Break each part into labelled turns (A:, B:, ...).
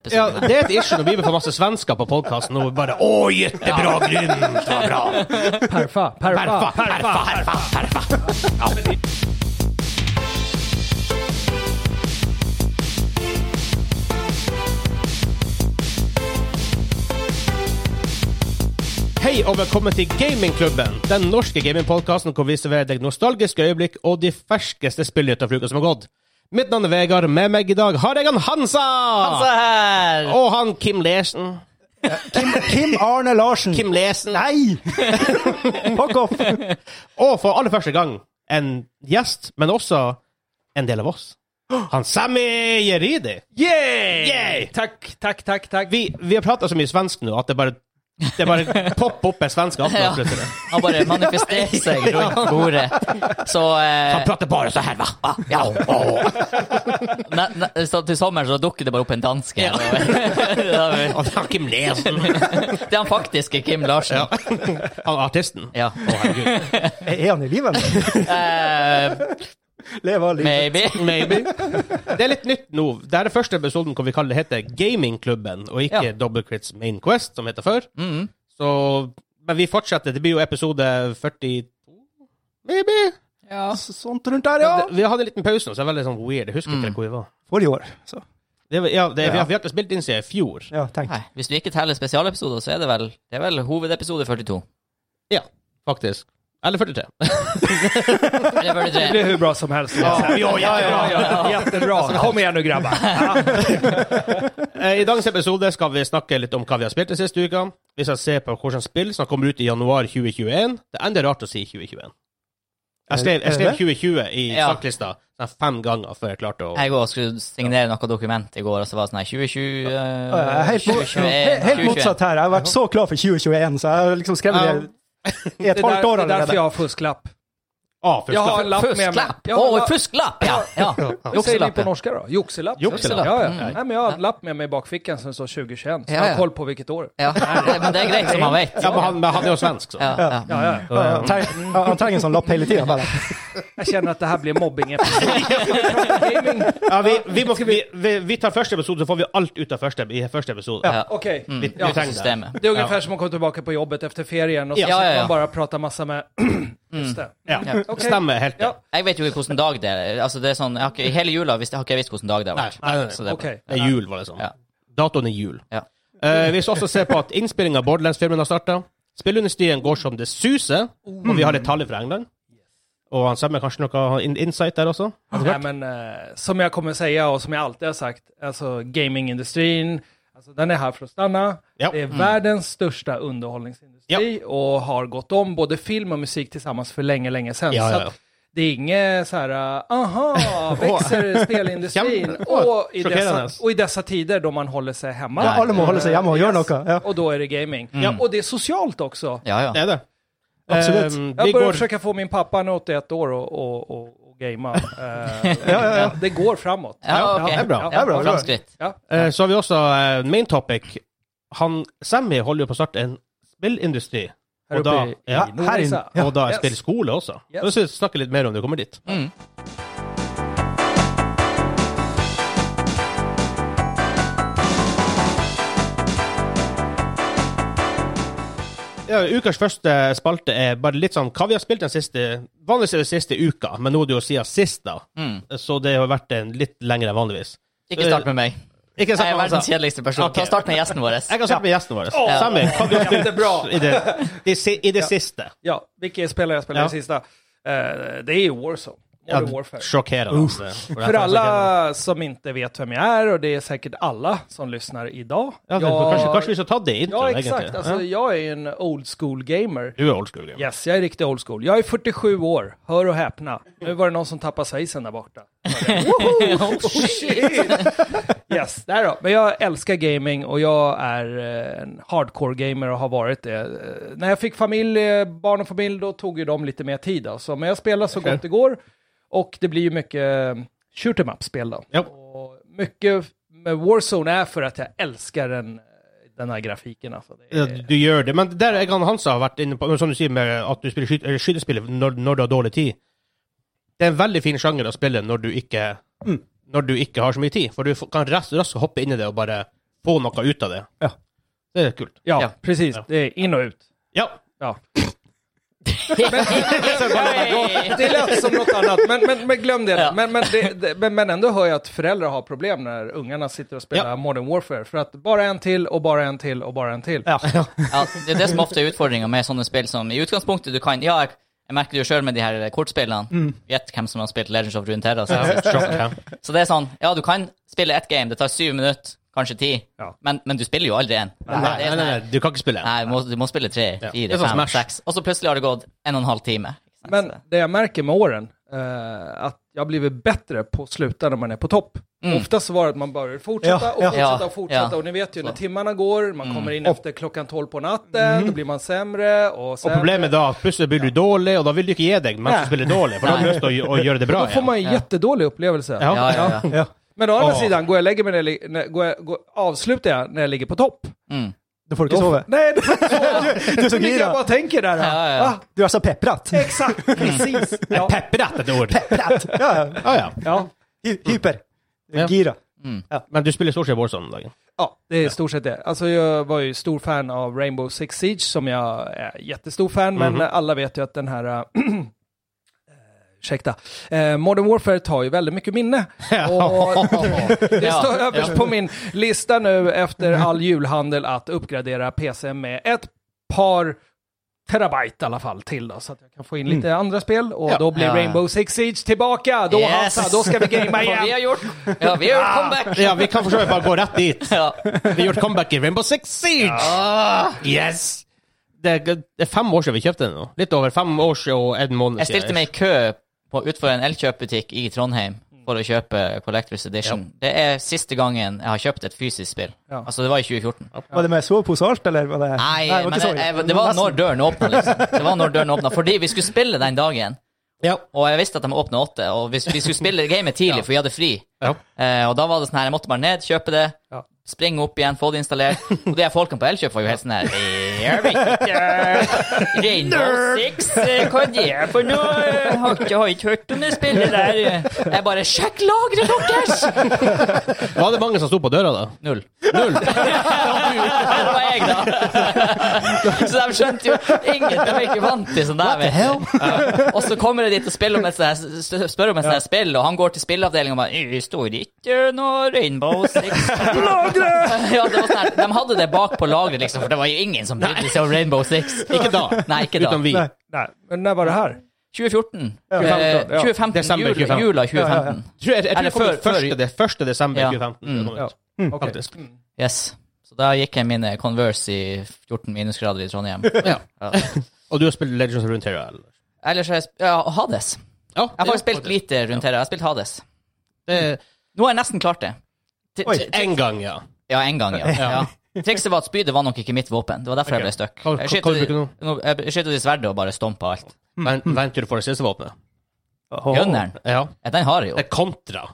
A: episode.
B: Ja, det er et issue når vi får masse svensker på podkasten og bare Å, jettebra, grymt, det var bra.
C: Perfa,
B: Perfa, perfa, perfa, perfa. Hei og velkommen til Gamingklubben, den norske gamingpodkasten hvor vi serverer deg nostalgiske øyeblikk og de ferskeste spillene av uka som har gått. Mitt navn er Vegard, med meg i dag har jeg han Hansa!
A: Hansa her!
B: Og han Kim Lesen.
C: Kim, Kim Arne Larsen.
B: Kim Lesen.
C: Nei! Fuck off!
B: Og for aller første gang en gjest, men også en del av oss. Han Sami Jeridi. Yay!
C: Takk, takk, takk. takk.
B: Vi, vi har prata så mye svensk nå at det bare, det bare popper opp en svensk
A: Ja.
B: aften. Ja.
A: Han bare manifesterte seg rundt bordet. Så eh,
B: prater bare så her, va?
A: ja. Ne, ne, så til sommeren så dukker det bare opp en danske.
B: Og det er Kim Lesen.
A: det er han faktiske Kim Larsen.
B: Han artisten.
A: Ja.
B: Å, herregud.
C: Er han i live?
A: Eh,
C: Lever livet.
A: maybe.
B: Maybe. Det er litt nytt nå. Det er den første episoden hvor vi kaller det heter Gamingklubben, og ikke
A: Ja.
B: Double Crits Main Quest, som heter før.
C: Mm.
B: Så, men vi fortsetter. Det blir jo episode 42, maybe?
A: Ja.
C: Sånt rundt der, ja.
B: Det- Vi hadde en liten pause nå, så det er veldig sånn weird. Jeg husker ikke hvor vi var.
C: Forrige år. Så.
B: Det, var- ja, det, Vi,
C: Ja.
B: har, vi har ikke spilt inn siden i fjor.
C: Ja, tenk.
A: Nei, hvis du ikke teller spesialepisoder, så er det vel, det er vel hovedepisode 42.
B: Ja, faktisk. Eller 43.
A: Eller 43.
C: blir hur bra som helst.
B: ja, ja, ja,
C: Jättebra. Kom igen nu grabbar.
B: Eh, I dagens episode skal vi snakke litt om hva vi har spilt den siste uka. Vi skal se på hvilke spill som kommer ut i januar 2021. Det er enda rart å si 2021. Jeg skrev, jeg skrev
C: Er det
B: 2020 i
A: Ja.
B: saklista sånn fem ganger før jeg klarte å
A: Jeg også skulle signere noe dokument i går, og så var det sånn her 2020 eh,
C: Helt, mot,
A: 2021,
C: helt, helt
A: 2021.
C: motsatt her. Jeg har vært så klar for 2021 så jeg har liksom skrev
B: Ja.
C: det i et
D: Det, der,
C: halvt år
D: det er derfor jeg
C: allerede.
D: har fusklapp.
B: ah, først
D: Jeg har
B: da.
D: en lapp med meg.
A: Fusklapp!
D: Jeg
A: Å,
D: har en lapp-
A: fusklapp! Ja. ja.
D: Hva sier vi på
A: Jukselappen.
D: norsk, da? Jukselapp.
B: Jukselapp.
D: Ja, ja.
A: Mm.
D: Nei, men jeg har en lapp med meg i bakfikken som står 2021, så
A: Ja,
D: jeg
A: ja.
D: har koll på hvilket år.
A: Ja, men det er greit, som han vet.
B: Ja, men han, men han er jo svensk, så.
A: Ja, ja.
D: Ja, ja.
C: Ja, ja. Ter- ja, Han trenger en sånn lapp hele tida.
D: Jeg kjenner at det her blir mobbing. Gaming.
B: Ja, vi, vi, må, vi, vi, vi tar første episode, så får vi alt ut av første, i første episode.
A: Ja.
D: Okej.
A: Mm.
B: Vi, vi
D: Ja.
B: trenger det.
A: Systemet.
D: Det er ungefär som å komme tilbake på jobbet etter ferien, og så
A: Ja, ja,
D: sitter
A: ja. Mm.
D: man bare og prater masse med Just det.
B: Ja.
D: Ok.
B: Stemmer helt.
D: Ja.
A: Jeg vet jo ikke hvilken dag det er. Altså, det er sånn, jeg har ikke, I hele jula visste- har ikke jeg visst hvilken dag det har vært.
B: Nei, nei, nei.
A: Så det er
D: Okej.
B: Det er jul, var det sånn.
A: Ja.
B: Datoen er jul.
A: Ja.
B: Eh, vi skal også se på at innspilling av Borderlands-filmen har starta. Spillunderstien går som det suser, og vi har litt tall fra England. Og han Sam er kanskje noe in insight der også?
D: Nej, men, eh, som jeg kommer säga, og som jeg alltid har sagt, alltså, gamingindustrin, alltså, den er her for å stanna.
B: Ja.
D: Det är världens största underhållningsindustri och har gått om både film och musik tillsammans för länge, länge sedan.
B: Ja, ja,
D: Så
B: ja.
D: att det är inget så här, aha, växer spelindustrin.
B: Jäm-
D: och, i
B: Chockerande.
D: dessa, och i dessa tider då man håller sig hemma,
A: Ja,
C: Alle må holde seg hjemme og gjøre noe. Ja,
D: och då är det gaming. Och det är socialt också.
A: Ja, ja.
B: Det er det.
C: Absolutt.
B: Eh, vi
D: Jag börjar
B: går,
D: försöka få min pappa, han är 81 år, och, och, och, och gamea. Eh, Det går framåt.
A: ja ok.
B: det er bra.
C: Det er bra, det er bra.
A: Framskritt.
D: Ja.
B: eh, så har vi også eh, main topic. Han Sammy holder jo på å starte en spillindustri.
D: Her
B: Og da,
D: oppe i-
B: ja,
C: i Nordreisa.
B: inne. og da en
D: Yes.
B: spillskole også.
D: Yes.
B: Så vi skal snakke litt mer om det kommer dit.
A: Mm.
B: Ja, ukas første spalte er bare litt sånn hva vi har spilt den siste Vanligvis er det siste uka, men nå er det jo siden sist, da.
A: Mm.
B: Så det har vært en litt lengre enn vanligvis. Eh,
A: Ikke start med meg.
B: Ikke
A: Jeg
B: sant,
A: er
B: Hansa?
A: verdens kjedeligste person.
B: Ok.
A: Ta Start med gjesten vår.
B: Jeg kan snakke med gjesten vår.
D: Ja.
B: Sammy, hva har du har
D: Jättebra.
B: spilt i det, i si- i det siste?
D: Ja, vilka spelare jag spelade
B: Ja.
D: i sista. Eh, det är ju Warzone.
B: Ja,
D: Modern Warfare.
B: sjokkerende. altså.
D: För alla som inte vet vem jag är, och det är säkert alla som lyssnar idag.
B: Ja, det,
D: jag,
B: kanskje, kanskje vi skal ta det i
D: ja altså-
B: introen,
D: exakt.
B: egentlig?
D: Alltså,
B: Ja.
D: Jag är ju en old school gamer.
B: Du er old school. gamer.
D: Yes, jag är riktigt old school. Jag är 47 år, hör och häpna. Nu var det någon som tappade svejsen där borta. Oh, Yes, där då. Men jag älskar gaming och jag är eh, en hardcore gamer och har varit det. Eh, När jag fick familj, eh, barn och familj, då tog ju de lite mer tid alltså. Men jag spelar så gott det går och det blir ju mycket eh, shoot em up-spel då.
B: Ja.
D: Och mycket med Warzone är för att jag älskar den, eh, den här grafiken alltså. Det
B: Ja,
D: är,
B: Du gjør det, men der jeg og Hansa har vært inne på, som du sier med at du spiller skyt- eller skytespill når, når du har dårlig tid. Det er en veldig fin sjanger å spille når du ikke, når du ikke har så mye tid, for du f- kan raskt, raskt hoppe inn i det og bare få noe ut av det.
C: Ja.
B: Det er kult.
D: Ja,
A: Ja.
D: precis.
B: Ja.
D: Det är in och ut.
B: Ja.
D: Ja.
A: Hej!
D: Det lät som något annat, men, men, men glöm det.
A: Ja.
D: Men, men, det, det men, men ändå hör jag att föräldrar har problem när ungarna sitter och spelar
B: Ja.
D: Modern Warfare. För att bara en till och bara en till og bare en til.
C: Ja. Ja.
A: Ja, det er det som ofte er utfordringa med sånne spill som i utgangspunktet du kan Ja, jeg, jeg merker det jo sjøl med de her kortspillene.
B: Mm.
A: Gjett hvem som har spilt Legends of Runeterra. Så,
B: Sjokk,
A: så det er sånn, ja, du kan spille ett game, det tar syv minutter, kanskje ti,
D: Ja.
A: men, men du spiller jo aldri én.
B: Nei, nei, nei, nei, du kan ikke spille.
A: Nei, du må, du må spille tre,
B: Det
A: fire,
B: er sånn
A: fem,
B: Smash.
A: seks, og så plutselig har det gått en og en halv time.
D: Men det jag märker med åren, eh, att jag har blivit bättre på att sluta när man är på topp. Oftast så var det att man började fortsätta
C: Ja,
D: och
C: ja.
D: fortsätta
A: Ja,
D: och fortsätta.
A: ja.
D: Och ni vet ju, när timmarna går, man kommer in efter klockan 12 på natten, då blir man sämre och
B: Og
D: sämre.
B: problemet da, plutselig blir du dårlig, og da vil du ikke gi deg mens
D: Nei.
B: du spiller dårlig, for da har du lyst til å, å gjøre det bra
D: Då får
B: igjen.
D: man en jättedålig upplevelse.
B: Ja.
A: Ja, ja, ja.
C: Ja.
D: Men å andra
B: Ja.
D: sidan, går jag och lägger mig när jag, lig- när, går jag, går, avslutar jag när jag ligger på topp.
A: Mm.
C: Du får ikke sove.
D: Nej, då
C: Du er så
D: ligger jag bara
C: gira. Ah,
D: och tänker där.
A: Ja, ja.
D: Va?
C: Du er så pepret.
D: Exakt, precis. Ja.
B: Pepperett et ord.
C: Pepret. Ja, ja.
B: Ja, ja.
D: Ja.
C: Hy- Hyper.
B: Ja.
C: Gira.
B: Men du spiller stort sett Warzone om dagen.
D: ja, det är i stort sett det. Alltså, jag var ju stor fan av Rainbow Six Siege, som jag är jättestor fan, men eh, alla vet ju att den här... Äh, Ursäkta. Eh, Modern Warfare tar ju väldigt mycket minne. Och det
A: Ja. Mm.
D: står överst på min lista nu efter all julhandel att uppgradera PC med ett par terabyte i alla fall till då, så att jag kan få in lite andra spel och då blir
A: Mm. Ja, ja.
D: Rainbow Six Siege tillbaka. Då
A: Yes.
D: Hansa, då ska vi gamea
A: For vi
D: igen.
A: har gjort, ja, vi har gjort comeback!
B: Ja, vi kan for så vidt bare gå rett dit.
A: Ja.
B: Vi har gjort comeback i Rainbow Six Siege!
A: Ah.
B: Yes! Det er, det er fem år siden vi kjøpte den nå. Litt over fem år siden og en måned
A: Jeg stilte meg i kø på, utenfor en elkjøpbutikk i Trondheim for å kjøpe Collectors Edition. Det er siste gangen jeg har kjøpt et fysisk spill.
D: Ja.
A: Altså, det var i 2014.
C: Var det med sovepose og alt, eller? Var det...
A: Nei,
C: det var
A: men
C: ikke så
A: jeg,
C: ille.
A: jeg, det var
C: Nesten.
A: når døren åpna, liksom. Det var når døren åpnet, fordi vi skulle spille den dagen.
B: Ja.
A: Og jeg visste at de åpna åtte, og vi, vi skulle spille gamet tidlig, for vi hadde fri.
B: Ja.
A: Eh, og da var det sånn her, jeg måtte bare ned, kjøpe det,
D: Ja.
A: springe opp igjen, få det installert. Og de her folkene på Elkjøp var jo helt sånn her Gjør vi ikke Rainbow Six, eh, hva er det for noe? Jeg har ikke, har ikke hørt om det spillet der. Jeg bare Sjekk lageret deres!
B: Var det mange som sto på døra, da?
A: Null.
B: Null?
A: Her var jeg, da. Så de skjønte jo ingen. De er ikke vant til sånn der. Vet du. Ja. Og så kommer jeg dit og spiller om et sånt her- s- spør om et sånt her spill, og han går til spilleavdelingen og bare «Det står ikke noe Rainbow Six ja, det var sånn her, De hadde det bak på lageret, liksom, for det var jo ingen som brydde seg om Rainbow Six.
B: Ikke da.
A: Nei, ikke da.
B: Utan vi.
C: Nei.
D: Nej, men när var det
A: Mm.
D: här?
A: 2014.
D: Ja.
A: Eh,
D: 2015, ja.
A: 2015
B: Desember
A: jula,
B: 2015.
A: jula 2015.
B: Jeg tror, jeg, jeg tror
A: Eller
B: det kom
A: før-
B: ut første,
A: før-
B: det, første desember
A: Ja.
B: 2015.
A: Mm.
B: det kom ut,
D: Ja. Okej.
B: Faktisk.
A: Yes. Så da gikk jeg mine Converse i 14 minusgrader i Trondheim. Ja.
B: Og du har spilt Legends of Runeterra? eller?
A: Ellers har jeg sp- Ja, Hades.
B: Ja,
A: Jeg har faktisk spilt lite rundt her. Jeg har spilt Hades.
B: det.
A: Nå har jeg nesten klart det. T-
C: Oi.
A: t-
B: En gang, ja.
A: Ja, en gang, ja. ja. Trikset var at spydet var nok ikke mitt våpen. Det var derfor jeg ble stuck.
B: Hva-
A: Jeg
B: hva- hva
A: skyter
B: bruker du nå?
A: nå- jeg skyter i sverdet og bare stomper alt.
B: Vent, vent til du får det siste våpenet.
C: Åh.
A: Gunneren,
B: Ja.
A: ja, den har jeg jo.
B: Det er kontra.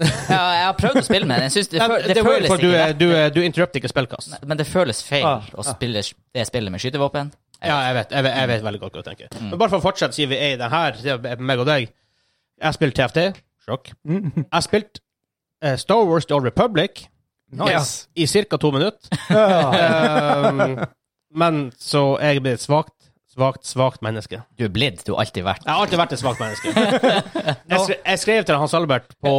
A: Ja, jeg har prøvd å spille med den. Jeg synes det,
B: Nei,
A: fø det,
B: det er weird,
A: føles
B: for du,
A: ikke
B: er-
A: rett.
B: du, er- du interrupter ikke spillkast.
A: Men det føles feil
C: Ah,
A: å spille det spillet med skytevåpen.
B: Ja, jeg vet, jeg vet, jeg vet veldig godt hva du tenker. Men bare for å fortsette, siden vi er i den her, siden det er meg og deg. Jeg spilte TFT. Sjokk. Jeg har spilt eh, Star Wars The Old Republic
C: Nice.
B: i ca. to minutter.
C: Ja.
B: Um, men så er jeg blitt et svakt, svakt, svakt menneske.
A: Du er blitt, du har alltid vært.
B: Jeg har alltid vært et svakt menneske. Jeg, skre, jeg skrev til Hans Albert på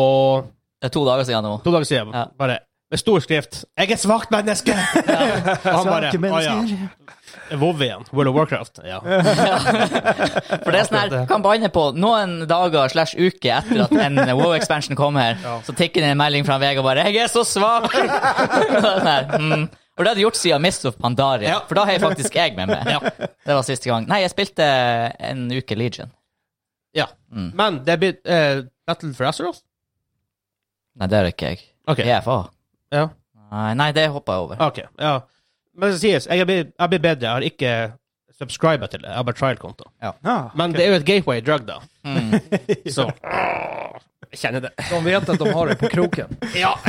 A: Det er to dager siden nå.
B: to dager siden,
A: Ja.
B: bare med stor skrift 'Jeg er et svakt menneske!' Og han
C: Svake
B: bare 'Å ja,
C: mennesker.
B: WoW igjen. World of Warcraft'. Ja.
A: For det er sånn her kampanje på noen dager slash uke etter at en WoW-expansion kom her, så tikker det en melding fra en VG og bare 'Jeg er så svak!' sånn her, mm. Og det hadde jeg gjort siden Mist of Pandaria,
B: Ja.
A: for da har jeg faktisk jeg med meg. Det var siste gang. Nei, jeg spilte en uke Legion.
B: ja. Men det er blitt eh, Battle for Azeroth.
A: Nei, det er ikke jeg.
B: Ok. Ah.
A: EFA.
B: Ja.
A: Nei, Nei, det hoppa jeg over.
B: Ok, ja. Men det sies, jeg blir, jeg blir bedre. Jeg har ikke subscriba til det. Jeg har bare trial-konto.
C: Ja.
B: Men det er jo et gateway drug, da. Så Jeg kjenner det.
D: De vet att de har det på kroken.
B: Ja.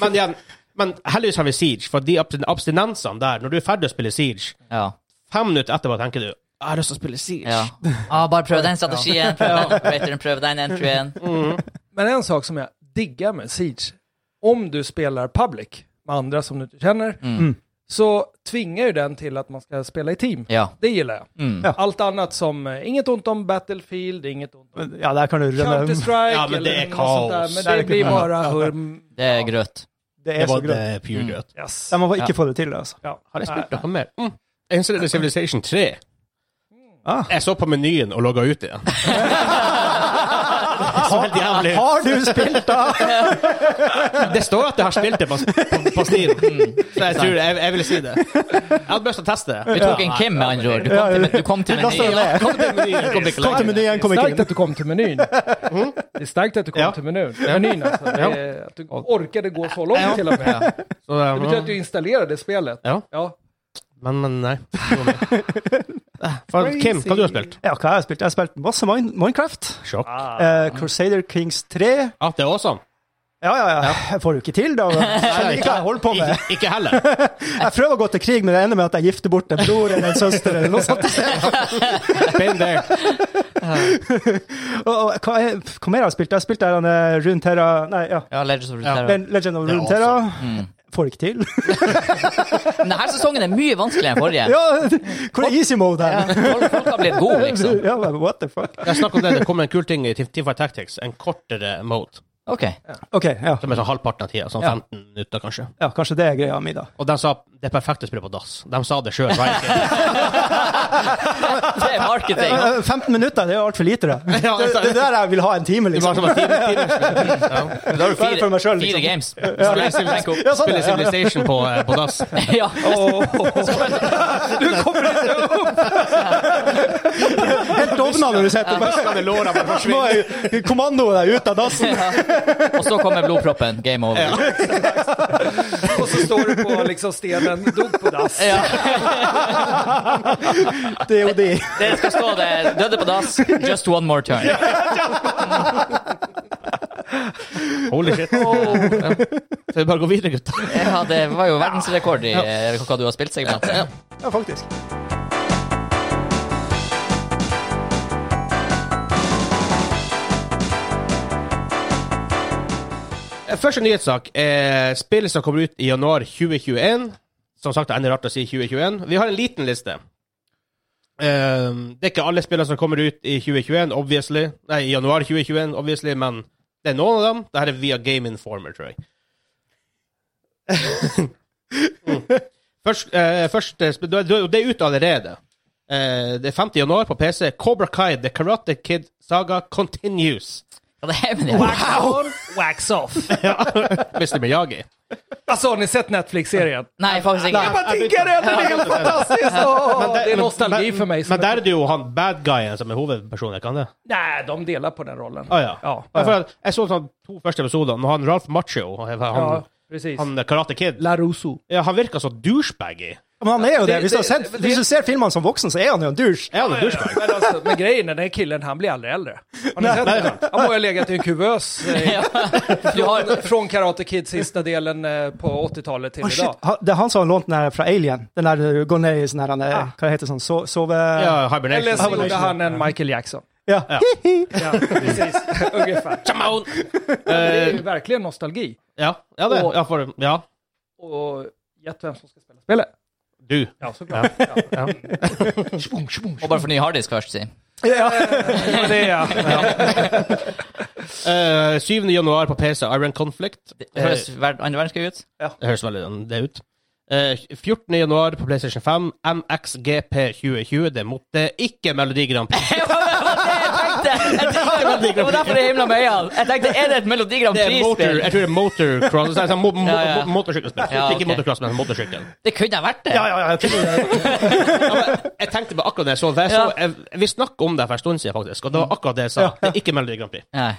B: Men igjen, men heldigvis har vi Siege, for de abstin- abstinensene der Når du er ferdig å spille Siege,
A: Ja.
B: fem minutter etterpå tenker du Jeg har lyst til å spille Siege.
A: ja. Ah, bare prøv den strategien, prøv den operatoren, prøv den entryen.
D: Men en sak som jag diggar med Siege, om du spelar public, med andra som du inte känner,
A: Mm.
D: så tvingar ju den till att man ska spela i team.
A: Ja.
D: Det gillar jag.
A: Mm.
C: Ja.
D: Allt annat som, eh, inget ont om Battlefield, inget ont om
C: Ja, där kan du röra om.
D: Counter-Strike
B: Ja, men det är
D: eller något sånt
B: kaos.
D: där, men det blir bara hum...
A: Det är grøt.
C: Det
B: Det
C: är så
B: var
C: grymt.
B: det pure grøt.
D: Yes.
C: Ja, man får
A: Ja.
C: inte få det altså. till alltså.
D: Ja.
B: Har jeg spilt noe mer? Mm. Ancient and Civilization 3.
C: Ah.
B: Jeg så på menyen og logga ut igjen. så helt jævlig ut.
C: Har du spelat det?
B: Det står at jeg har spilt det på, på, på Steam. Så jeg tror jeg, jeg ville si det. Jeg hadde lyst til å teste
A: Vi
B: det.
A: tok en Kim, med andre ord. Du
C: Ja,
A: kom til, du kom til
C: det var
A: menyen.
C: sånn det.
A: Kom til menyen. Du kom ikke
C: Kom till
A: lenger.
C: menyn, kom
D: Det är starkt
C: in.
D: att du kom till menyn. Det är starkt att du kom
B: Mhm. Ja.
D: till menyn. menyn alltså. altså. det är, att du orkade gå så långt till och med.
B: Så,
D: Det betyder att du installerade spelet.
B: Ja.
D: Ja.
B: Men, men nei. For, Kim, hva du har spilt?
C: Ja, hva har jeg spilt? Jeg har spilt masse Min Minecraft.
B: Sjokk.
C: Eh, Crusader Kings 3.
B: Ja, det er awesome.
C: Ja, ja, ja. Jeg får jo ikke til, da. Skjønner ikke hva jeg holder på med.
B: Ikke, ikke heller.
C: Jeg prøver å gå til krig, men det ender med at jeg gifter bort en bror eller en søster eller noe sånt.
B: Been there.
C: Og, og, hva, er- hva mer har jeg spilt? Jeg har spilt der han eh, Runeterra Nei, ja.
A: Ja, Legends of Runeterra.
C: Den Legend of
B: Det er
C: Runeterra.
A: Mm.
C: Får ikke til.
A: Men Denne sesongen er mye vanskeligere enn forrige.
C: ja, hvor er easy mode
A: Ja,
C: her?
A: Folk, folk har blitt gode, liksom.
C: Ja, men what the fuck?
B: Jeg snakket om det, det kommer en kul ting i Team Fight Tactics. En kortere mode.
A: Ok.
C: OK, ja.
B: Som er sånn halvparten av tida. Sånn 15 minutter, kanskje.
C: ja. Kanskje det er greia mi, da.
B: Og de sa det er perfekt å spille på dass. De sa det sjøl.
A: Det er marketing.
C: Eh, 15 minutter, det er jo altfor lite, det.
B: Ja,
C: Det,
B: altså.
C: det der jeg vil ha en time, liksom.
B: Da har du
C: Bare for meg selv,
A: Fire
C: liksom.
A: games.
B: Spille Civil-
C: Ja, sånn,
B: spille
C: ja, ja.
B: Civilization på, eh, på dass.
A: Ja.
C: Helt ovna når du sitter på
B: Skal det låra bare
C: Nå er kommandoen der ute av dassen.
A: Og så kommer blodproppen. Game over.
D: Och så står du på liksom stenen, dog på dass.
A: Ja.
C: Det er jo de.
A: Det skal stå det. Døde på dass. Just one more turn.
B: Holy shit. Så vi bare går videre, gutter.
A: Ja, det var jo verdensrekord i eh, hva du har spilt, segmentet.
C: Ja, faktisk.
B: Eh, Første nyhetssak er spillet som kommer ut i januar 2021. Som sagt, det ender rart å si 2021. Vi har en liten liste. Eh, det er ikke alle spillene som kommer ut i 2021, obviously. Nei, i januar 2021, obviously, men det er noen av dem. Dette er via Game Informer, tror jeg. mm. Først, eh, først eh, sp- det er- det er ute allerede. Eh, det er 5. januar på PC. Cobra Kai, The Karate Kid Saga Continues.
A: Ja, det er, men det er.
D: Wow. Wax off.
B: Hvis det blir Yagi.
D: Alltså Altså, har ni sett Netflix-serien?
A: Nei, faktisk
D: Jag
A: ikke.
D: bara tänker det, det är helt fantastiskt! Åh, det är nostalgi
B: men,
D: för mig. som
B: Men
D: är-
B: der er det jo han bad guyen som er hovedpersonen, kan det?
D: Nej, de delar på den rollen.
B: Ah, ja.
D: Ja.
B: Ja, for at jeg så sånn to første episoder, og han Ralph Macho, han,
D: Ja, precis.
B: han Karate Kid,
D: Laruso.
B: ja, han virker så douchebaggy.
C: Men han er jo det. Hvis du, har
D: Det-
C: sett,
D: det-
C: hvis du ser filmene som voksen, så er han jo en douche.
B: Er han en douchebag?
D: Men, alltså, men grejen är, den här killen, han blir aldrig äldre. Har ni sett det? Han må ju ha legat i en kuvös eh,
A: Ja. Du har,
D: från Karate Kid sista delen eh, på 80-talet till
C: Å, Ah, shit.
D: idag.
C: Ha- Det er han som har lånt den her fra Alien. Den der du går ned i sånn her han er- Hva heter det sånn? So- Sove...
B: Ja,
D: Eller så
B: hibernation.
D: gjorde han en Michael Jackson.
C: Ja.
D: Ja, precis. Ungefär. Det är ju verkligen nostalgi.
B: Ja, ja, det. Ja, for, ja,
D: Och gett vem som ska spela spelet.
B: du.
D: Ja, såklart. Ja.
A: og bare fornye harddisk først, si.
D: Ja. Det är jag.
B: Eh, 7. januar på PC, Iron Conflict.
A: Det
B: Eh,
A: høres verd- andre verdenskrig ut.
B: Det høres veldig sånn det ut. Eh, 14. januar på PlayStation 5, MXGP 2020. Det måtte ikke Melodi Grand Prix.
A: Det var det jeg tenkte! Jeg tenkte- Det var derfor jeg himla med øynene. Jeg tenkte, er det et Melodi Grand
B: Det er motor,
A: Prix-spill?
B: jeg tror det er motocross. Det er sånn mo mo
A: Ja, ja.
B: mo- Motorsykkelspill.
A: Ja, ok.
B: Ikke motocross, men motorsykkel.
A: Det kunne ha vært det.
C: Ja, ja, ja. jeg tror det.
B: Ja, men jeg tenkte på akkurat det jeg så. for Jeg så
A: Ja.
B: jeg, vi snakket om det for en stund siden, faktisk, og det var akkurat det jeg sa. Det er ikke Melodi Grand Prix.
A: Nei.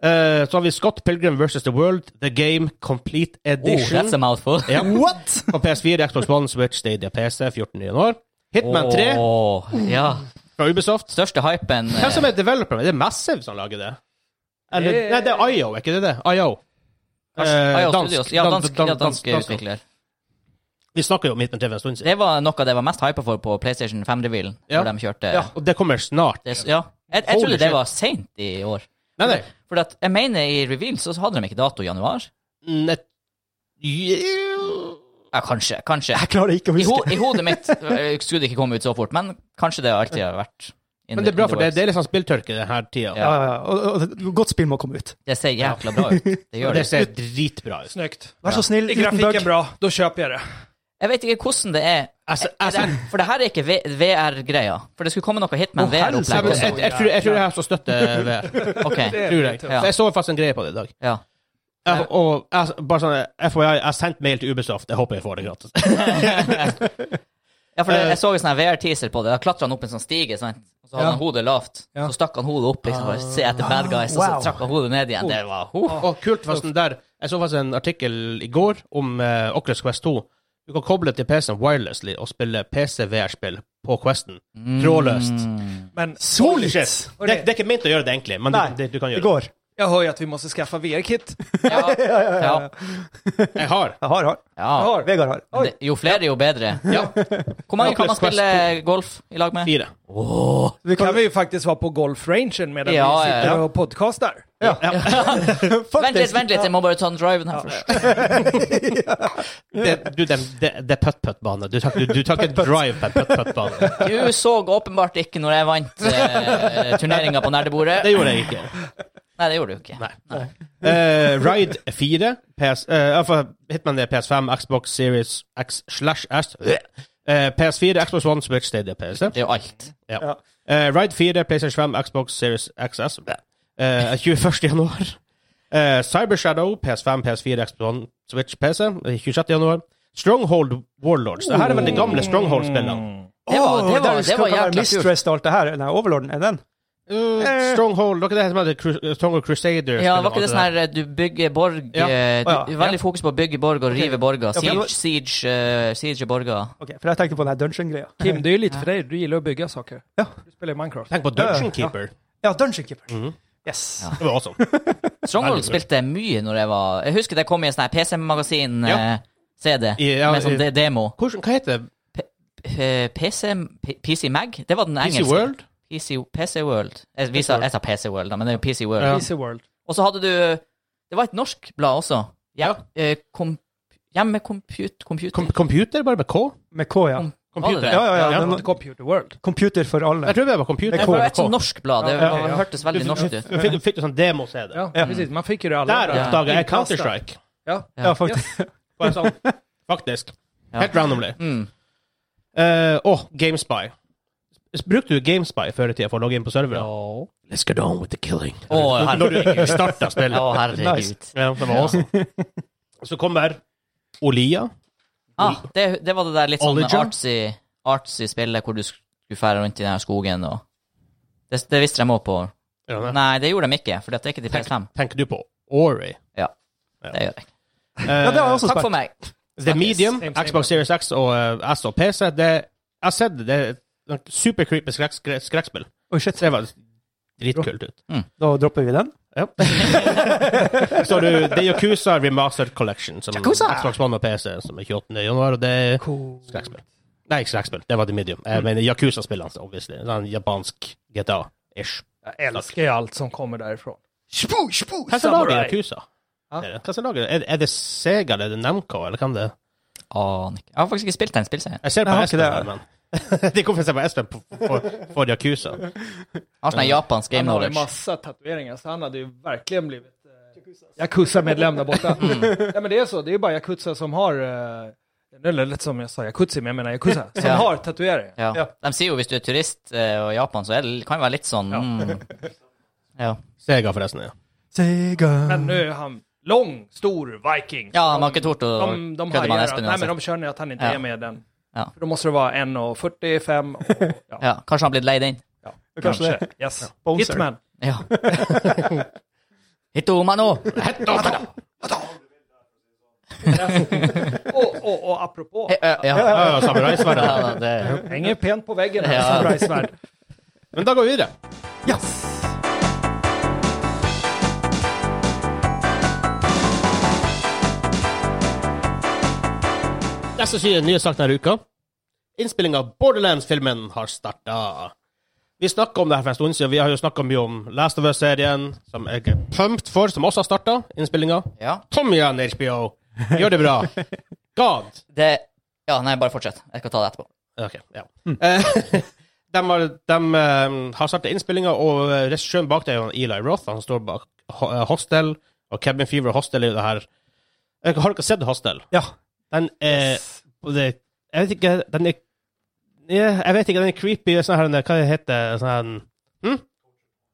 B: Eh, så har vi Scott Pilgrim versus The World, The Game Complete
A: Oh,
B: Edition.
A: that's a mouthful.
B: ja.
C: What?!
B: På PS4, Xbox One, Switch, Stadia, PC 14. januar. Hitman 3
A: Åh, ja.
B: fra Ubisoft.
A: Største hypen eh,
B: Hvem som er developer? Det er Massive som lager det. Eller,
D: Det-
B: Nei, det er IO, er ikke det det? IO.
A: Ah, ja,
B: Eh,
A: Studios. Ja,
B: dan-
A: dansk,
B: dan-
A: ja,
B: dan-
A: dansk
B: dansk.
A: utvikler.
B: Vi snakket jo om Hitman 3 for en stund siden.
A: Det var noe av det jeg var mest hypa for på PlayStation 5-revealen.
B: Ja.
A: Hvor de kjørte
B: Ja, og det kommer snart.
A: det, ja. Jeg, jeg
B: Holy
A: trodde det
B: shit.
A: var seint i år.
B: Nei, nei.
A: Mm, For at, jeg mener i revealen så hadde de ikke dato i januar.
B: Nett... Yeah.
A: Ja, kanskje. Kanskje.
C: Jeg klarer ikke å
A: I, ho
C: huske.
A: I hodet mitt eh, skulle det ikke komme ut så fort, men kanskje det alltid har vært in
B: Men
A: the-
B: det er bra,
A: in the
B: for det,
A: works.
B: det er liksom spilltørke denne tida.
A: Ja.
C: Ja, ja, ja. Og, og, og, godt spill må komme ut.
A: Det ser jækla bra ut. Det
B: Og
A: gjør
B: det
A: det.
B: ser dritbra ut.
D: Snyggt.
C: Vær så snill,
D: I
C: uten bug.
D: grafikken bra, da kjøper jeg det.
A: Jeg vet ikke hvordan det er.
B: Altså,
A: Er
B: altså,
A: det, for det her er ikke V- VR-greia. For det skulle komme noe Hitman
C: Å,
B: jeg,
A: VR-opplegg
B: jeg,
A: også.
B: jeg, jeg, tror- jeg tror jeg har så støtte ved
A: Ok,
B: Tror jeg.
A: Ja.
B: Så jeg så faktisk en greie på det i dag.
A: ja.
B: Jeg, og jeg, bare sånn, FYI, jeg har sendt mail til Ubisoft. Jeg håper jeg får det gratis.
A: ja, for det, jeg så en sånn her VR-teaser på det. Da klatra han opp en sånn stige, sant? og så hadde
D: Ja.
A: han hodet lavt.
D: Ja.
A: Så stakk han hodet opp liksom, for å se etter bad guys, og
C: Wow.
A: så trakk han hodet ned igjen. Det var ho.
B: Og kult faktisk den der Jeg så faktisk en artikkel i går om eh, Oculus Quest 2. Du kan koble til PC-en wirelessly og spille PC-VR-spill på Questen.
A: Mm.
B: Trådløst.
D: Men
B: Holy shit!
D: Og
B: Det,
D: det-
B: det er ikke ment å gjøre det egentlig, men du,
C: Nei,
B: det, du kan
C: Det
B: gjøre det.
C: går.
D: jeg hører at vi må skaffe VR-kit.
A: Ja. Ja, ja,
B: Jeg har.
C: Jeg har, har.
D: Har.
C: Vegard har.
A: Men Det, jo flere, jo bedre.
B: Ja,
A: Hvor mange kan man
B: Oculus Quest
A: spille golf i lag med?
B: fire.
C: Vi
D: Kan
C: kan,
D: vi ju faktiskt vara på golfrangen medan
A: Ja,
D: vi sitter
A: ja, ja.
D: och podcastar.
A: Vent litt, vent litt, jeg må bare ta den driven her først.
B: Det, du, det, det, det er putt-putt-bane. Du tar ikke- du tar ikke drive på en putt-putt-bane.
A: Du så åpenbart ikke når jeg vant eh, turneringa på nerdebordet.
B: Det gjorde jeg ikke.
A: Nei, det gjorde du ikke.
B: Nei. Eh, Ride 4, PS, eh, iallfall Hitman det er PS5, Xbox Series X slash S eh, PS4, Xbox One, Switch, Stadia, PC.
A: Det er jo alt.
B: Ja.
C: Ja.
B: Eh, Ride 4, PlayStation 5, Xbox Series XS. Eh, 21. januar. Eh, Cyber Shadow, PS5, PS4, Xbox One, Switch, PC. eh, 26. januar. Stronghold Warlords. Det her er vel de gamle Stronghold-spillene.
A: Det var, det var,
C: der
A: det
C: skal
A: var
C: være
A: jækla kult.
C: Mistress og alt det her. Den her overlorden, er den?
B: Eh, Stronghold, dere det her som heter Cru- Stronghold Crusader.
A: Ja, var ikke det sånn her eh, du bygger borg
B: Ja.
A: eh,
C: Å, ja.
A: du, Veldig fokus på å bygge borg og rive borger.
C: Ja, for det
A: Siege,
C: var-
A: siege, eh, siege borger.
C: Ok, for jeg tenker på den her dungeon-greia.
D: Kim, det är ju lite för dig. Du gillar att bygga saker.
C: Ja.
D: Du spelar i Minecraft.
B: Tenk på Dungeon Keeper.
C: Ja, Dungeon Keeper.
B: Mhm.
C: Yes.
A: Ja.
B: Det var awesome.
A: Stronghold
B: Veldig bra.
A: spilte jeg mye når jeg var Jeg husker det kom i en sånn her PC-magasin
B: Ja.
A: eh, CD
B: I- ja,
A: med sånn
B: i-
A: de demo.
B: Hvordan, hva heter det?
A: Eh, PC, P- PC Mag? Det var den
B: PC
A: engelske.
B: World?
A: PC, PC World. Jeg, vi sa, jeg sa PC World, da, men det er jo PC World.
B: Ja.
D: PC World.
A: Og så hadde du Det var et norsk blad også. Ja. Eh, kom, Hjemmecompute Computer?
B: Kom computer, bare med K?
C: Med K, ja.
A: Kom-
B: Computer.
A: Var det det?
C: Ja, ja, ja.
B: Ja.
C: Den,
D: Computer World.
C: computer for alle.
B: Jeg tror det var computer.
C: Med
A: det
C: K.
A: var
B: Bare
A: et sånn
B: K.
A: norsk blad. Det
D: Ja,
A: var-
D: ja.
A: hørtes veldig norsk ut.
B: Du fikk, du fikk jo sånn demo-CD.
D: Ja,
C: Ja.
D: precis. Man fick ju det alla.
B: Der
D: dagar.
A: ja.
B: oppdaga jeg
D: Innkastet.
B: Counter-Strike.
D: Ja.
C: Ja, faktisk.
B: Bare sånn. Faktisk.
A: Ja.
B: Helt randomly.
A: Mm.
B: Eh, og GameSpy. S- Brukte du GameSpy før i tida for å logge inn på servere?
A: Å,
B: Let's get on with the killing. Når du
A: herregud.
B: ikke starta spillet.
A: Å, herregud.
B: Ja, det var awesome. Så kommer Olia.
A: Ah, det, det var det der litt sånn
B: Oligem?
A: artsy, artsy spillet hvor du skulle fære rundt i den her skogen og Det, det visste de òg på. Nei, det gjorde de ikke, for det er ikke til PS5.
B: Tenker du på Ori?
A: Ja, det gjør jeg.
B: Eh,
C: Ja, det har jeg også
A: Takk
C: spilt.
A: for meg.
B: The Medium,
D: Same, same.
B: Xbox Series X og eh, S og PC. Det, jeg har sett det. det er et super creepy skrekk, skrekk, skrekkspill.
C: Oi, shit.
B: Det var dritkult ut.
C: Da dropper vi den.
B: Ja. Så har du The Yakuza Remastered Collection, som
A: Yakuza!
B: Xbox One og PC, som er 28. januar, og det er skrekkspill. Nei, ikke skrekkspill, det var The Medium. Jeg mener Yakuza-spillene, så obviously. Sånn japansk GTA-ish.
D: Jag älskar ju allt som kommer därifrån.
A: Spoo, spoo,
B: Hva som lager Yakuza?
D: Ja.
B: Er det, Hva som lager det? Er, er det Sega eller er det Namco, eller hvem det er?
A: Aner ikke. Jeg har faktisk ikke spilt den spillserien.
B: Jeg
C: Jeg
B: ser på
C: har
B: Espen
C: ikke
B: her, men De kommer til å se på Espen på- for- for Yakuza.
A: Jeg Har sånn her japansk game
D: Han har ju
A: knowledge.
D: massa tatueringar, så han hade ju verkligen blivit eh, Yakuza-medlem där borta. Nej, men det är så. Det är ju bara Yakuza som har... Eh, nu lät det som jag sa Yakuza, men jag menar Yakuza. Som
A: Ja.
D: har tatueringar.
A: Ja. De sier jo hvis du er turist eh, og i Japan, så er det, kan det være litt sånn mm. ja.
B: Sega, forresten. ja.
C: Sega.
D: Men nu är han lång, stor viking.
A: Mm. ja, de har ikke tort å
D: De, de
A: kødde med
D: hajar att,
A: Espen
D: nej men
A: uansett.
D: de kör ner att han inte
A: Ja.
D: är med den.
A: Ja.
D: För då måste det vara 1,45 och, ja,
A: Ja, kanskje han har blitt leid inn.
D: ja,
C: kanske
D: kanske. Yes.
C: Bowser.
D: Hitman.
A: Ja. Hitomano!
D: Och, och, och apropå,
A: Ja, ja.
B: Ja, ja, samuraisverdet.
A: Ja, da, det
D: hänger pent på väggen här,
A: Ja.
D: samurajsvärd.
B: Men da går vi videre.
C: Ja.
B: Neste side nye sak denne uka. Innspilling av Borderlands-filmen har starta. Vi snakka om det her for en stund siden. Vi har jo snakka mye om Last of Us-serien, som jeg er pumped for, som også har starta innspillinga.
A: Ja.
B: Kom igjen, HBO! Gjør det bra! god!
A: Det Ja, nei, bare fortsett. Jeg skal ta det etterpå.
B: Ok, ja. Eh, de har, de eh, har startet innspillinga, og eh, regissøren bak det er jo Eli Roth. Han står bak Ho- eh, Hostel, og Cabin Fever og Hostel er jo det her Eh, Har dere sett Hostel?
C: Ja.
B: Den er og det, Jeg vet ikke Den er ja, Jeg vet ikke, den er creepy. Sånn her, hva heter det? Sånn her hm?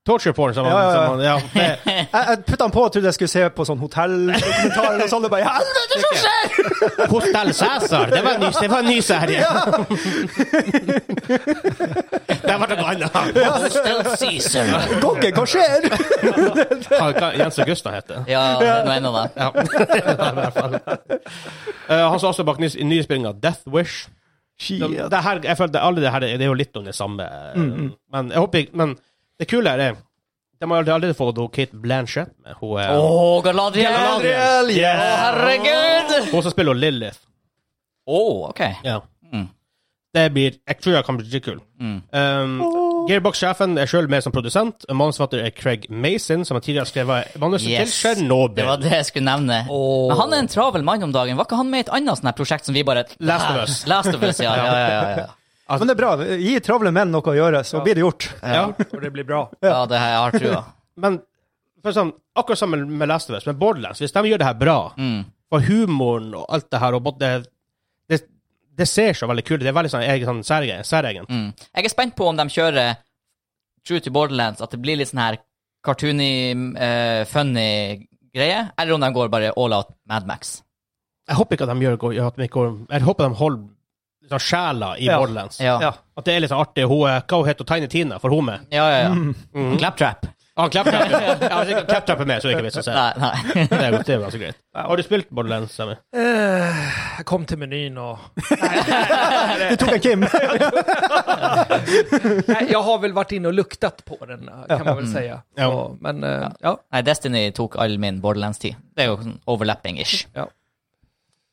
B: Torture porn. Som,
C: Ja, ja, ja.
B: Som, ja, det,
C: Jeg, jeg putta den på og trodde jeg skulle se på sånn hotelldokumentar eller noe sånt. og bare, helvete!
B: Hostel Cæsar! Det var en ny, det var en ny serie! det var noe annet.
A: Hostel Caesar.
C: Gogge, hva skjer?
B: Hva, hva Jens Augusta heter
A: Ja, det er noe ennå, da.
B: Ja. I hvert fall. Eh, han står også bak nys- nyspillinga Death Wish. Det,
C: Shit.
B: det her, jeg følte alle det her det er jo litt om det samme. eh,
A: Mm,
B: Men jeg håper ikke- Men det kule her er De har allerede fått hun Kate Blanchett. med. Hun, eh,
A: Å, Galadriel!
B: Galadriel,
A: Å, herregud!
B: hun som spiller Lilith.
A: Å, OK.
B: Ja.
A: Mm.
B: Det blir Jeg tror jeg kan bli skikkelig kul.
A: Mm.
B: Um, Gearbox-sjefen er sjøl med som produsent. Manusforfatter er Craig Mason, som har tidligere skrevet manuset
A: Yes.
B: til Chernobyl.
A: Det var det jeg skulle nevne. Men han er en travel mann om dagen. Var ikke han med i et annet sånt her prosjekt som vi bare
B: Last of Us.
A: Last of Us, ja. ja, ja, ja, ja.
C: Men det er bra. Gi travle menn noe å gjøre, så blir det gjort.
B: ja.
D: Og det blir bra.
A: ja det her jeg har trua.
B: Men for sånn, akkurat sammen med Last of Us, med Borderlands, hvis de gjør det her bra,
A: Mm.
B: og humoren og alt det her og både, det, det ser så veldig kult ut. Det er veldig sånn, egen, sånn særegen. særegen.
A: Mm. Jeg er spent på om de kjører True to Borderlands, at det blir litt sånn her cartoony, eh, funny greie, eller om de går bare all out Mad Max.
B: Jeg håper ikke at de gjør, går- gjør at de går Jeg håper de holder liksom, sjela i
C: Ja.
B: Borderlands.
A: Ja, ja,
C: Ja.
B: At det er litt sånn artig. Hun, eh, hva hun heter hun? Tiny Tina? For hun med?
A: ja. ja. Mm. Claptrap.
B: Ah, Claptrap. ja, hvis ikke Claptrap er med, så er det ikke vits å se.
A: Nei, nei.
B: Det er jo- det er ganske greit. Har du spilt Borderlands? Sammy?
D: Eh, Jeg kom til menyen og
C: Du tok en Kim.
D: Nej, Jag har väl varit inne och luktat på den kan man väl
A: Mm.
D: säga.
B: Ja.
D: Så, men eh, ja.
A: nei, Destiny tok all min Borderlands-tid. Det er jo sånn overlapping-ish.
D: Ja.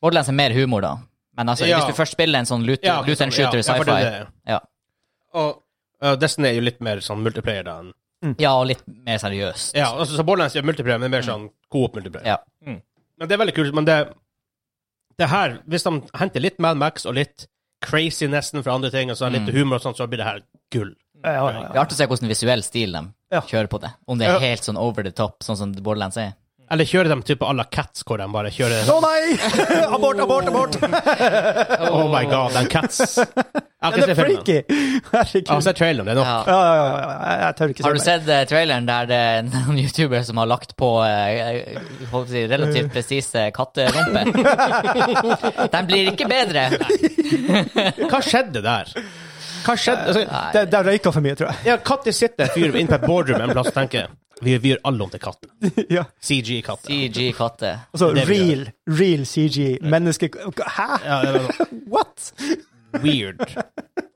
A: Borderlands er mer humor, da. Men altså,
B: Ja.
A: hvis du først spiller en sånn loot,
B: Ja,
A: loot and shooter
B: ja,
A: i
B: ja, for det
A: sci-fi
B: er
A: ja,
B: det. Og eh, Destiny er jo litt mer sånn multiplayer da enn
A: og litt mer seriøst.
B: Mm. Ja, altså, så Borderlands gjør multiplayer, men mer sånn coop multiplayer.
A: Ja.
D: Mm.
B: Men det er veldig kult. Men det, det her, hvis de henter litt Mad Max og litt crazy nesten fra andre ting, og så
C: Mm.
B: litt humor og sånn, så blir det her gull.
C: Ja, ja, ja.
A: Det er artig å se hvordan visuell stil de
C: Ja.
A: kjører på det. Om det er
B: Ja.
A: helt sånn over the top, sånn som Borderlands er.
B: Eller kjører de type à la Cats, hvor de bare kjører
C: Å nei! Abort, abort, abort!
B: Oh my god, den Cats. Jeg har
C: Den
B: ikke
C: er
B: sett filmen.
C: freaky!
B: Jeg har
C: Herregud.
B: sett traileren, det er nok.
A: Ja.
C: Ja, ja, ja, ja. Jeg- Jeg tør ikke
A: Har du
C: mer.
A: sett eh, traileren der det er noen youtuber som har lagt på eh, eh, holdt på å si, relativt presise katterumper? De blir ikke bedre.
B: Hva skjedde der? Hva skjedde? Altså,
C: Det, det røyka for mye, tror jeg.
B: ja, Katti sitter en fyr inne på et boardroom en plass og tenker vi, vi gjør alle om til katten.
C: Ja.
B: CG-katten.
A: CG-katter.
C: Altså,
B: Det vi
C: real, real CG. Menneske... Hæ?
B: Ja, det var
C: What?
B: weird.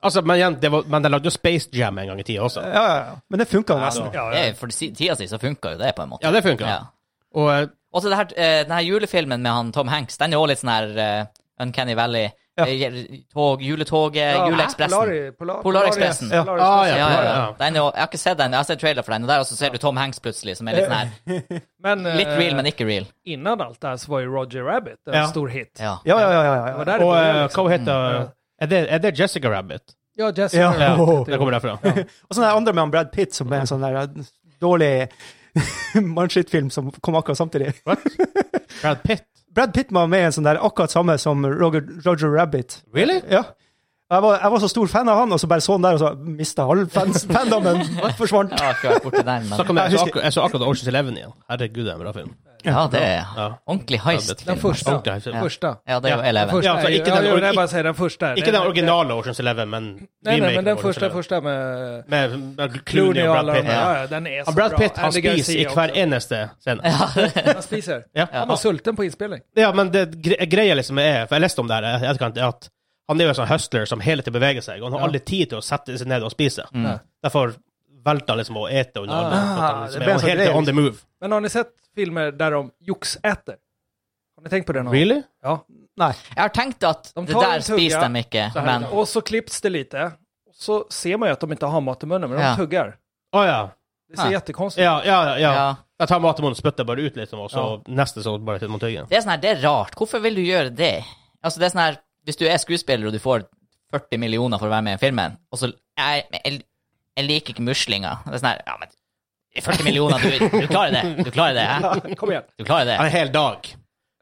B: Altså, men igjen, det var, men de lagde jo Space Jam en gang i tida også.
C: Ja, ja, ja. Men det funka nesten.
D: Ja,
A: Det er jo- For si- tida si så funka jo det, på en måte.
B: Ja, det funka.
A: Ja.
B: Og eh,
A: Og så det her, eh, den her julefilmen med han Tom Hanks, den er også litt sånn her eh, Uncanny Valley.
C: Ja.
A: Eh, Tog, juletoget, Juleekspressen.
D: Polari- Polar-
A: Polarikspressen.
D: Polaris-
C: Ja.
D: Polaris-
B: Ah, ja.
A: Ja, ja, ja.
B: ja.
A: Den er, jo- jeg har ikke sett den, jeg har sett trailer for den, og der også ser du Tom Hanks plutselig, som er litt sånn her
D: Men, eh,
A: Litt real, men ikke real.
D: innan allt det här så var ju Roger Rabbit en
B: Ja.
D: stor hit.
A: Ja.
C: Ja, ja, ja. ja,
D: Det
C: ja.
D: var där det
B: Og
D: började,
B: eh,
D: liksom.
B: hva heter er det, er det Jessica Rabbit?
D: Ja, Jessica.
C: Ja.
D: Rabbit.
C: Oh.
B: Det kommer derfra.
C: Og så den andre med han Brad Pitt, som er en sånn der eh, dårlig mannskittfilm som kom akkurat samtidig.
B: Brad Pitt?
C: Brad Pitt var med i en sånn der akkurat samme som Roger, Roger Rabbit.
B: Really?
C: Ja. Jeg var, jeg var så stor fan av han, og så bare så han der, og så mista all fans, fandomen. Forsvant.
A: Jeg har ikke vært borti den,
B: Så
A: men
B: kom jeg,
C: Jeg
B: så
C: husker-
B: akkurat, jeg så akkurat Oceans Eleven igjen. Herregud, det er en bra film.
A: ja, det er
B: Ja.
A: ordentlig
D: Den
A: heist-film.
D: första.
B: Okej, så-
D: Den första.
A: Ja, det er jo
D: Den
A: Eleven.
D: första
B: Ja, så
D: är ju-
B: icke
D: ja,
B: den
D: jo,
B: ori-
D: nej, jag bara säger den första.
B: Ikke
D: Den-
B: den originale Oceans Eleven, men
D: Nej, nej,
B: remaken
D: men
B: av
D: den
B: Ocean's
D: första,
B: Eleven.
D: första med
B: Med, med
D: Clooney
B: Clooney
D: och
B: og
D: alla
B: Brad
D: de
B: Pitt.
D: där.
B: Ja.
D: Ja, ja, den är så
B: Og Brad
D: bra.
B: Pitt han
D: Andy Garcia
B: spiser i
D: också.
B: hver eneste scene.
A: Ja,
D: Han spiser.
B: Ja.
D: Han var sulten på inspelning.
B: ja, men det gre- greia liksom er For jeg leste om det her i etterkant, er at han er jo en sånn hustler som hele tiden beveger seg, og han har
D: Ja.
B: aldri tid til å sette seg ned og spise.
A: Mm.
B: Derfor velter han liksom å ete under
D: Ah,
B: armen. for at han
C: det
B: liksom
C: ble
B: er
C: en sånn
B: helt
C: greie,
B: on the move.
D: Men har ni sett filmer där de joxäter? Har ni tänkt på det någon gång?
B: Really?
D: Ja.
C: Nei.
A: Jeg har tenkt at
D: De
A: det
D: tar
A: der
D: en tugga,
A: spiser de ikke,
D: Så här.
A: men
D: Och så klipps det lite. Så ser man ju att de inte har mat i munnen, men
A: Ja.
D: de tuggar.
B: Å ja.
D: Det ser
A: Ah.
D: jättekonstigt ut.
B: Ja, ja, ja.
A: Ja.
B: Jeg tar mat i munnen, spytter bare ut litt, og så
D: Ja.
B: neste så bare sitter man og tygger.
A: det er sånn her, det er rart. Hvorfor vil du gjøre det? Altså, det er sånn her Hvis du er skuespiller og du får 40 millioner for å være med i filmen, og så Jeg, jeg, jeg liker ikke muslinger. Det er sånn her Ja, men 40 millioner, du, du klarer det. Du klarer det. hæ?
D: Kom igjen.
A: Du klarer det.
B: En hel dag.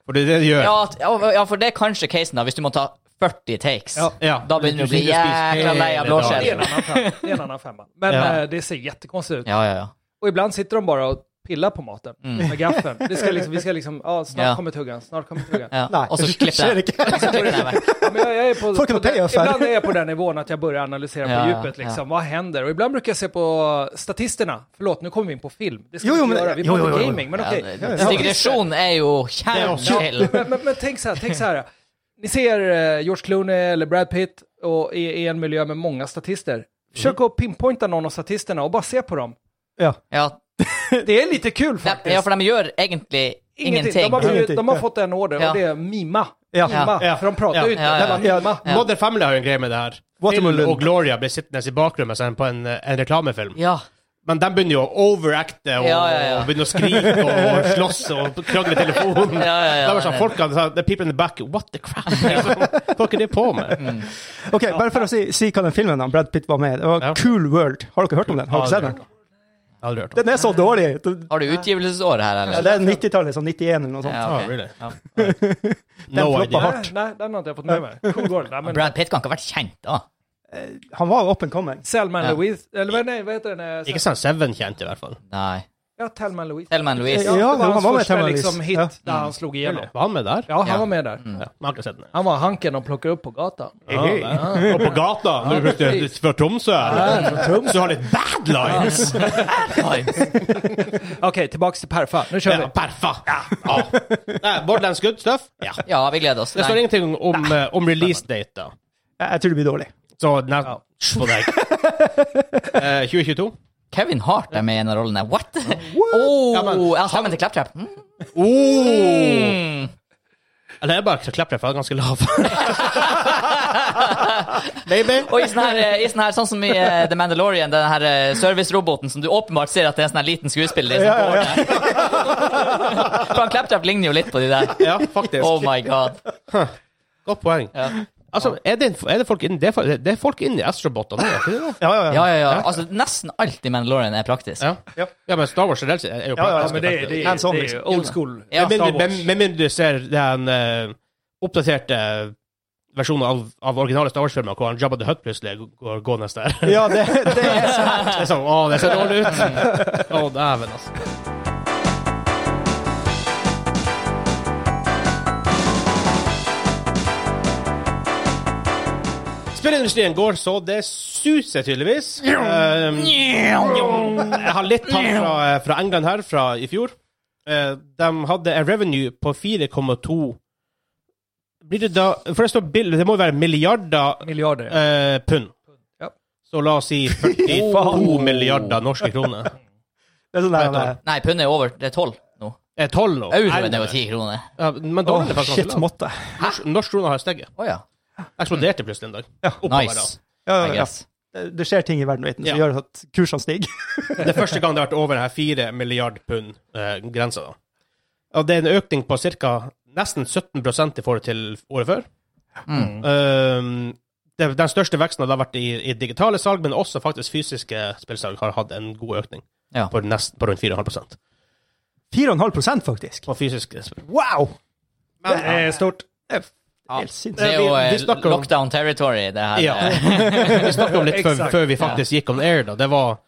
B: For det er det du gjør.
A: Ja, at- ja, for det er kanskje casen, da, hvis du må ta 40 takes.
D: Ja.
B: Ja.
A: Da begynner du å bli jækla lei av
D: Ja, det,
A: blåskjell.
D: är en annan femma. det är en annan femma. Men
B: Ja.
D: eh, det ser jättekonstigt ut.
A: Ja, ja, ja.
D: Och ibland sitter de bara och pillar på maten
A: Mm.
D: med gaffeln. Det ska liksom, vi ska liksom, ja, snart
A: Ja.
D: kommer tuggan, snart kommer tuggan.
A: ja.
C: Nei,
A: Og så klipper
C: skjer
A: jeg.
C: det
A: Og så klipper jeg meg.
D: Ja, men jag, jag är på,
C: Folk
D: på
C: har
D: den,
C: payoff här.
D: ibland är jag på den nivån att jag börjar analysera
A: Ja,
D: på djupet. Liksom. Vad händer? Och ibland brukar jag se på statisterna. Förlåt, nu kommer vi in på film. Det ska
C: Jo,
D: vi
C: jo,
D: inte
C: men-
D: göra. Vi
C: jo,
D: pratar
C: jo, jo, jo.
D: gaming, men
A: Ja,
D: okej.
A: det- Digresjon er jo kjernen.
D: Men, men, men tänk så här, tänk så här. Ni ser eh, George Clooney eller Brad Pitt och i, i en miljö med många statister. Försök
A: Mm.
D: att pinpointa någon av statisterna och bara se på dem.
C: Ja.
A: Ja,
D: Det är lite kul
A: de,
D: faktiskt.
A: ja, for de gjør egentlig ingenting.
D: De, har, blivit-
C: Ingenting.
D: de har fått en order
A: Ja.
D: och det är mima.
C: Ja.
D: mima.
B: Ja.
D: För de pratar
B: Ja.
D: ju inte.
A: Ja, ja,
D: Det var
C: ja.
D: mima.
A: Ja.
B: Modern Family har jo en greie med det her.
C: Watermelon.
B: Phil og Gloria blir sittende i bakgrunnen sen på en, en reklamefilm.
A: Ja.
B: Men de begynner jo å overacte og,
A: Ja, ja, ja.
B: og begynner å skrike og, og slåss og krangle i telefonen.
A: Ja, ja, ja.
B: det var sånn, folk hadde sånn, the people in the back, what the crap? Hva er det på med?
A: Mm.
C: Ok, Bare for å si, si hva den filmen da Brad Pitt var med i. Det var
B: Ja.
C: Cool World. Har dere hørt om den? Har dere sett den?
B: Aldri hørt om.
C: Den er så dårlig. Den-
A: Har du utgivelsesåret her,
C: Ja,
A: eller?
C: det er 90-tallet, sånn 91 eller noe sånt.
A: Ja,
B: Ah,
A: ok.
B: really?
A: Ja.
B: No
C: floppa
B: idea.
C: hardt.
D: Nej, nej, den har inte jag fått med mig. Cool world. Nej, men-
A: Brad Pitt kan ikke ha vært kjent, da.
C: Han var up and coming.
D: Selma
A: Ja.
D: Louise, eller vad- nej, vad heter den?
B: Ikke sånn Seven kjent i hvert fall.
A: Nei.
D: Ja, Thelma Louise.
A: Thelman Louise.
C: Ja,
D: det var
C: han
D: hans
C: var med
D: första
C: Thelma Louise.
D: liksom, hit
C: Ja.
D: där han slog igenom.
B: Var han med der?
D: Ja, han
A: Ja.
D: var med där.
B: Ja, Mm. man har ikke sett den.
D: Han var hanken de plockade upp på gatan.
B: Ja, der. og på gata, når du brukte
D: precis.
B: fra Tromsø, så har litt bad lines.
A: Nice.
D: Okej, tillbaks till Perfa. Nu kör
B: Ja, Perfa! Ja. Nei, Borderlands good stuff? Ja.
A: Ja, vi gleder oss.
B: Det står
A: Nei.
B: ingenting om, eh, om release date, da.
C: Jeg, jeg tror det blir dårlig.
B: Så nei, på deg. Eh, 2022?
A: Kevin Hart er med i en av rollene. What?!
B: Ja, men-
A: Oh, ja, stemmen til Claptrap. Mm.
B: Oh! Mm. Eller jeg bare klipper det, for jeg er ganske lav. Baby.
A: Og i sånn her, eh, i sånn her sånn som i eh, The Mandalorian, den her eh, serviceroboten som du åpenbart ser at det er en sånn her liten skuespiller som
C: Ja,
A: får det. For han Claptrap ligner jo litt på de der.
B: Ja, faktisk.
A: Oh my god.
B: Godt poeng.
A: Ja.
B: Altså, er det, er det folk inni det, er fol- det er folk inni Astrobot nå, er ikke det det?
C: Ja, ja, ja.
A: Ja, ja, ja. Altså, nesten alt i Mandalorian er praktisk.
B: Ja.
C: Ja.
B: ja, men Star Wars generelt sett er jo
C: Ja, ja,
B: ganske
D: men det, det,
B: praktisk.
D: det,
C: Hands on,
D: det
C: liksom.
D: är old school.
A: Ja.
B: Med
D: Star
B: mindre-
D: Wars.
B: Med med mindre du ser den eh, oppdaterte eh, versjonen av, av originale Star Wars-filmer, hvor han Jabba the Hutt plutselig går gående der.
C: Ja, det, det er så
B: Det er sånn, å, det ser dårlig ut. Å, dæven, altså. Spillindustrien går så det suser, tydeligvis. Eh, jeg har litt tall fra, eh, fra England her, fra i fjor. Eh, de hadde en revenue på 4,2 Blir det da For det står bill, det må jo være milliarder
D: Miljarder. ja.
B: eh, pund.
D: Ja.
B: Så la oss si 42 milliarder norske kroner.
C: det er sånn der,
B: Vet
A: Nei, pundet er over. Det er tolv nå.
B: Er 12 nå?
A: Euroen er jo ti kroner.
B: Ja, men
C: Åh,
B: dollar er faktisk
C: shit,
B: ganske lav.
C: måtte.
B: Norsk, norsk krone har steget.
A: Å ja.
B: Eksploderte plutselig en dag. Oppover,
A: Nice.
C: Ja,
A: I
C: ja, ja.
A: guess.
C: Det- Det skjer ting i verden, vet du, som
B: Ja.
C: gjør at kursene stiger.
B: da. Det er første gang det har vært over denne 4 milliard pund-grensa. da. Og det er en økning på ca. nesten 17 i forhold til året før.
A: Mm.
B: Ehm, det, den største veksten har da vært i, i digitale salg, men også faktisk fysiske spillsalg har hatt en god økning
A: Ja.
B: på, nesten, på rundt 4,5
C: 4,5 faktisk.
B: på fysiske spill.
C: Wow!
D: Det är
C: eh,
D: stort.
C: Det er
A: eh, Ja.
C: helt
A: Det
C: sinnssykt.
A: er jo
B: vi- vi
A: eh,
B: snakker om-
A: lockdown territory, det her.
B: Ja.
A: eh.
B: Vi snakket om litt før,
D: Exakt.
B: før vi faktisk gikk on air, da. Det var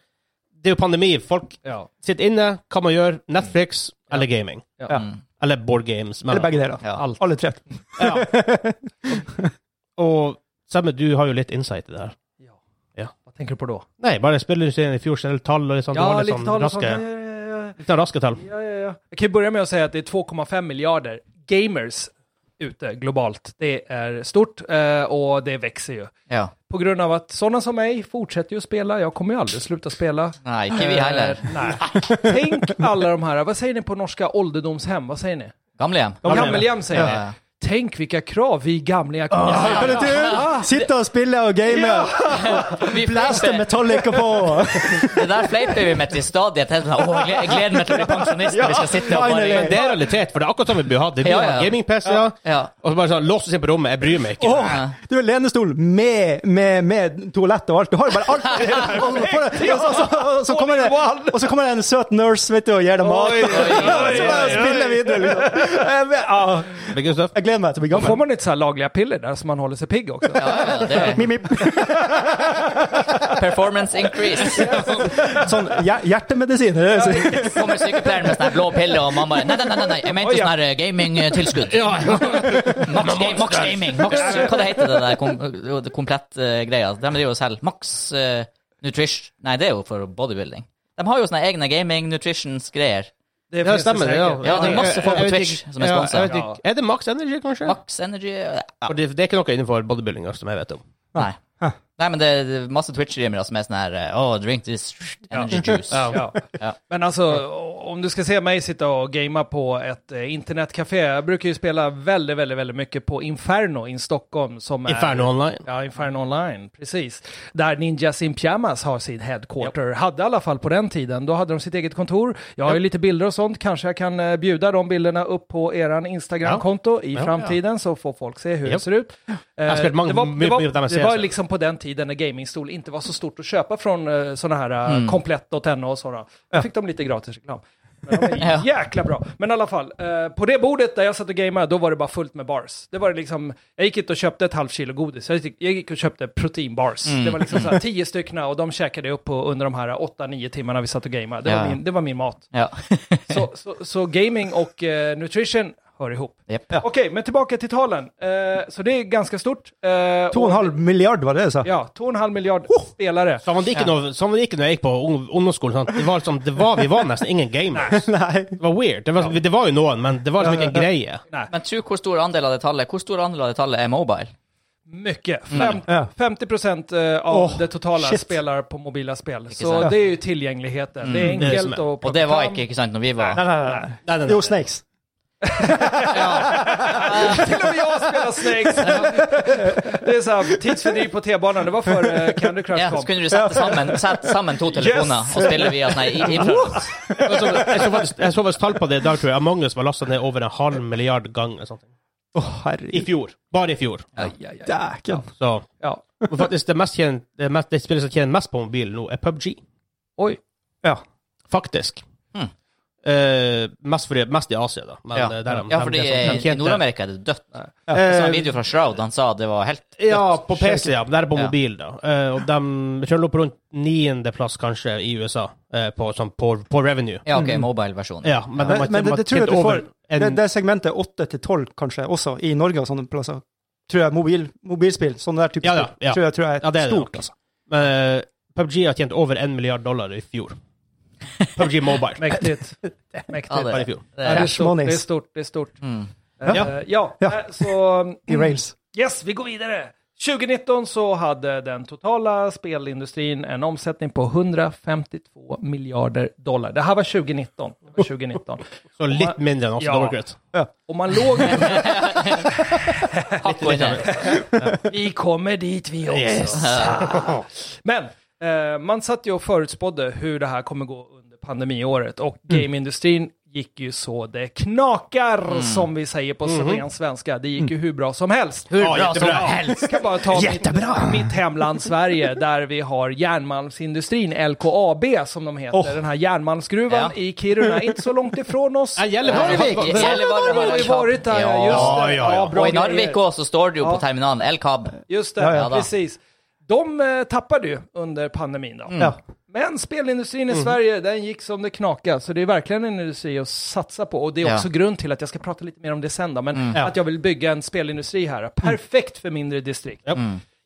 B: Det er jo pandemi. Folk
D: Ja.
B: sitter inne, hva man gjør. Netflix eller gaming.
D: Ja.
A: Mm.
B: Eller board games. men-
C: Eller begge deler.
A: Ja.
B: Alt.
C: Alle tre.
B: Ja. Og Semme, du har jo litt insight i det her.
D: Vad tänker du på då?
B: Nei, bare spillerindustrien i fjor, generelt tall og litt sånn. du har
D: Ja,
B: litt
D: lite
B: sånn
D: tal och sånt.
B: raske,
D: Ja, ja, ja,
B: litt sånn raske tall.
D: ja, ja, ja. Jag kan ju börja med att säga att det är 2,5 miljarder gamers ute globalt. Det är stort eh, och det växer ju.
A: ja.
D: På grund av att sådana som mig fortsätter ju att spela. Jag kommer ju aldrig sluta spela.
A: Nei, ikke vi heller.
D: Eh, nej. Tänk alla de här, vad säger ni på norska ålderdomshem? Vad säger ni?
A: Gamlehjem.
B: Gammelhjem.
D: Gammelhjem säger ni.
A: Ja.
D: tänk vilka krav vi gamlingar kommer
A: Ja, ja, ja.
C: Sitte og spille og game.
A: Vi
C: Blaste
A: fleiper-
C: Metallica på!
A: Det der fleiper vi med til stadighet. helt sånn, «Åh, Jeg gled- jeg gleder meg til å bli pensjonist når vi skal sitte og
C: finally.
A: bare
B: Det er realitet, for det er akkurat sånn vi burde hatt det. Vi
A: Ja,
B: har
A: ja, ja.
B: gaming-PC, ja.
A: Ja.
B: og så bare sånn låst oss inn på rommet. Jeg bryr meg ikke.
C: Åh, du er lenestol med, med, med toalett og alt. Du har jo bare alt! Og, for- og, så- og, så kommer det, og så kommer det en søt nurse vet du, og gir deg mat.
D: Oj,
C: Og
D: oj, oj,
C: så bare spiller videre, liksom. Jeg vet- ah,
B: Det er ikke så tøft.
C: Jeg gleder meg til å bli
D: Då får
C: gammel.
D: man lite så här lagliga piller där så man håller sig pigg också.
A: Ja, ja, det er
C: Mip, mip.
A: performance increase.
C: Sånn hjer- hjertemedisin. er det det?
A: Kommer sykepleieren med sånn her blå pille, og mamma bare Nei, nei, nei, nei, nei, jeg mente sånn her eh, gamingtilskudd. Max, ga Max Gaming. Max, hva det heter det der kom, det komplett eh, greia? De driver og selger Max eh, Nutrition Nei, det er jo for bodybuilding. De har jo sånne egne gaming nutritions-greier.
B: Ja, det stemmer. Ja,
A: Ja, det er masse folk på
B: Jeg vet
A: Twitch
B: ikke-
A: som er
B: ja,
A: sponset.
B: jeg vet ikke. Er det Max Energy, kanskje?
A: Max Energy eh, ja.
B: For det, det er ikke noe innenfor bodybuilding altså, som jeg vet om.
A: Nei. Nei, men det er masse Twitch-streamere som er sånn her eh, Oh, drink this energy juice.
D: Ja.
A: Ja.
D: Men alltså, om du ska se mig sitta och gamea på ett eh, internetcafé. Jag brukar ju spela väldigt, väldigt, väldigt mycket på Inferno i Stockholm. Som
B: Inferno
D: Är,
B: Online.
D: ja, Inferno Online, precis. Där Ninjas in Pyjamas har sin headquarter. Hade i alla fall på den tiden. Då hade de sitt eget kontor. Jag har ju lite bilder och sånt. Kanske jag kan eh, bjuda de bilderna upp på eran Instagram-konto i framtiden så får folk se hur det
B: Japp.
D: ser ut. Eh,
B: har spelat många-
D: det var, det
B: mycket av de här
D: var, det var
B: serierna.
D: liksom på den tiden när gamingstol inte var så stort att köpa från uh, sådana här eh,
B: Mm.
D: komplett.no och sådana. Jag fick dem lite gratis reklam. Men de är jäkla bra. Men i alla fall, eh, på det bordet där jag satt och gamade, då var det bara fullt med bars. Det var det liksom, jag gick inte och köpte ett halvt kilo godis, jag gick, jag gick och köpte proteinbars.
A: Mm.
D: Det var liksom så här, tio stycken och de käkade jag upp på under de här åtta, nio timmarna vi satt och gamade. Det, var
A: Ja.
D: min- det var min mat.
A: Ja.
D: Så, så, så gaming och eh, nutrition hör ihop.
A: Japp.
D: Okej, men tillbaka till talen. Eh, så det är ganska stort.
C: To
D: Eh,
C: og
D: och-
C: en halv milliard, var det det jeg sa?
D: Ja, 2,5 miljard spelare.
B: Sånn var det ikke, når, sånn var det ikke når jeg gikk på ung- ungdomsskolen. Sant? Det var liksom, det var, vi var nesten ingen gamers.
C: Nei.
B: Det var weird. Det var, det var jo noen, men det var liksom ikke en greie.
A: Men tro hvor stor andel av det tallet Hvor stor andel av det tallet er mobile?
D: Mycket. Fem,
C: Mm. Ja.
D: 50 procent eh, av
C: Åh,
D: det totala
C: shit.
D: spelar på mobila spel. Så
A: sant?
D: det är ju tillgängligheten. Det är
B: det är
D: enkelt
B: som är.
D: att plocka
A: Og det var
D: fram.
A: ikke ikke sant, når vi var
C: Nei, nei, nei. Jo, Snakes.
D: Till och med jag spelar Snakes! det är så här, tidsfördriv på T-banan. Det var före eh, Candy Crush
A: Ja,
D: kom.
A: så kunne du sette sammen, sette sammen to telefoner
C: Yes!
A: og spille via sånn her i- i-
B: Jeg så- jeg så faktisk- Jeg så faktisk tall på det i dag, tror jeg. Among us var lasta ned over en halv milliard ganger. eller sånt.
C: Å,
B: I
C: herregud.
B: fjor. Bare i fjor.
D: Aj, aj, aj.
C: Dæken.
B: Så
D: Ja.
B: og faktisk det, mest tjent, det, mest, det spillet som tjener mest på mobilen nå, er PubG.
D: Oj.
C: Ja.
B: Faktisk.
A: Mm.
B: Eh, mest, fordi, mest i Asia, da. Men,
A: Ja.
B: eh, der, de-
A: Ja,
B: de-
A: fordi
B: de- sånn- de
A: i
B: tjente-
A: Nord-Amerika er det dødt. Jeg så en
B: Eh,
A: video fra Shroud, han sa det var helt
B: Ja, på PC, ja. men Det er på
A: Ja.
B: mobil, da. Eh, og de kjører opp rundt niendeplass, kanskje, i USA, eh, på, sånn, på, på revenue.
A: Ja, OK, mobile-versjonen.
B: Ja, men, de har-
C: Men, men det,
B: de har
C: det tror jeg
B: tjent
C: at du
B: over
C: får Eh, Det,
B: en
C: det segmentet 8 til 12, kanskje, også i Norge og sånne plasser. Tror jeg mobil, mobilspill, sånne der type
B: Ja,
C: spill,
B: ja, ja.
C: tror jeg, tror jeg er
B: Ja, det er det
C: stort. altså,
B: nok. Men, eh, PubG har tjent over en milliard dollar i fjor. PubG Mobile.
D: Mäktigt. Mäktigt.
A: Ja, det-
B: Bare i fjor.
A: Det
D: Ja, det,
A: er-
D: är
C: Cash
D: stort, det
C: monies.
D: är stort. Det är stort.
A: Mm.
D: Eh,
B: Ja.
D: ja.
C: Ja.
D: eh, så mm,
C: I rails.
D: yes, vi går vidare. 2019 så hade den totala spelindustrin en omsättning på 152 miljarder dollar. Det här var 2019. Det var 2019.
B: Så litt mindre enn Ops
D: Ja.
B: Dollarcrit.
D: Och man låg...
A: Hakk og inne.
D: vi kommer dit vi också. Men eh, man satt ju och förutspådde hur det här kommer gå under pandemiåret och
A: Mm.
D: gameindustrin gick ju så det knakar som vi säger på ren svenska. Det gick ju hur bra som helst.
A: Mhm. Mm. Hur
B: Ja,
A: bra som
B: Ah, jättebra.
A: helst!
D: kan bara ta mitt, mitt hemland Sverige där vi har järnmalmsindustrin, LKAB som de heter, den här järnmalmsgruvan
A: Ja.
D: i Kiruna, inte så långt ifrån oss.
B: Ja, Gällivare.
A: I Gällivare
D: Vi har ju varit där, just det.
B: Ja, ja, ja.
D: bra
A: Og i
D: grejer.
A: Narvik også står det jo på terminalen El Cab.
D: Just det,
C: Ja,
A: ja.
D: precis. De eh, tappade ju under pandemin då.
C: Mm. Ja.
D: Men spelindustrin i Sverige, den gick som det knakade, så det är verkligen en industri att satsa på. Och det är
A: Ja.
D: också grund till att jag ska prata lite mer om det sen då, men
B: Ja.
D: att jag vill bygga en spelindustri här. Perfekt för mindre distrikt.
B: Japp.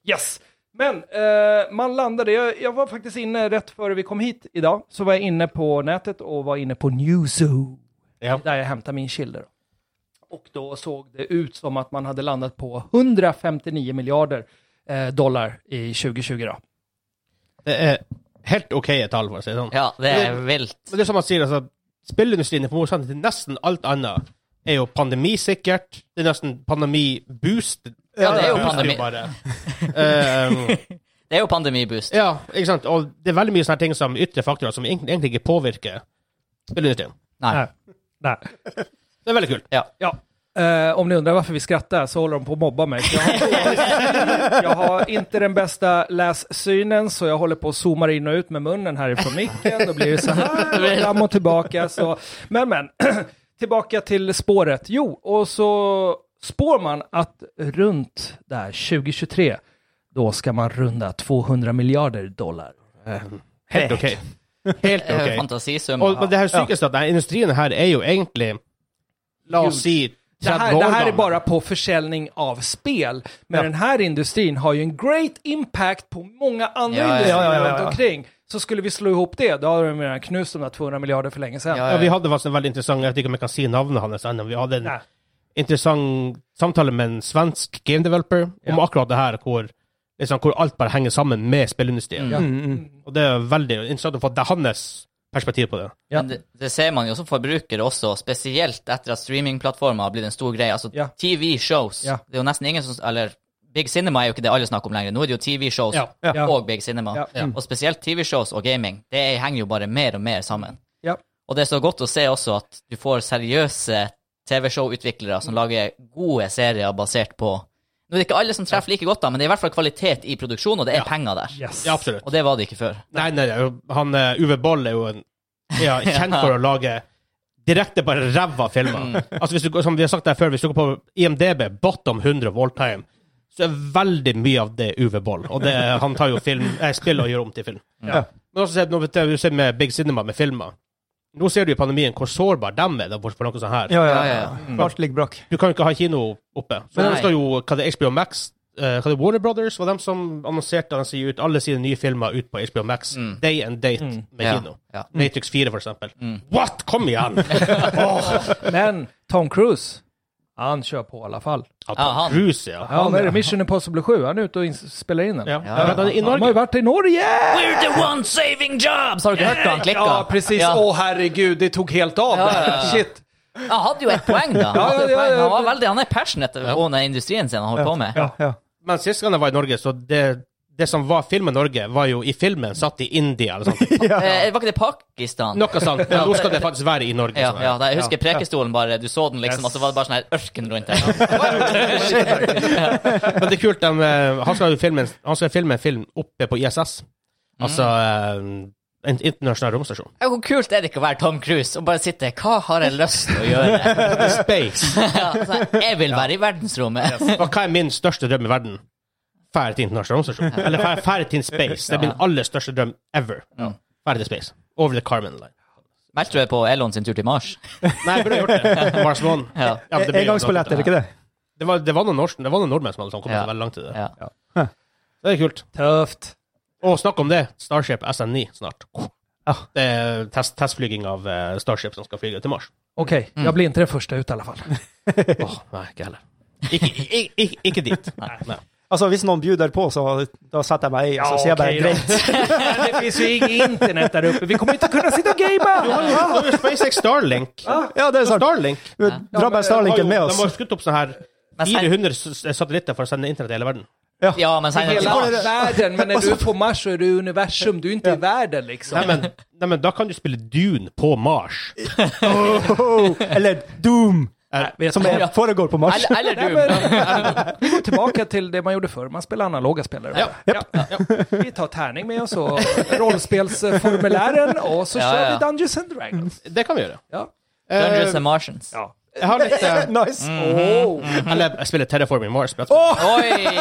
D: Yes! Men eh, man landade, jag, jag var faktiskt inne rätt före vi kom hit idag, så var jag inne på nätet och var inne på Newzoo,
B: Ja.
D: där jag hämtade min kilder. Och då såg det ut som att man hade landat på 159 miljarder eh, dollar i 2020 då.
B: Det er helt OK tall, for å si det sånn.
A: Ja, det er vilt.
B: Men det er som han sier, altså, spillindustrien er på motsatsen til nesten alt annet er jo pandemisikkert. Det er nesten pandemi-boost.
A: Ja, det er jo
B: booster
A: pandemi.
B: bare. Ehm,
A: Det er jo pandemiboost.
B: ja, ikke sant. Og det er veldig mye sånne ting som ytre faktorer som egentlig, egentlig ikke påvirker spilleindustrien.
A: Nei.
D: Nej. Nej.
B: Det er veldig kult.
D: Ja. Eh, om ni undrar varför vi skrattar så håller de på att mobba mig. Jag har, jag har inte den bästa lässynen så jag håller på att zooma in och ut med munnen härifrån micken. Då blir det så här och fram och tillbaka. Så. Men men, tillbaka till spåret. Jo, och så spår man att runt där 2023 då ska man runda 200 miljarder dollar.
B: Helt OK. Helt
A: Okay.
B: OK.
A: Fantasisum.
B: Og men det her sykeste er at denne industrien her er jo egentlig La oss si
D: Det
B: 30
D: här,
B: år
D: det här är
B: gammel.
D: bara på försäljning av spel. Men den här industrin har ju en great impact på många andra
A: Ja, ja,
D: industrier
C: ja, ja, ja, ja.
D: runt omkring. Så skulle vi slå ihop det, då har de redan knust de där 200 miljarder för länge sedan.
A: Ja,
B: ja, Vi hadde faktisk en veldig interessant Jeg vet ikke om jeg kan si navnet hans ennå. Vi hadde en
D: Nej.
B: interessant samtale med en svensk game developer om
D: Ja.
B: akkurat det her, hvor, liksom, hvor alt bare henger sammen med spillindustrien.
A: Mm.
D: Ja.
C: Mm, mm.
B: Og det er veldig interessant å få det hans perspektiv på det.
D: Ja.
A: Men det, det ser man jo som forbruker også, spesielt etter at streamingplattformer har blitt en stor greie. Altså
D: Ja.
A: TV-shows.
D: Ja.
A: Det er jo nesten ingen som Eller Big Cinema er jo ikke det alle snakker om lenger. Nå er det jo TV-shows
B: Ja,
D: ja.
A: og Big Cinema.
D: Ja, ja.
A: Og spesielt TV-shows og gaming. Det henger jo bare mer og mer sammen.
D: Ja.
A: Og det er så godt å se også at du får seriøse TV-show-utviklere som lager gode serier basert på Nå er det ikke alle som treffer like godt, da, men det er i hvert fall kvalitet i produksjonen, og det er penger der.
D: Yes.
B: Ja, absolutt.
A: Og det var det ikke før.
B: Nei, nei, nei, han eh, Uwe Boll er jo en, ja, kjent for å lage direkte bare ræva filmer.
D: Mm.
B: Altså, hvis du, går- som vi har sagt der før, hvis du går på IMDb, bottom 100 of all time, så er veldig mye av det Uwe Boll. Og det, han tar jo film, eh, spill og gjør om til film.
D: Ja.
B: Men også ser, når du ser med Big Cinema med filmer, nå ser du i pandemien hvor sårbar de er da, for for noe sånt her.
C: Ja,
A: Ja,
C: ja,
A: ja,
C: ja.
A: ja.
C: Alt ligger brakk.
B: Du kan jo ikke ha kino oppe. Så nå
A: Nei.
B: skal jo hva det er, HBO Max eh, hva det er, Warner Brothers var dem som annonserte at de sier ut alle sine nye filmer ut på HBO Max. Day and date med
A: Mm. Ja,
B: kino.
A: ja. Mm.
B: Matrix 4, for eksempel. What?! Kom igjen! Åh!
D: Men Tom Cruise, han kör på i alla fall.
B: Ja,
A: Ja, han.
B: Tom Cruise, ja.
D: Ja, men Mission Impossible 7, han är ute och ins- spelar in den.
B: Ja.
A: Ja.
B: Men han er I
D: Han har ju
B: Norge
D: varit i Norge!
A: We're the one saving jobs! Har du ikke hørt da han klikka?
D: Ja, precis. Åh,
A: Ja.
D: herregud, det tog helt av.
A: Ja, ja, ja.
D: Shit.
A: Han hadde jo et poeng, da. Han,
D: Ja, ja,
A: hadde et
D: ja,
A: poeng.
D: ja.
A: han, var veldig, han er passionate om den industrien sin han holder på med.
C: Ja, ja.
B: Men sist gang jeg var i Norge, så det, det som var filmen Norge, var jo i filmen satt i India eller sånt.
A: Eh, var ikke det Pakistan?
B: Noe sånt. Men nå skal det faktisk være i Norge.
A: Ja,
B: sånn her.
A: ja, da, jeg husker Prekestolen bare. Du så den liksom, og så var det bare sånn her ørken rundt der.
B: Men det er kult, de, eh, han skal jo filme, en- han skal filme en film oppe på ISS. Altså
A: Mm.
B: eh, en internasjonal romstasjon.
A: Ja, Hvor kult er det ikke å være Tom Cruise og bare sitte Hva har jeg lyst til å gjøre?
B: Space.
A: Ja, sånn, jeg vil være i verdensrommet.
B: Og hva er min største drøm i verden? Fære til internasjonal romstasjon. Eller fære, fære til space. Det er min aller største drøm ever. Fære til space. Over the Carmen Line.
A: Meldte du deg på Elon sin tur til Mars?
B: Nei, jeg burde gjort det. Mars One.
A: Ja.
B: Ja, men det blir jo
C: Engangsbillett,
B: noe.
C: er det ikke det?
B: Det var, det var noen norsk- det var noen nordmenn som hadde sånn, kommet
A: Ja.
B: veldig langt i det.
A: ja.
B: Det er kult.
D: Tufft.
B: Og snakk om det. Starship SN9 snart.
D: Ja.
A: Ah.
B: Det er test, testflyging av eh, Starship som skal flyge til Mars.
D: Okej,
A: Mm.
D: jag blir inte den första ut i alla fall.
B: Åh, nei, ikke heller. Ikke, ikke, ikke, ikke dit. Nei.
C: Altså, hvis noen bjuder på, så da setter jeg meg i, og så sier jeg bare
D: okej då.
C: greit.
D: Men det finns ju inget internet där uppe. Vi kommer inte kunna sitta och gamea!
B: Ja, det er jo SpaceX Starlink.
C: Ja, det er sant.
B: Starlink.
C: Vi drar bare Starlinken med
B: De har
C: oss.
B: jo skutt opp sånne her
A: Men sen-
B: 400 s- satellitter for å sende internett i hele verden.
A: ja, men sen,
D: Hela
A: ja.
D: världen, men när du är på Mars så är du i universum, du är inte i världen
B: Nei
D: liksom.
B: men, nei, men da kan du spille Dune på Mars.
C: Oho, eller Doom, som er,
A: Ja.
C: foregår på Mars.
A: Eller, eller
D: Nej,
A: du.
D: men, vi går tillbaka till det man gjorde förr, man spelade analoga spelare.
B: Ja,
D: Vi tar tärning med oss och rollspelsformulären och så
A: Ja,
D: kör
A: ja.
D: vi Dungeons and Dragons.
B: Det kan vi gjøre. Eh,
D: Ja.
A: Dungeons and Martians.
D: Ja.
B: Jeg har litt eh,
C: nice.
B: Eller jeg spiller Terraforming Mars. men jeg
A: Oi!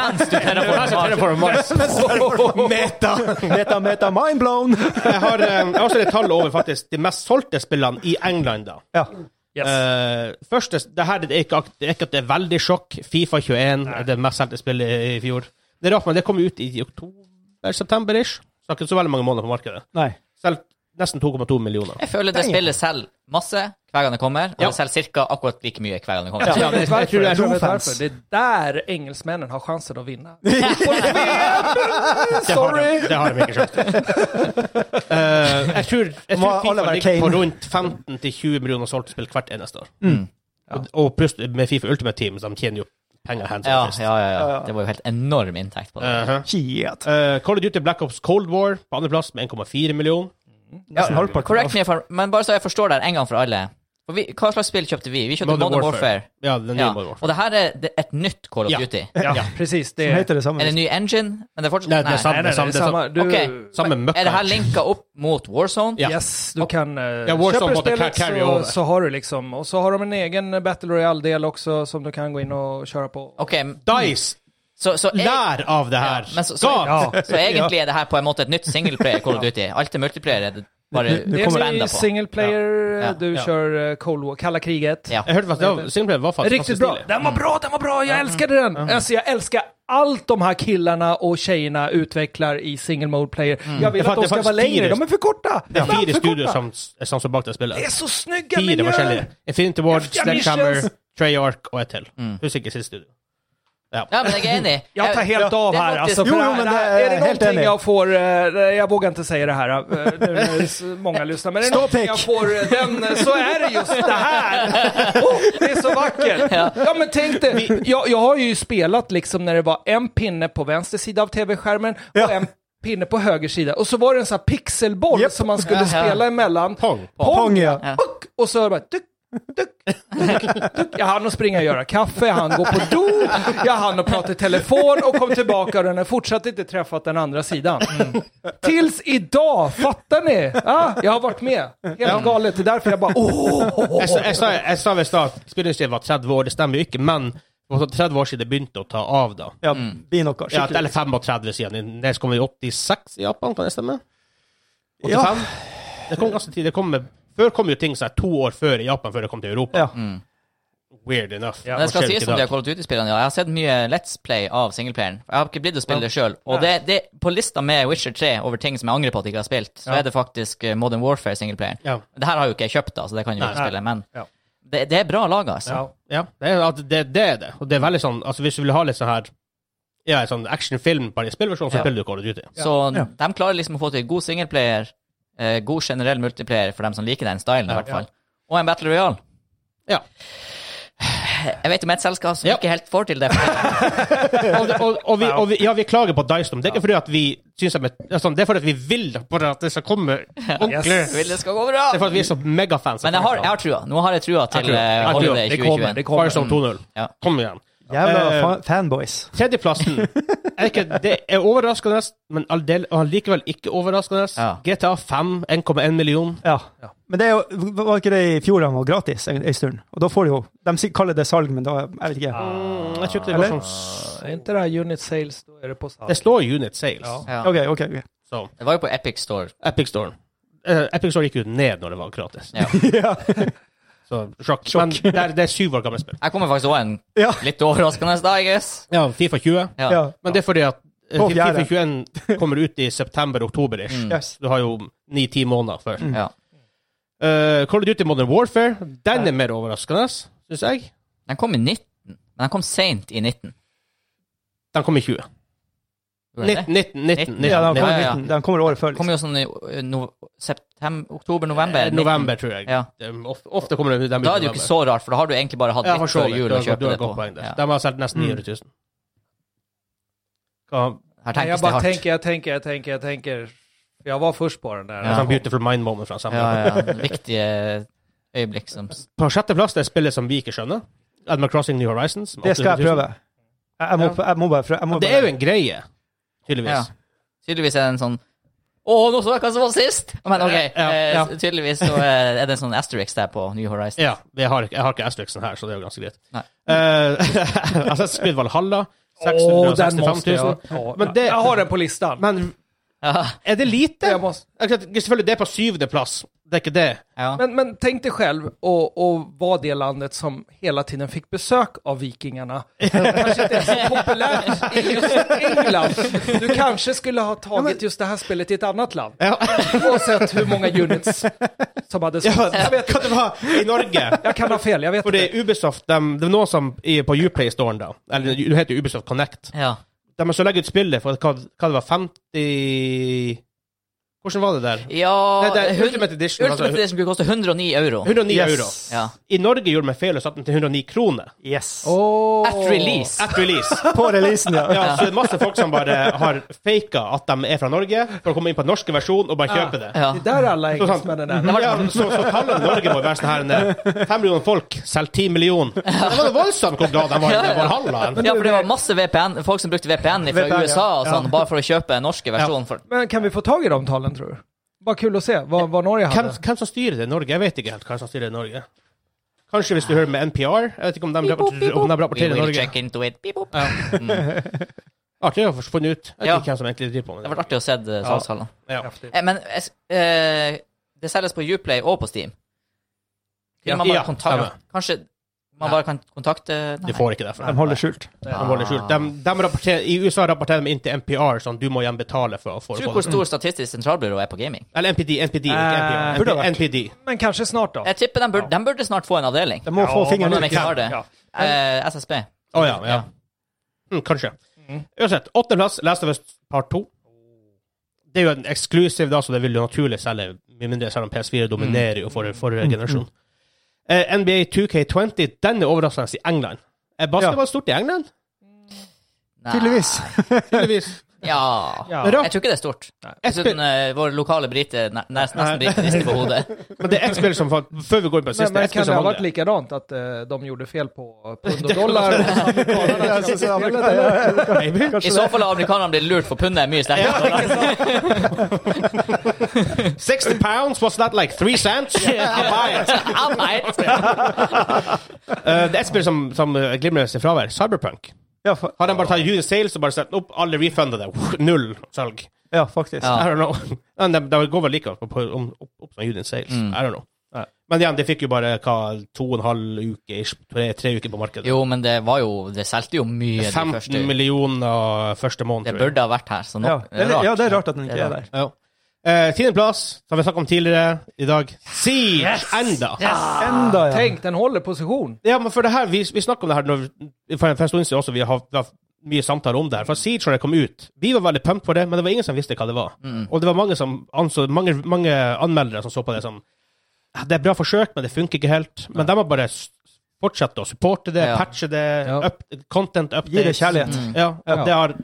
A: Mens du terraformer
B: spiller
A: Mars.
B: Terraforming Mars.
C: Meta, meta, meta, mind blown.
B: Jeg har, eh, jeg har også litt tall over faktisk de mest solgte spillene i England, da.
C: Ja.
D: Yes.
B: Eh, første, det her det er, ikke, ak- det er ikke at det er veldig sjokk. Fifa 21 er det mest solgte spillet i, i fjor. Det er rart, men det kom ut i oktober-september-ish. Så det er ikke så veldig mange måneder på markedet.
C: Nei.
B: Selv nesten 2,2 millioner.
A: Jeg føler det spillet selger masse hver gang det kommer, og
B: Ja.
A: det selger cirka akkurat like mye hver gang det kommer.
B: Ja, det- jeg tror det er sånn.
D: Jag tror det, är
C: Brofans.
D: därför. det är där engelsmännen har chansen att vinna.
B: Det har de, det har de ikke skjønt. Eh, jeg tror, jeg
C: Var
B: tror Fifa
C: Oliver
B: ligger på
C: Kane.
B: rundt 15-20 millioner solgte spill hvert eneste år.
C: Mm.
B: Og, og pluss med Fifa Ultimate Team, så de tjener jo penger hands
A: Ja,
B: on fist.
A: ja, ja, ja.
C: Ja.
A: Det var jo helt enorm inntekt på det.
B: Uh-huh.
C: Shit.
B: Eh, Call of Duty Black Ops Cold War på andreplass med 1,4 millioner.
A: Ja,
C: Nesten halvparten
A: correct me if I'm Men bare så jeg forstår det her en gang for alle. For vi, hva slags spill kjøpte vi? Vi kjøpte
B: Modern
A: Modern,
B: Warfare.
A: Warfare.
B: Ja, den nye
A: Ja.
B: Modern Warfare.
A: Og det her er det- et nytt Call of
B: Ja.
A: Duty.
D: Ja, precis. Det
C: Som heter det
A: Er det
C: samme. liksom?
A: ny engine? Men det er fortsatt
B: Nei, det er
D: Nej, nej, nej,
B: samme, samme,
D: det är samma.
B: samme,
D: Du,
A: Okej.
B: samme møkka.
A: Er det her linka opp mot Warzone?
B: Ja.
D: Yes, du kan... eh,
B: Warzone
D: köper du
B: måste
D: spelet
B: carry
D: så,
B: over.
D: så har du liksom... Och så har de en egen Battle Royale-del också som du kan gå in och köra på.
A: Ok,
B: Dice,
A: så, så, e-
B: lär av det her!
A: men så- så-
B: Skap!
D: Ja.
A: så egentlig er det her på en måte et nytt singleplayer Call of Duty. Alt er multiplayer. Det er sånn- bare
C: Det-
D: Det
C: kommer-
D: är
A: expanda
D: en ny
A: på.
D: single player,
A: Ja.
D: du
B: Ja.
D: kör eh, Cold War, kalla kriget.
A: Ja.
B: Jeg hørte faktisk det var, singleplayer var faktisk
D: Riktigt bra.
B: stilig. Mm.
D: Den var bra, den var bra, jag älskade den. Alltså jag älskar allt de här killarna och tjejerna utvecklar i single mode player. Jag vill
B: Mm. Det är
D: att de ska
B: faktiskt
D: vara längre,
B: tidigt.
D: de är för korta.
B: Det er
D: Fan,
B: fire
D: för
B: studier
D: korta.
B: som, som står bak det spillet.
D: Det är så snygga
B: Fire forskjellige.
D: miljöer!
B: Infinity Ward,
D: Heftiga
B: Sledgehammer,
D: missions.
B: Treyarch og et til.
A: Mm.
B: Husker ikke sist studio.
A: Ja, men jeg er enig.
D: Jag
C: Eh,
D: tar helt av
A: det är
D: här.
B: altså,
A: faktiskt-
D: Alltså,
C: Jo,
D: för
C: jo,
D: här-
C: men
D: det här-
C: det är
D: är det
C: helt
D: någonting
C: enig.
D: jag får, eh, jag vågar inte säga det här eh, nu när s- många lyssnar, men är det
C: Stå
D: någonting
C: pick.
D: jag får eh, den, eh, så är det just det här. Oh, det är så vackert. Ja men tänk dig, jag, jag har ju spelat liksom när det var en pinne på vänster sida av tv-skärmen
C: Ja.
D: och en pinne på höger sida och så var det en sån här pixelboll
C: Japp.
D: som man skulle
A: Ja.
D: spela emellan.
B: Pong.
C: Pong, ja.
D: Och, och så är det bara duck, duck, duck, duck. Jag hann att springa och göra kaffe, jag hann gå på do, jag hann att prata i telefon och kom tillbaka och den har fortsatt inte träffat den andra sidan. Tills idag, fattar ni? Ja, jag har varit med. Helt galet, det är därför jag bara åh!
B: Jeg sa- jeg sa- Jeg sa ved start spillindustrien var 30 år, det stemmer jo ikke, men det var 30 år siden det begynte å ta av, da.
C: Ja, blir noe.
B: Ja,
C: Skikkelig.
B: eller 35 siden. Det kom i 86 i Japan, kan det stemme?
C: Ja.
B: 85? Det kom ganske tidlig. Det kom med, før kom jo ting som er to år før i Japan, før det kom til Europa.
C: Ja.
B: Weird enough.
D: Ja.
A: Mm. Men det skal
B: Forskjell
A: sies
B: ikke
A: om
B: da.
A: de har Call of Duty-spillene. Ja. Jeg har sett mye Let's Play av singleplayeren. Jeg har ikke blitt å spille det sjøl. Og det, det, på lista med Witcher 3 over ting som jeg angrer på at jeg ikke har spilt, så er det faktisk eh, Modern Warfare singleplayeren.
B: Ja.
A: Det her har jo ikke jeg kjøpt, da, så det kan jeg jo
B: Nei.
A: ikke spille, men
D: Ja.
A: det, det er bra laga, altså.
D: Ja.
B: Ja, det er, at det, det er det. Og det er veldig sånn, altså hvis du vil ha litt sånn her ja, en sånn actionfilm på en spillversjon, så
A: Ja.
B: spiller du Call of Duty.
A: Så de klarer liksom å få til god singleplayer, eh, god generell multiplayer for dem som liker den stylen, i hvert fall. Og en Battle Royale.
B: Ja.
A: Jeg vet om et selskap som
B: Ja.
A: ikke helt får til det.
B: Og, det- og, og, vi, og vi, ja, vi klager på Dystom. Det er ikke fordi at vi synes at det er sånn, det er fordi at vi vil bare at det skal komme ordentlig.
D: Yes.
A: Vil det skal gå bra!
B: Det er fordi at vi er så megafans. av
A: Men jeg har, jeg har trua. Nå har jeg trua
B: Jeg
A: til
B: tror-
A: eh,
B: jeg tror
A: Holiday
B: det kommer.
A: 2021.
B: Det kommer. Firestone 2.0.
A: Ja.
B: Kom igjen.
C: Jævla
B: Eh,
C: fa fanboys.
B: Tredjeplassen er ikke, det er overraskende, men alldeles, og likevel ikke overraskende.
A: Ja.
B: GTA 5, 1,1 million.
C: Ja. Men det er jo, var ikke det i fjor han var gratis en, en stund? Og da får du jo De sier- kaller det salg, men da Jeg vet ikke.
B: Mm, jeg tror ikke det
C: Eller?
B: var sånn
D: Är inte det här unit sales, då är det på salg.
B: Det står unit sales,
D: Ja.
A: Ja.
C: OK, OK. ok.
B: så
A: Det var jo på Epic Store.
B: Epic Store. Eh, Epic Store gikk jo ned når det var gratis.
A: Ja.
C: Ja.
B: Så sjokk. Men det er, det er syv år gamle spill.
A: Jeg kommer faktisk òg en
C: Ja.
A: litt overraskende da, I guess.
B: Ja, Fifa 20.
A: Ja.
C: ja.
B: Men det er fordi at eh,
C: På
B: Fifa
C: fjerde.
B: 21 kommer ut i september-oktober-ish.
A: Mm.
C: Yes.
B: Du har jo ni-ti måneder før.
A: Ja.
B: Eh, Call of Duty Modern Warfare, den er mer overraskende, syns jeg.
A: Den kom i 19, men den kom seint i 19.
B: Den kom i 20.
A: Gjorde den det?
B: 19, 19, 19, 19,
C: ja, de
A: Ja,
C: kommer,
A: ja, ja.
C: Liten, de kommer året før.
A: Den
C: Liksom.
A: kom jo sånn i eh, no, september, oktober, november. 19.
B: Eh, November, tror jeg.
A: Ja.
B: Det er Ofte, ofte kommer det dem i
A: Da er det jo ikke
B: november.
A: så rart, for da har du egentlig bare hatt
B: Ja, for
A: litt
B: så
A: før
B: vidt.
A: jul
B: Du
A: å
B: har- du
A: kjøpe
B: har
A: det
B: et godt
A: på.
B: poeng der.
A: Ja.
B: De har solgt nesten
C: Mm.
B: 900 000. Hva-
A: Her
D: Nej, jag
A: tenkes det
D: bara
A: hardt.
D: tänker, jag tänker, jag tänker, jag tänker. Jag var först på den där.
A: Ja.
B: Sånn beautiful mind moment fra sammen.
A: Ja, ja. Viktige øyeblikk som
B: På sjetteplass det er spillet som vi ikke skjønner. Animal Crossing New Horizons. med
C: Det skal jeg
B: 800 000.
C: prøve. Jeg, jeg, må, jeg må bare prøve. Jeg må
B: Det
C: bare-
B: er jo en greie,
A: Ja.
B: tydeligvis.
A: Tydeligvis er det en sånn Å, nå så jeg hva som var sist! Men OK,
B: Ja, ja.
A: eh, tydeligvis så eh, er det en sånn asterix der på New Horizon.
B: Ja, jeg har, ikke- jeg har ikke Asterixen her, så det er jo ganske greit.
A: Nei.
B: Uh, Assassin's Creed Valhalla,
D: Åh, den
B: 665 000.
D: måste jag ta.
B: Men det-
D: Jag har den på listan.
B: Men
A: Ja.
B: er det lite?
D: Jag måste...
B: Jeg kan- Selvfølgelig, det er på syvendeplass. Det er ikke det.
A: Ja.
D: Men, men tänk dig själv och, och vara det landet som hela tiden fick besök av vikingarna. kanske inte är så populärt i just England. Du kanske skulle ha tagit just det här spelet i ett annat land.
B: Ja.
D: Och sett hur många units som hade sålts.
B: Ja,
D: Jag, vet,
B: Hva det var i Norge?
D: jag kan ha fel, jag vet
B: Fordi
D: inte.
B: Ubisoft, dem- det er noen som er på Uplay-storen, da. Eller det heter jo Ubisoft Connect.
A: ja.
B: De har så legger ut spillet for hva, hva det var 50 Hvordan var det der?
A: Ja
B: Nei, det er
A: hun-
B: Ultimate Edition, altså.
A: Ultimate Edition skulle koste 109 euro.
B: 109
C: Yes.
B: euro.
A: Ja.
B: I Norge gjorde de feil og satte den til 109 kroner.
C: Yes.
D: Åh.
A: At release.
B: At release.
C: På releasen, ja.
B: Ja, så det er masse folk som bare har faka at de er fra Norge, for å komme inn på den norske versjonen og bare kjøpe det. sånn,
A: Ja.
D: Det der er legesmennene der.
B: Ja, så, så tallet i Norge må jo være sånn her en, Fem millioner folk, selg ti millioner. Det var jo voldsomt hvor glad de var i Valhalla.
A: Ja, for det var masse VPN, folk som brukte VPN fra
C: VPN, ja.
A: USA og sånn, bare for å kjøpe den norske versjonen. For,
D: Men kan vi få tag i de talen, tror du? Bare kul å se hva, hva Norge
B: Hvem,
D: hadde.
B: hvem som styrer det i Norge? Jeg vet ikke helt hvem som styrer det i Norge. Kanskje hvis du hører med NPR? Jeg vet ikke om de rapporterer, om de
A: we
B: rapporterer i
A: will
B: Norge.
A: check into it. Beep, boop.
B: Artig å få funnet ut. Jeg vet
A: Ja.
B: ikke hvem som egentlig driver på med
A: Det
B: det.
A: har vært artig å se eh, salgstallene.
B: Ja.
A: Eh, Men eh, s- eh, det selges på Uplay og på Steam.
B: Ja,
A: Kunne man bare
B: ja,
A: kontakte
B: stemmer.
A: Kanskje man bare kan kontakte
B: De
A: Nei.
B: får ikke det. for
C: De
B: dem.
C: holder skjult.
B: De holder skjult. De- de rapporterer- I USA rapporterer de inn til NPR sånn du må igjen betale for å få
A: Tror
B: for å
A: du hvor
B: få det.
A: stor Statistisk sentralbyrå er på gaming?
B: Eller NPD. NPD, ikke NPR.
D: Eh,
C: burde ha vært.
B: NPD.
D: Men kanskje snart, da.
A: Jeg tipper de burde, de burde snart få en avdeling.
C: De må få fingeren
A: Om
C: ut.
A: de ikke har det.
D: Ja.
A: Eh, SSB.
B: Å ja, ja. Mm, kanskje. Uansett, åttendeplass, Last of Us Part 2. Det er jo en eksklusiv, da, så det vil jo naturlig selge, med mindre selv om PS4 dominerer jo for
C: Mm.
B: forrige generasjon. Eh, NBA 2K20, den er overraskende i England. Er basketball stort i England?
A: Nei.
C: Tydeligvis.
B: Tydeligvis.
A: Ja.
D: Ja.
B: Rart.
A: Jeg tror ikke det er stort.
B: Jeg
A: Dessuten,
B: spil-
A: eh, vår lokale brite ne- nesten, nesten brite rister på hodet.
B: Men det er ett spill som falt Før vi går inn på det
D: Men,
B: siste,
D: men
B: ett spill
D: kan det
B: som
D: ha
B: falt
D: vært
B: det.
D: likadant, at eh, de gjorde fel på pund og dollar? og så amerikanerne
C: Ja, så-
D: ikke
C: så-
D: spillet, eller?
B: Maybe.
A: I så fall har amerikanerne blitt lurt, for pundet er mye sterkere.
B: 60 pounds, what's that like? Three cents? I buy it.
A: Ah, nei.
B: Eh, det er et spill som, som eh, glimrer sitt fravær. Cyberpunk.
C: Ja, fa
B: Har de bare tatt Unit Sales og bare satt den opp, alle refunder det. Null salg.
C: ja faktisk.
A: Ja.
B: I don't know. Men de, de går vel like opp, på- om- opp, opp som Unit Sales.
A: Mm.
B: I don't know.
D: Ja.
B: Men igjen, de fikk jo bare hva, to og en halv uke, ish, tre, tre uker på markedet.
A: Jo, men det var jo Det solgte jo mye de
B: 15
A: første
B: millioner første måned,
A: Det
B: tror jeg.
A: burde ha vært her, så nå
C: Ja.
A: det er
C: Eller-
A: rart.
C: ja, det er rart at den
A: Det
C: ikke
A: er
C: er
A: rart.
C: der.
B: Ja. Eh, Tiendeplass, som vi snakket om tidligere i dag. Siege! Enda!
C: Enda, ja.
D: Tenk, den holder posisjon.
B: Ja, men for det her, vi, vi snakket om det her når, vi- for en for en stund siden også, vi har hatt- vi har hatt mye samtaler om det her. For Siege, når det kom ut, vi var veldig pumped for det, men det var ingen som visste hva det var. Og det var mange, som anså, mange, mange anmeldere som så på det som "Ah, det er bra forsøk, men det funker ikke helt. Men de må bare s- fortsette å supporte det,
A: Ja.
B: patche det,
D: Ja.
B: up, content updates.
C: Gi det kjærlighet.
B: Ja, og
D: Ja.
B: det har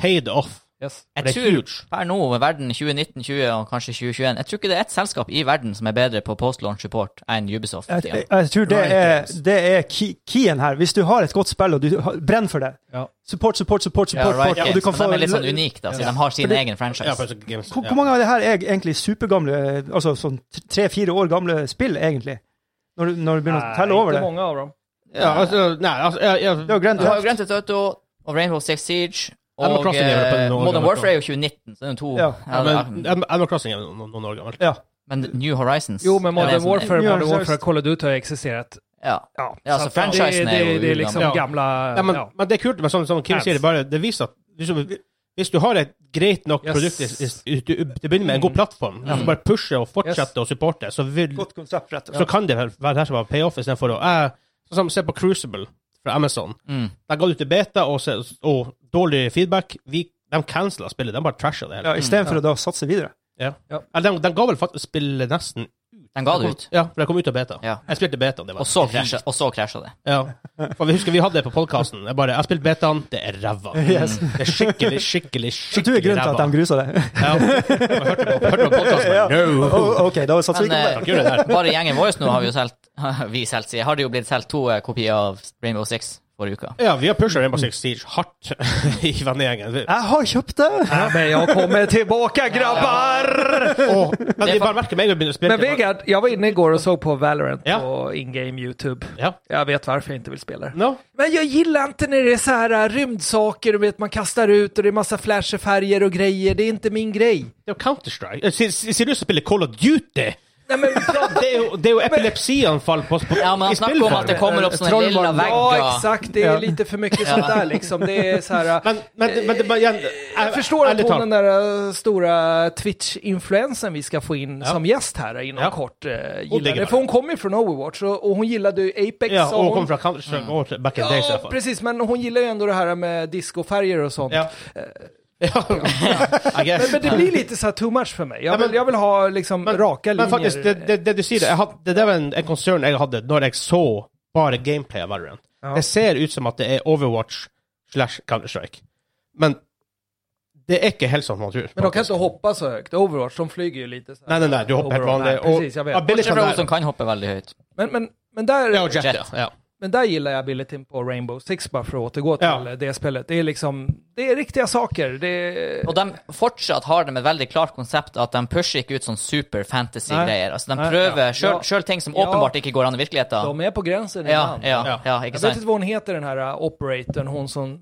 B: paid off.
D: Yes.
B: Det
A: Jeg
B: er
A: tror
B: huge.
A: per nå, med verden 2019, 20 og kanskje 2021 Jeg tror ikke det er ett selskap i verden som er bedre på post-launch support enn Ubisoft.
C: Jeg,
A: Ja.
C: jeg, jeg tror det er, det er key, keyen her. Hvis du har et godt spill, og du har- brenner for det
D: Ja.
C: Support, support, support.
A: Ja,
C: support,
A: Riot
C: support og du
A: Games,
C: kan
A: men
C: få-
A: de er litt sånn unike, da, siden de har sin
C: Fordi-
A: egen franchise.
B: Ja, for games,
C: Hvor,
B: ja.
C: hvor mange av det her er egentlig supergamle, altså sånn tre-fire år gamle spill, egentlig? Når du, når du begynner å telle over
D: ikke
C: det?
D: mange av dem.
B: Ja, altså, nei, altså, ja, ja.
C: Det er jo Grand
A: Du har jo
C: Theft.
A: Grand Theft Auto og Rainbow Six Siege
B: Ja, men
A: og
B: Crossing er vel på
A: eh,
B: noen år
A: Modern
B: gammelt, da.
A: Warfare er jo 2019, så det er jo to.
C: Ja,
A: Ja, det er-
B: men Animal Crossing er noen, noen år gammel.
C: Ja.
A: men New Horizons
D: Jo, men
A: er det
D: Modern
A: som-
D: Warfare,
C: Ja,
D: Modern
C: seriøst.
D: Warfare Call of Duty har eksistert.
A: Ja.
D: Ja,
A: Ja, så
D: at det-
A: franchisen er jo
D: det, det er liksom
B: ugammel. Ja.
D: gamle
B: Ja, men,
D: ja.
B: men det er kult, men som, som Kim
D: Ads.
B: sier, det, bare, det viser at hvis du, hvis du har et greit nok
D: Yes.
B: produkt i- i- i- til å begynne med, en god plattform, mm. bare pushe og fortsette å supporte, så, vil,
C: Godt konsept, rett og
B: så
C: slett.
B: kan det vel være her som var payoff istedenfor å eh, Sånn som se på Crucible fra Amazon.
A: Mm.
B: Der ga du til beta og, se- og dårlig feedback. Vi, de cancela spillet, de bare trasha det hele.
C: Ja, Istedenfor å da satse videre.
B: Eller de, de ga vel faktisk spillet nesten
A: Den ga det ut.
B: Ja, for det kom ut av beta.
A: Ja.
B: Jeg spilte beta, det var
A: Og så krasja- og så krasja det.
B: Ja. For vi husker vi hadde det på podkasten. Jeg bare Jeg har spilt betaen, det er ræva.
C: Yes.
B: Det er skikkelig, skikkelig,
C: Så du er
B: skikkelig
C: grunnen til at de grusa det?
B: Ja. Jeg hørte på, hørte på podcasten,
C: Ja.
B: No!
C: Oh, ok, da satser vi
A: Men
C: ikke på det.
A: eh,
B: Gjør det der.
A: bare i gjengen vår nå har vi jo solgt Vi solgt, sier jeg. Har det jo blitt solgt to eh, kopier av Rainbow Six forrige uke.
B: Ja, vi har pusha Rainbow Six Siege hardt i vennegjengen.
C: Jeg har kjøpt det!
D: Ja, men jeg kommer tilbake, grabbar!
B: Åh, Men vi bare merker med en gang vi begynner å spille
D: Men Vegard, jeg var inne igår og så på Valorant
B: Ja.
D: på in game YouTube.
B: Ja.
D: Jag vet varför jag inte vill spela det.
B: No?
D: Men jag gillar inte när det är så här äh, rymdsaker, du vet man kastar ut och det är massa flashfärger och grejer. Det är inte min grej.
B: Det er jo Counter-Strike. Eh, Ser ser du ut som spiller Call of Duty?
D: Nej, men, ja,
B: Det er jo, det er jo epilepsianfall på, på,
A: Ja, men
B: i
A: han snakker om at det
B: spillform.
A: kommer opp sånne lilla
D: Trollbarn. Ja,
A: vegger.
D: exakt. Det är lite för mycket sånt där liksom. Det är så här... äh,
B: Men, men, men, det- men igjen
C: Eh,
D: Jag förstår att
B: ärligt
D: hon
B: talat.
D: den där äh, stora Twitch-influensen vi ska få in som gäst här inom
B: Ja.
D: kort äh,
B: Hon
D: gillar
B: digger
D: det.
B: det.
D: För hon kommer ju från Overwatch och, och hon gillade ju Apex.
B: Ja,
D: sa
C: sånn-
B: og
D: hon.
B: hun kommer fra Counter-Strike og back in days i
D: Ja,
B: hvert fall.
D: precis. Men hon gillar ju ändå det här med discofärger och sånt.
B: Ja.
C: Eh,
B: I guess.
D: Men, men det blir lite så här too much för mig. Jag vill, jag vill ha liksom
B: Men-
D: raka linjer.
B: Men faktisk, det, det, det du sier, jeg hadde, det der var en, en konsern jeg hadde når jeg så bare gameplay av Valorant.
D: Ja.
B: Det ser ut som at det er Overwatch slash Counter-Strike. Men det er ikke helt sånn man tror.
D: men de kan inte hoppa så högt. Overwatch, de flyger ju lite så här.
B: Nei, nei, nei, du hopper helt
D: Overall.
B: vanlig.
D: Nej, precis, jag vet.
A: Bortsett fra hun
B: abilityen
A: som kan hoppe veldig høyt.
D: Men, men, men, där,
B: der- Ja, og Jet,
A: Jet.
B: ja. ja.
D: men där gillar jag abilityn på Rainbow Six bara för att återgå till eh,
B: Ja.
D: det spelet. Det är liksom, det är riktiga saker. Det är,
A: Og de fortsatt har de et veldig klart konsept at de pusher ikke ut sånn super fantasy-greier. Altså, de
D: Nei, ja.
A: prøver
D: Ja.
A: sjøl sjøl ting som
D: Ja.
A: åpenbart ikke går an i virkeligheten.
D: de är på gränsen
A: Ja,
D: ibland.
A: ja,
B: Ja.
A: ja,
D: Jag
A: ikke
D: vet
A: sant?
D: inte vad hon heter den här uh, operatorn, hon som uh,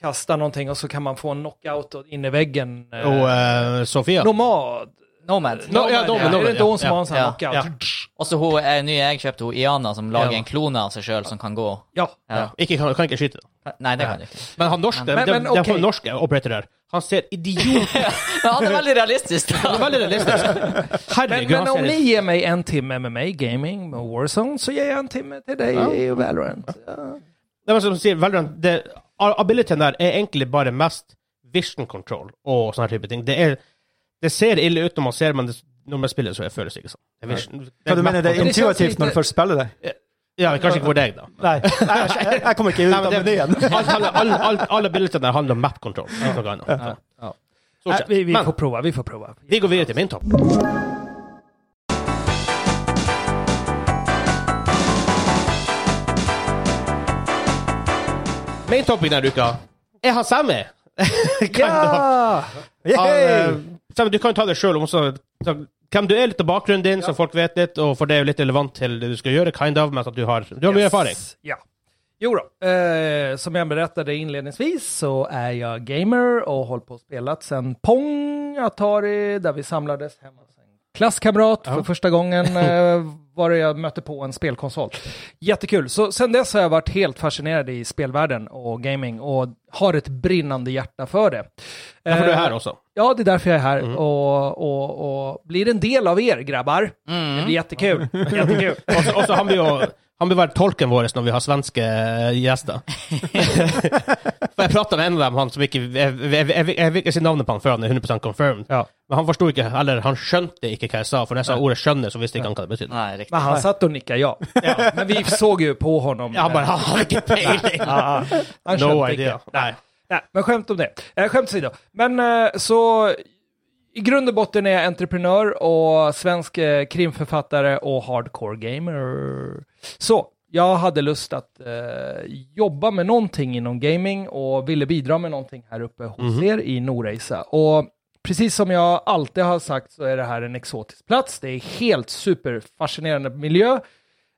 D: kastar någonting och så kan man få en knockout och in i väggen. Uh,
B: Og eh, Sofia.
D: nomad.
A: Nomad.
B: No- ja, Nomad,
D: Är det
B: Nomad,
D: inte
B: ja,
D: hon som
B: ja,
D: har en sån här
A: ja,
D: knockout?
B: ja.
A: Også hun eh, nye jeg kjøpte, hun Iana, som lager
D: Ja.
A: en klone av seg sjøl som kan gå.
D: ja.
A: Ja.
B: Ikke, kan, kan ikke skyte.
A: Nei, det kan du ikke.
B: Men han norske,
D: Men-
B: det,
D: men,
B: det er
D: ok.
B: for norske operatorer. Han ser idiot
A: Men han er veldig realistisk.
B: Han er veldig realistisk.
D: Men,
B: Herregud,
D: men om
B: han
D: ni
B: ser
D: ger mig en timme MMA, gaming och Warzone så ger jag en timme till dig i Valorant. Ja.
B: Det sånn var som du sier, Valorant, det, abilityen der er egentlig bare mest vision control og sånne type ting. Det, er, det ser ille ut når man ser, men det, når man spiller, så er- føles det ikke sånn. Det er vision- det er
C: Hva du mener, det er
D: Men det känns
C: intuitivt
D: lite-
C: når du først spiller det?
B: Ja, men kanskje ikke for deg, da.
C: Nei, jeg, jeg- jeg kommer ikke ut
B: Nei, men
C: av
B: det-
C: menyen.
B: Alt, handler- all, all, alle abilityene der handler om map control. ikke noe annet.
D: Ja.
B: Stort
D: Nej,
B: sett.
D: vi, vi
B: Men
D: får prova, vi får prova.
B: vi går videre til min topp. Min topic denne uka er han Sammy. Kan da-
D: Ja!
B: Han,
C: Yay!
B: eh, Sam, du kan ta det sjøl om også så- hvem du er, litt av bakgrunnen din, så folk vet litt, og for det er jo litt relevant til det du skal gjøre, kind of, men at du har, du har mye
D: Yes.
B: erfaring.
D: Ja. Jo då, eh, som jag berättade inledningsvis så är jag gamer och håller på att spela sen Pong Atari där vi samlades hemma hos en klasskamrat för första gången eh, var det jag mötte på en spelkonsol. Jättekul, så sen dess har jag varit helt fascinerad i spelvärlden och gaming och har ett brinnande hjärta för det.
B: Derfor du er
D: Eh,
B: her også.
D: Ja, det är Mm. därför jag är här och, och, och blir en del av er grabbar. Det blir jättekul. jättekul.
B: Også, også han blir jo han blir være tolken vår når vi har svenske eh, gjester. For Jeg prata med en av dem, han som ikke Jeg, jeg, jeg, jeg vil ikke si navnet på han før han er 100 confirmed.
D: Ja.
B: Men han forsto ikke, eller han skjønte ikke hva jeg sa, for når jeg sa ordet 'skjønner', så visste ikke han hva det betydde.
A: Nei, riktig.
D: Men han satt och nickade ja. Men vi såg ju på honom.
B: Ja, han bare han har ikke peiling!
D: Han
B: No
D: skjønte ikke.
B: idea. Nei.
D: Nej, men skämt om det. Eh, skämt åsido. Men eh, så i grund och botten är jag entreprenör och svensk eh, krimförfattare och hardcore gamer. Så jag hade lust att eh, jobba med någonting inom gaming och ville bidra med någonting här uppe hos
B: Mhm.
D: er i Norreisa. Och precis som jag alltid har sagt så är det här en exotisk plats. Det är helt superfascinerande miljö.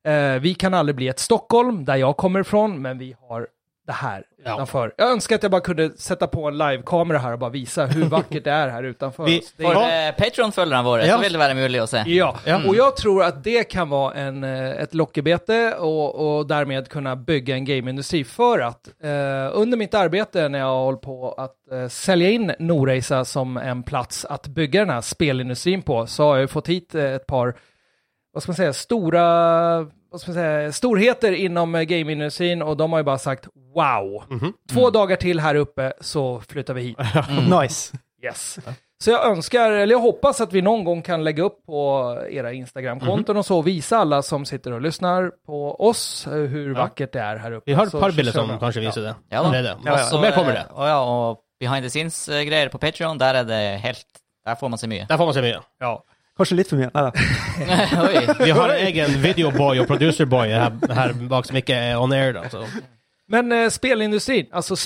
D: Eh, vi kan aldrig bli ett Stockholm, där jag kommer ifrån, men vi har det här
B: Ja.
D: utanför. Jag önskar att jag bara kunde sätta på en livekamera här och bara visa hur vackert det är här utanför.
B: Vi-
D: oss. Det är
A: For eh, Patron-følgerne våre
B: Ja.
A: så vil det være mulig å se.
D: Ja, och jag tror att det kan vara en, eh, ett lockebete och, och därmed kunna bygga en gameindustri för att eh, under mitt arbete när jag håller på att eh, sälja in Norreisa som en plats att bygga den här spelindustrin på så har jag ju fått hit eh, ett par, vad ska man säga, stora vad ska man säga, storheter inom eh, gameindustrin och de har ju bara sagt wow. Två dagar till här uppe så flyttar vi hit.
C: Mm. Nice.
D: Yes. Så jag önskar, eller jag hoppas att vi någon gång kan lägga upp på era Instagram-konton
B: Mhm.
D: och så visa alla som sitter och lyssnar på oss eh, hur vackert det är här uppe.
B: Vi har et
D: Så-
B: par
D: så
B: bilder som
D: kör vi.
B: kanskje viser det.
A: Ja da.
B: Allerede.
A: Også,
B: Mer kommer det.
A: eh, Og, ja, og behind the scenes-greier på Patron, der er det helt Der får man se mye.
B: Der får man se mye.
D: Ja.
C: Kanskje litt for mye. Neida.
A: Oi.
B: Vi har en egen videoboy og producerboy her, her bak som ikke er on air. Da, så.
D: Men eh, spelindustrin, alltså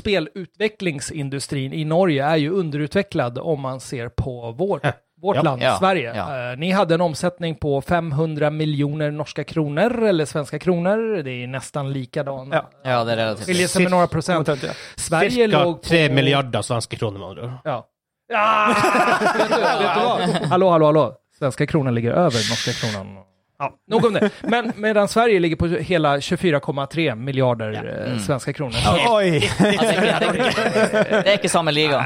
D: spelutvecklingsindustrin i Norge är ju underutvecklad om man ser på vårt, vårt
B: Ja.
D: land,
A: Ja.
D: Sverige.
A: Ja.
D: Eh, ni hade en omsättning på 500 miljoner norska kronor eller svenska kronor. Det är nästan likadan.
C: Ja.
A: Ja, det er relativt.
D: Skiljer sig med några procent.
C: Omtrent, ja.
D: Sverige
B: Cirka
D: låg på...
B: tre milliarder svenske kroner, med andre ord.
D: Ja. vet du, vet du vad? Hallå, hallå, hallå. Svenska kronan ligger över norska kronan. Ja, nog om det. Men medan Sverige ligger på hela 24,3 miljarder eh,
B: Mm.
D: svenska kronor.
C: Oi!
A: Altså, det, er ikke, det er ikke samme liga.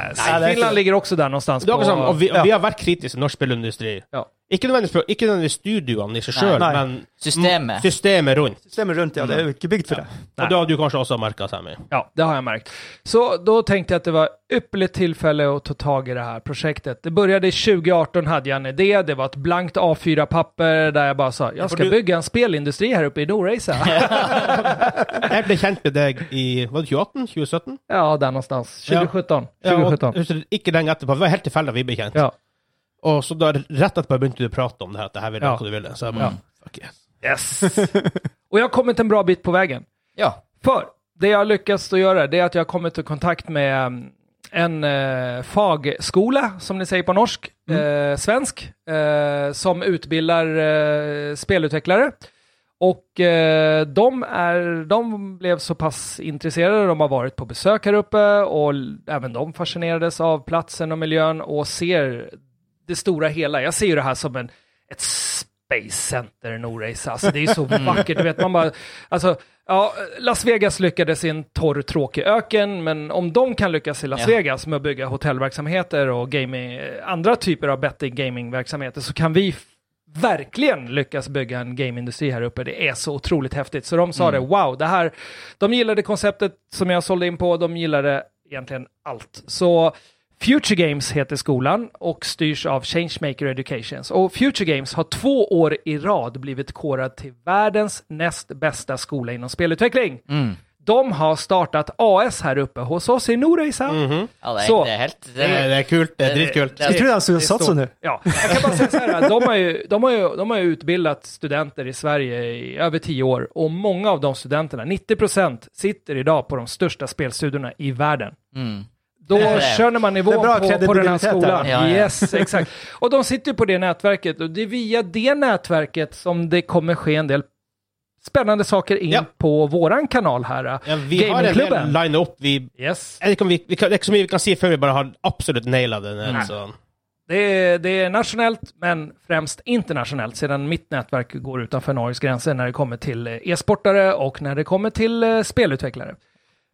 D: Finland ligger också där någonstans.
B: Det er
D: på,
B: akkurat sånn, og vi,
C: Ja.
B: vi har vært kritiske til norsk spillindustri
D: ja.
B: Ikke nødvendigvis, pro- ikke nødvendigvis studioene i seg sjøl,
C: Nei.
B: men
A: Systemet.
B: systemet rundt.
C: Systemet rundt, ja. Det er jo ikke bygd for det.
D: Nei.
B: Og det har du kanskje også merka, Sammy.
D: Ja, det har jag märkt. Så då tänkte jag att det var ypperligt tillfälle att ta tag i det här projektet. Det började 2018, hade jag en idé. Det var ett blankt A4-papper där jag bara sa, jag ska
B: du-
D: bygga en spelindustri här uppe i Norrisa.
B: Jeg ble kjent med deg i var det 2018? 2017?
D: ja, där någonstans. 2017.
B: Ja, og,
D: 2017.
B: husker du, ikke lenge etterpå. Det var helt tilfeldig at vi ble kjent.
D: Ja.
B: Og så da, rett etterpå begynte du å prate om det her, at det her ville
D: Ja.
B: hva du ville. Så jeg bare, fuck yes.
D: Yes! Och jag har kommit en bra bit på vägen.
A: Ja.
D: För det jag har lyckats att göra det är att jag har kommit i kontakt med um, en eh, fagskola, som ni säger på norsk, eh, svensk, eh, som utbildar eh, spelutvecklare. Och eh, de, är, de blev så pass intresserade, de har varit på besök här uppe och l- även de fascinerades av platsen och miljön och ser det stora hela. Jag ser ju det här som en, ett Space Center Norreisa. Alltså det är ju så vackert, du vet man bara, alltså, ja, Las Vegas lyckades i en torr tråkig öken, men om de kan lyckas i Las
A: Ja.
D: Vegas med att bygga hotellverksamheter och gaming, andra typer av betting gamingverksamheter så kan vi f- verkligen lyckas bygga en gameindustri här uppe. Det är så otroligt häftigt. Så de sa det, wow, det här, de gillade konceptet som jag sålde in på, de gillade egentligen allt. Så Future Games heter skolan och styrs av Changemaker Educations. Och Future Games har två år i rad blivit korad till världens näst bästa skola inom spelutveckling.
A: Mm.
D: De har startat AS här uppe hos oss i Norreisa.
A: ja det, er,
D: Så.
A: det er helt det
B: Det
A: er,
B: er, det er kult. Det er
A: det-
B: dritkult.
A: det er-
C: Jeg tror de skulle satse nå.
D: Ja, jag kan bara säga så här, de har, ju, de, har ju, de har ju utbildat studenter i Sverige i över tio år och många av de studenterna, 90% sitter idag på de största spelstudiorna i världen.
A: mm.
D: Då
A: Det är det.
D: känner man nivån
C: Det är bra
D: på, på den här
C: kredibilitet här.
D: skolan.
A: Ja, ja.
D: Yes, exakt. Och de sitter ju på det nätverket och det är via det nätverket som det kommer ske en del spännande saker in
B: Ja.
D: på våran kanal här.
B: Ja, vi har en del
D: Gamingklubben.
B: line up. Vi,
D: Yes.
B: jeg vet ikke om vi, vi kan, det er ikke så mye vi kan si før vi bare har absolutt naila den. her,
D: Nei.
B: Så.
D: Det är, det är nationellt, men främst internationellt, sedan mitt nätverk går utanför Norges gränser när det kommer till eh, e-sportare och när det kommer till eh, spelutvecklare.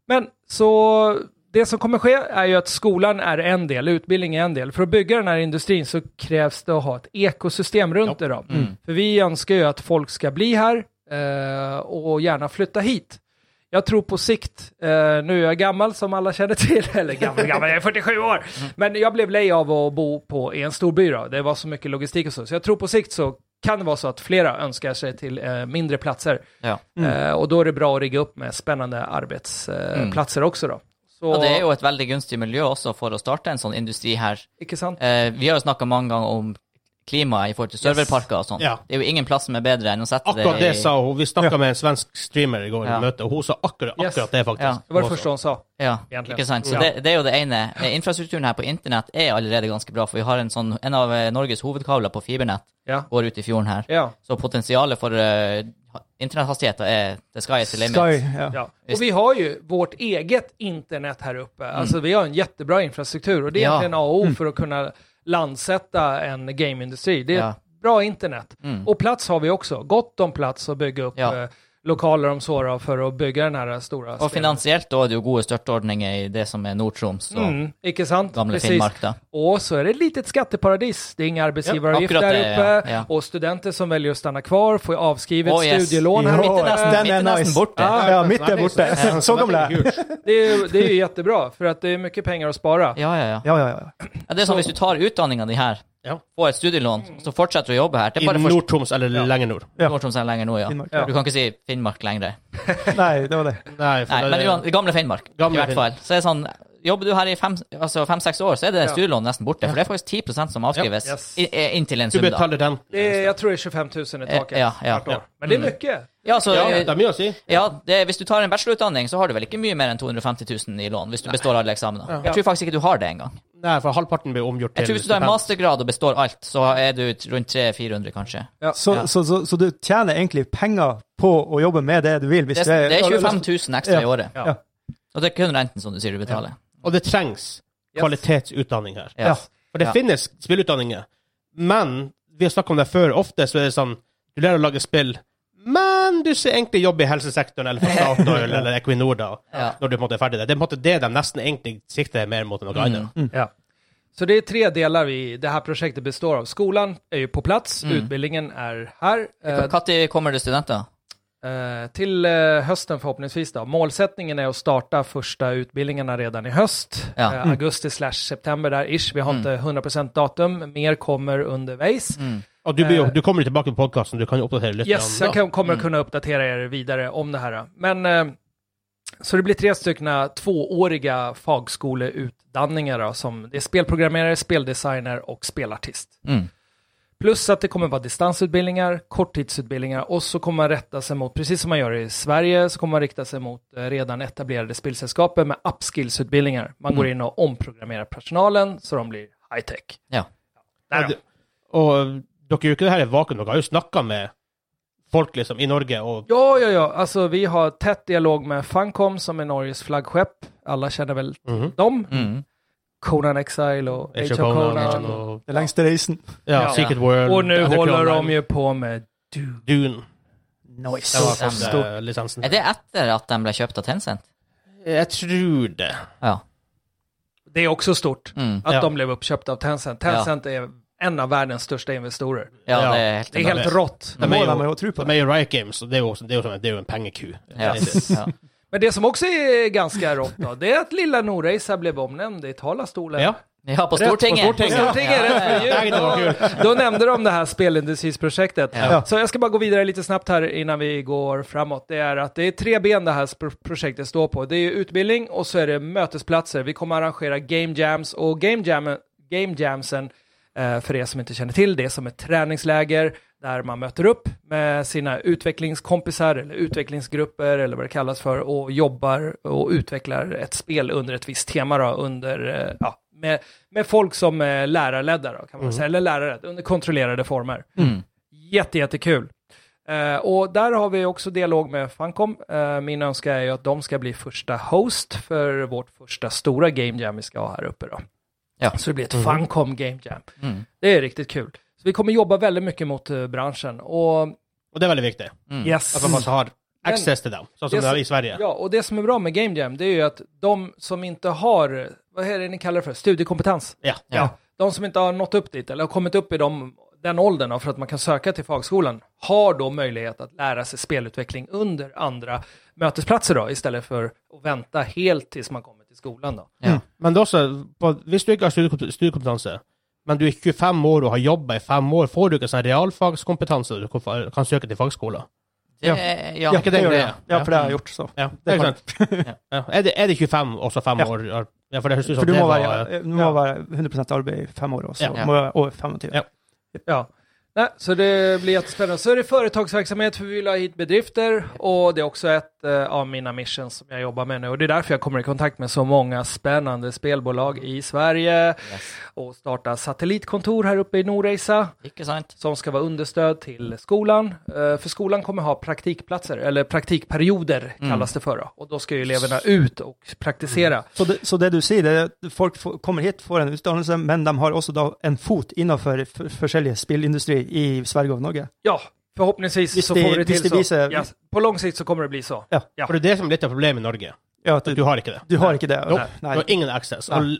D: Men så det som kommer ske är ju att skolan är en del, utbildning är en del. För att bygga den här industrin så krävs det att ha ett ekosystem runt det. Då. För vi önskar ju att folk ska bli här eh, och gärna flytta hit. Jag tror på sikt, eh, nu är jag gammal som alla känner till, eller gammal, gammal, jag är 47 år, men jag blev lej av att bo på, i en stor by då. det var så mycket logistik och så, så jag tror på sikt så kan det vara så att flera önskar sig till eh, mindre platser.
A: ja.
D: Eh, och då är det bra att rigga upp med eh, spännande arbetsplatser också då. Så,
A: Og det er jo et veldig gunstig miljø også for å starte en sånn industri her.
D: Icke sant?
A: Eh, vi har jo snakka mange ganger om klimaet i forhold til serverparker og sånn.
B: Ja.
A: Det er jo ingen plass som er bedre enn å sette
B: Akkurat det
A: i
B: sa hun. Vi snakka med en svensk streamer i går i
A: Ja.
B: møte, og hun sa akkurat,
D: Yes.
B: akkurat det, faktisk.
A: Ja.
D: Det var det
B: Hun
D: första hon sa.
A: Ja,
D: Egentligen.
A: ikke sant? Så
D: Ja.
A: det, det er jo det ene. Eh, Infrastrukturen her på internett er allerede ganske bra, for vi har en, sånn, en av eh, Norges hovedkabler på fibernett
D: Ja.
A: går ut i fjorden her.
D: Ja.
A: Så potensialet for uh, internetthastigheter er the sky is the limit.
C: Sky, ja.
D: Ja. Och vi har ju vårt eget internet här uppe. Alltså vi har en jättebra infrastruktur och det är
A: Mm. Ja. Mm.
D: egentligen A och O för att kunna landsätta en gameindustri. Det är
A: Ja.
D: ett bra internet.
A: Mm.
D: Och plats har vi också. Gott om plats att bygga upp
A: Ja.
D: eh, lokaler om så då, för att bygga den här eh, stora...
A: Og finansielt da er det jo gode støtteordninger i det som er Nord-Troms og
D: Mm, icke sant?
A: gamle
D: Precis.
A: Finnmark, da.
D: Och så är det ett litet skatteparadis. Det är inga arbetsgivaravgifter
A: Ja,
D: där
A: akkurat
D: uppe.
A: det, ja, ja.
D: Och studenter som väljer att stanna kvar får ju avskrivet
A: Oh, yes.
D: studielån.
C: Ja,
D: Här.
A: mitt er nesten-
C: den
A: mitt er nesten borte.
C: Ja, ja, mitt er borte. Så gamle.
B: Det er kult.
D: Det, är ju, det är ju jättebra, för att det är mycket pengar att spara.
A: Ja, ja, ja.
C: Ja, ja, ja.
A: ja det er sånn hvis du tar utdanninga di her,
B: Ja.
A: får et studielån, så fortsetter du å jobbe her. Det
B: I
A: er bare for
B: Nord-Troms eller lenger nord.
C: Ja.
A: Nord-Troms er lenger nå, ja.
C: Finnmark,
D: ja.
A: Du kan ikke si Finnmark lenger.
C: Nei, det var det.
B: Nei, for
A: Nei,
B: det-
A: men uan- gamle Finnmark,
B: Gamle
A: i hvert fall. Så er det sånn, jobber du her i fem- altså fem-seks år, så er det studielån nesten borte. For det er faktisk 10 som avskrives
D: Ja, yes.
A: i- i- inntil en
B: du
A: sum, da.
B: betaler den.
D: Det är, jag tror det är 25 000 i taket
A: Eh, Ja, ja.
D: vart år. Men det är mycket.
A: Ja, så, eh,
B: Ja, det er mye å si.
A: ja det, hvis du tar en bachelorutdanning, så har du vel ikke mye mer enn 250 000 i lån hvis du består alle eksamener. Jeg tror faktisk ikke du har det engang.
B: Nei, for halvparten blir omgjort
A: Jeg
B: til
A: tror hvis du tar en
B: stipend.
A: mastergrad og består alt, så er du t- rundt 300-400, kanskje.
C: Så,
A: Ja.
C: så, så, så du tjener egentlig penger på å jobbe med det du vil? Hvis
A: Det, er- det er 25
C: 000.
A: 000 ekstra i
C: Ja.
A: året.
D: Ja.
A: Og det er kun renten, som du sier, du betaler.
B: Og det trengs
D: Yes.
B: kvalitetsutdanning her.
C: Ja.
A: Yes.
B: For det
A: Ja.
B: finnes spillutdanninger, men vi har snakket om det før, ofte så er det sånn Du lærer å lage spill, men du ser egentlig jobb i helsesektoren eller for Statoil eller Equinor da,
A: Ja. Mm.
B: når du på en måte er ferdig der. Det er på en måte det de nesten egentlig sikter mer mot enn noe annet.
D: Ja. Så det är tre delar vi, det här projektet består av. Skolan är ju på plats,
A: Mm.
D: utbildningen är här. Eh,
A: Når kommer det studenter?
D: Eh, till eh, hösten förhoppningsvis då. Målsättningen är att starta första utbildningarna redan i höst.
A: Ja.
D: Eh, augusti slash september där ish. Vi har
A: Mm.
D: inte 100% datum. Mer kommer underveis.
A: Mm.
B: Og du, blir, jo-
D: Eh.
B: du kommer jo tilbake på podkasten, du kan jo oppdatere litt.
D: Yes,
B: om-
D: jag kan, kommer
A: Mm.
D: att kunna uppdatera er vidare om det här. då. Men eh, så det blir tre stycken eh, tvååriga fagskoleutdanningar då, som det är spelprogrammerare, speldesigner och spelartist.
A: Mm.
D: Plus att det kommer vara distansutbildningar, korttidsutbildningar och så kommer man rätta sig mot, precis som man gör i Sverige, så kommer man rikta sig mot eh, redan etablerade spelsällskapen med upskillsutbildningar. Man
A: Mm.
D: går in och omprogrammerar personalen så de blir high-tech.
A: Ja.
D: Där
B: Ja,
D: då.
B: det- Og eh, dere gjør ikke det her i vakuum, dere har jo snakka med folk liksom i Norge og
D: Ja, ja, ja. Alltså, vi har tätt dialog med Funcom som är Norges flaggskepp. Alla känner väl
B: Mhm.
D: dem.
A: Mm.
D: Conan Exile och Age of Conan. Och,
B: og
C: Det lengste reisen.
B: ja,
D: Ja.
B: Secret World
D: nu
B: Underground
D: håller de
B: Line,
D: ju på med Doom.
B: Dune.
C: Nice.
B: Det var
A: Stemmer.
B: første eh, lisensen.
A: Er det etter at de ble kjøpt av Tencent?
B: Jeg tror det.
A: Ja.
D: Det är också stort
A: Mm.
D: att
B: Ja.
D: de blev uppköpta av Tencent. Tencent är en av världens största investorer.
A: ja,
B: Ja.
A: det er helt
D: Det är helt
B: det.
D: rått.
C: Det
B: De
C: må
B: er
C: de
B: jo,
C: jo tro på.
B: de er jo Riot Games, og det er jo, også- det er jo, sånn- det er jo en pengeku.
A: ja. Ja.
D: Men det som också är ganska rått då, det är att lilla Noraisa blev omnämnd i talarstolen.
B: Ja.
A: ja, på Stortinget!
B: På Stortinget.
D: Stortinget,
A: Ja,
D: rätt
A: ja,
D: för
A: ja.
D: jul.
B: Nej, det var
D: Då- Då nämnde de det här spelindustriprojektet.
A: Ja.
D: Så jag ska bara gå vidare lite snabbt här innan vi går framåt. Det är att det är tre ben det här sp- projektet står på. Det är utbildning och så är det mötesplatser. Vi kommer arrangera game jams och game, jam, game jamsen, eh, för er som inte känner till det, är som ett träningsläger där man möter upp med sina utvecklingskompisar eller utvecklingsgrupper eller vad det kallas för och jobbar och utvecklar ett spel under ett visst tema då, under, eh, ja, med, med folk som är lärarledda då, kan man säga, eller lärare under kontrollerade former.
A: Mm.
D: Jätte, jättekul. Eh, och där har vi också dialog med Funcom. Eh, min önskan är ju att de ska bli första host för vårt första stora Game Jam vi ska ha här uppe då.
A: Ja.
D: Så det blir ett Funcom Game Jam.
A: Mm.
D: Det är riktigt kul. Så vi kommer jobba väldigt mycket mot eh, branschen. Och,
B: Og det er veldig viktig.
A: Mm.
D: yes.
B: At man faktisk har access till dem, sånn som
D: Det
B: det
D: är
B: er
D: så-
B: i Sverige.
D: Ja, och det som är bra med Game Jam, det är ju att de som inte har, vad är det ni kallar det för, studiekompetens?
B: Ja.
A: Ja.
D: De som inte har nått upp dit eller har kommit upp i de, den åldern då, för att man kan söka till fagskolan, har då möjlighet att lära sig spelutveckling under andra mötesplatser då, istället för att vänta helt tills man kommer till skolan då.
A: Ja.
B: Men det er også, på, hvis du ikke har studiekom- studiekompetanse, men du er 25 år og har jobba i fem år, får du ikke sånn realfagskompetanse du kan fa- kan søke til fagskoler?
A: Ja.
B: Er ikke det
C: gjør
B: greia?
C: Ja, for det har jeg gjort, så.
B: Ja,
C: Det
B: det
C: er
B: er sant. Ja. Er, det, er det 25 og så 5
C: Ja.
B: år? ja. Ja, for det høres ut som
C: For du
B: det
C: må
B: var
C: være, du må være 100 arbeid i fem år, og så
A: Ja.
C: må jeg være over 25.
B: Ja.
D: Ja. Nej, så det blir jättespännande. Så är det företagsverksamhet, för vi vill ha hit bedrifter och det är också ett eh, av mina missions som jag jobbar med nu. Och det är därför jag kommer i kontakt med så många spännande spelbolag i Sverige
A: Yes.
D: och starta satellitkontor här uppe i Norreisa
A: Ikke sant?
D: som ska vara understöd till skolan. Eh, För skolan kommer ha praktikplatser, eller praktikperioder kallas det för. då. Och då ska ju eleverna ut och praktisera.
C: Så, det, så det du sier, det er at folk får, kommer hit, får en utdannelse, men de har også da en fot innenfor f- forskjellige spillindustri i Sverige og Norge.
D: Ja, förhoppningsvis
C: Visst
D: så
C: det-
D: får vi det
C: visst
D: till
C: det
D: så.
C: visar-
D: Ja, på lång sikt så kommer det bli så. Ja.
B: For det er det som er litt av problemet i Norge.
C: Ja, at
B: At
C: du,
B: du har ikke det.
C: du har ikke det?
B: Nope.
C: Nei.
B: Du har ingen access.
C: Nei.
B: Og,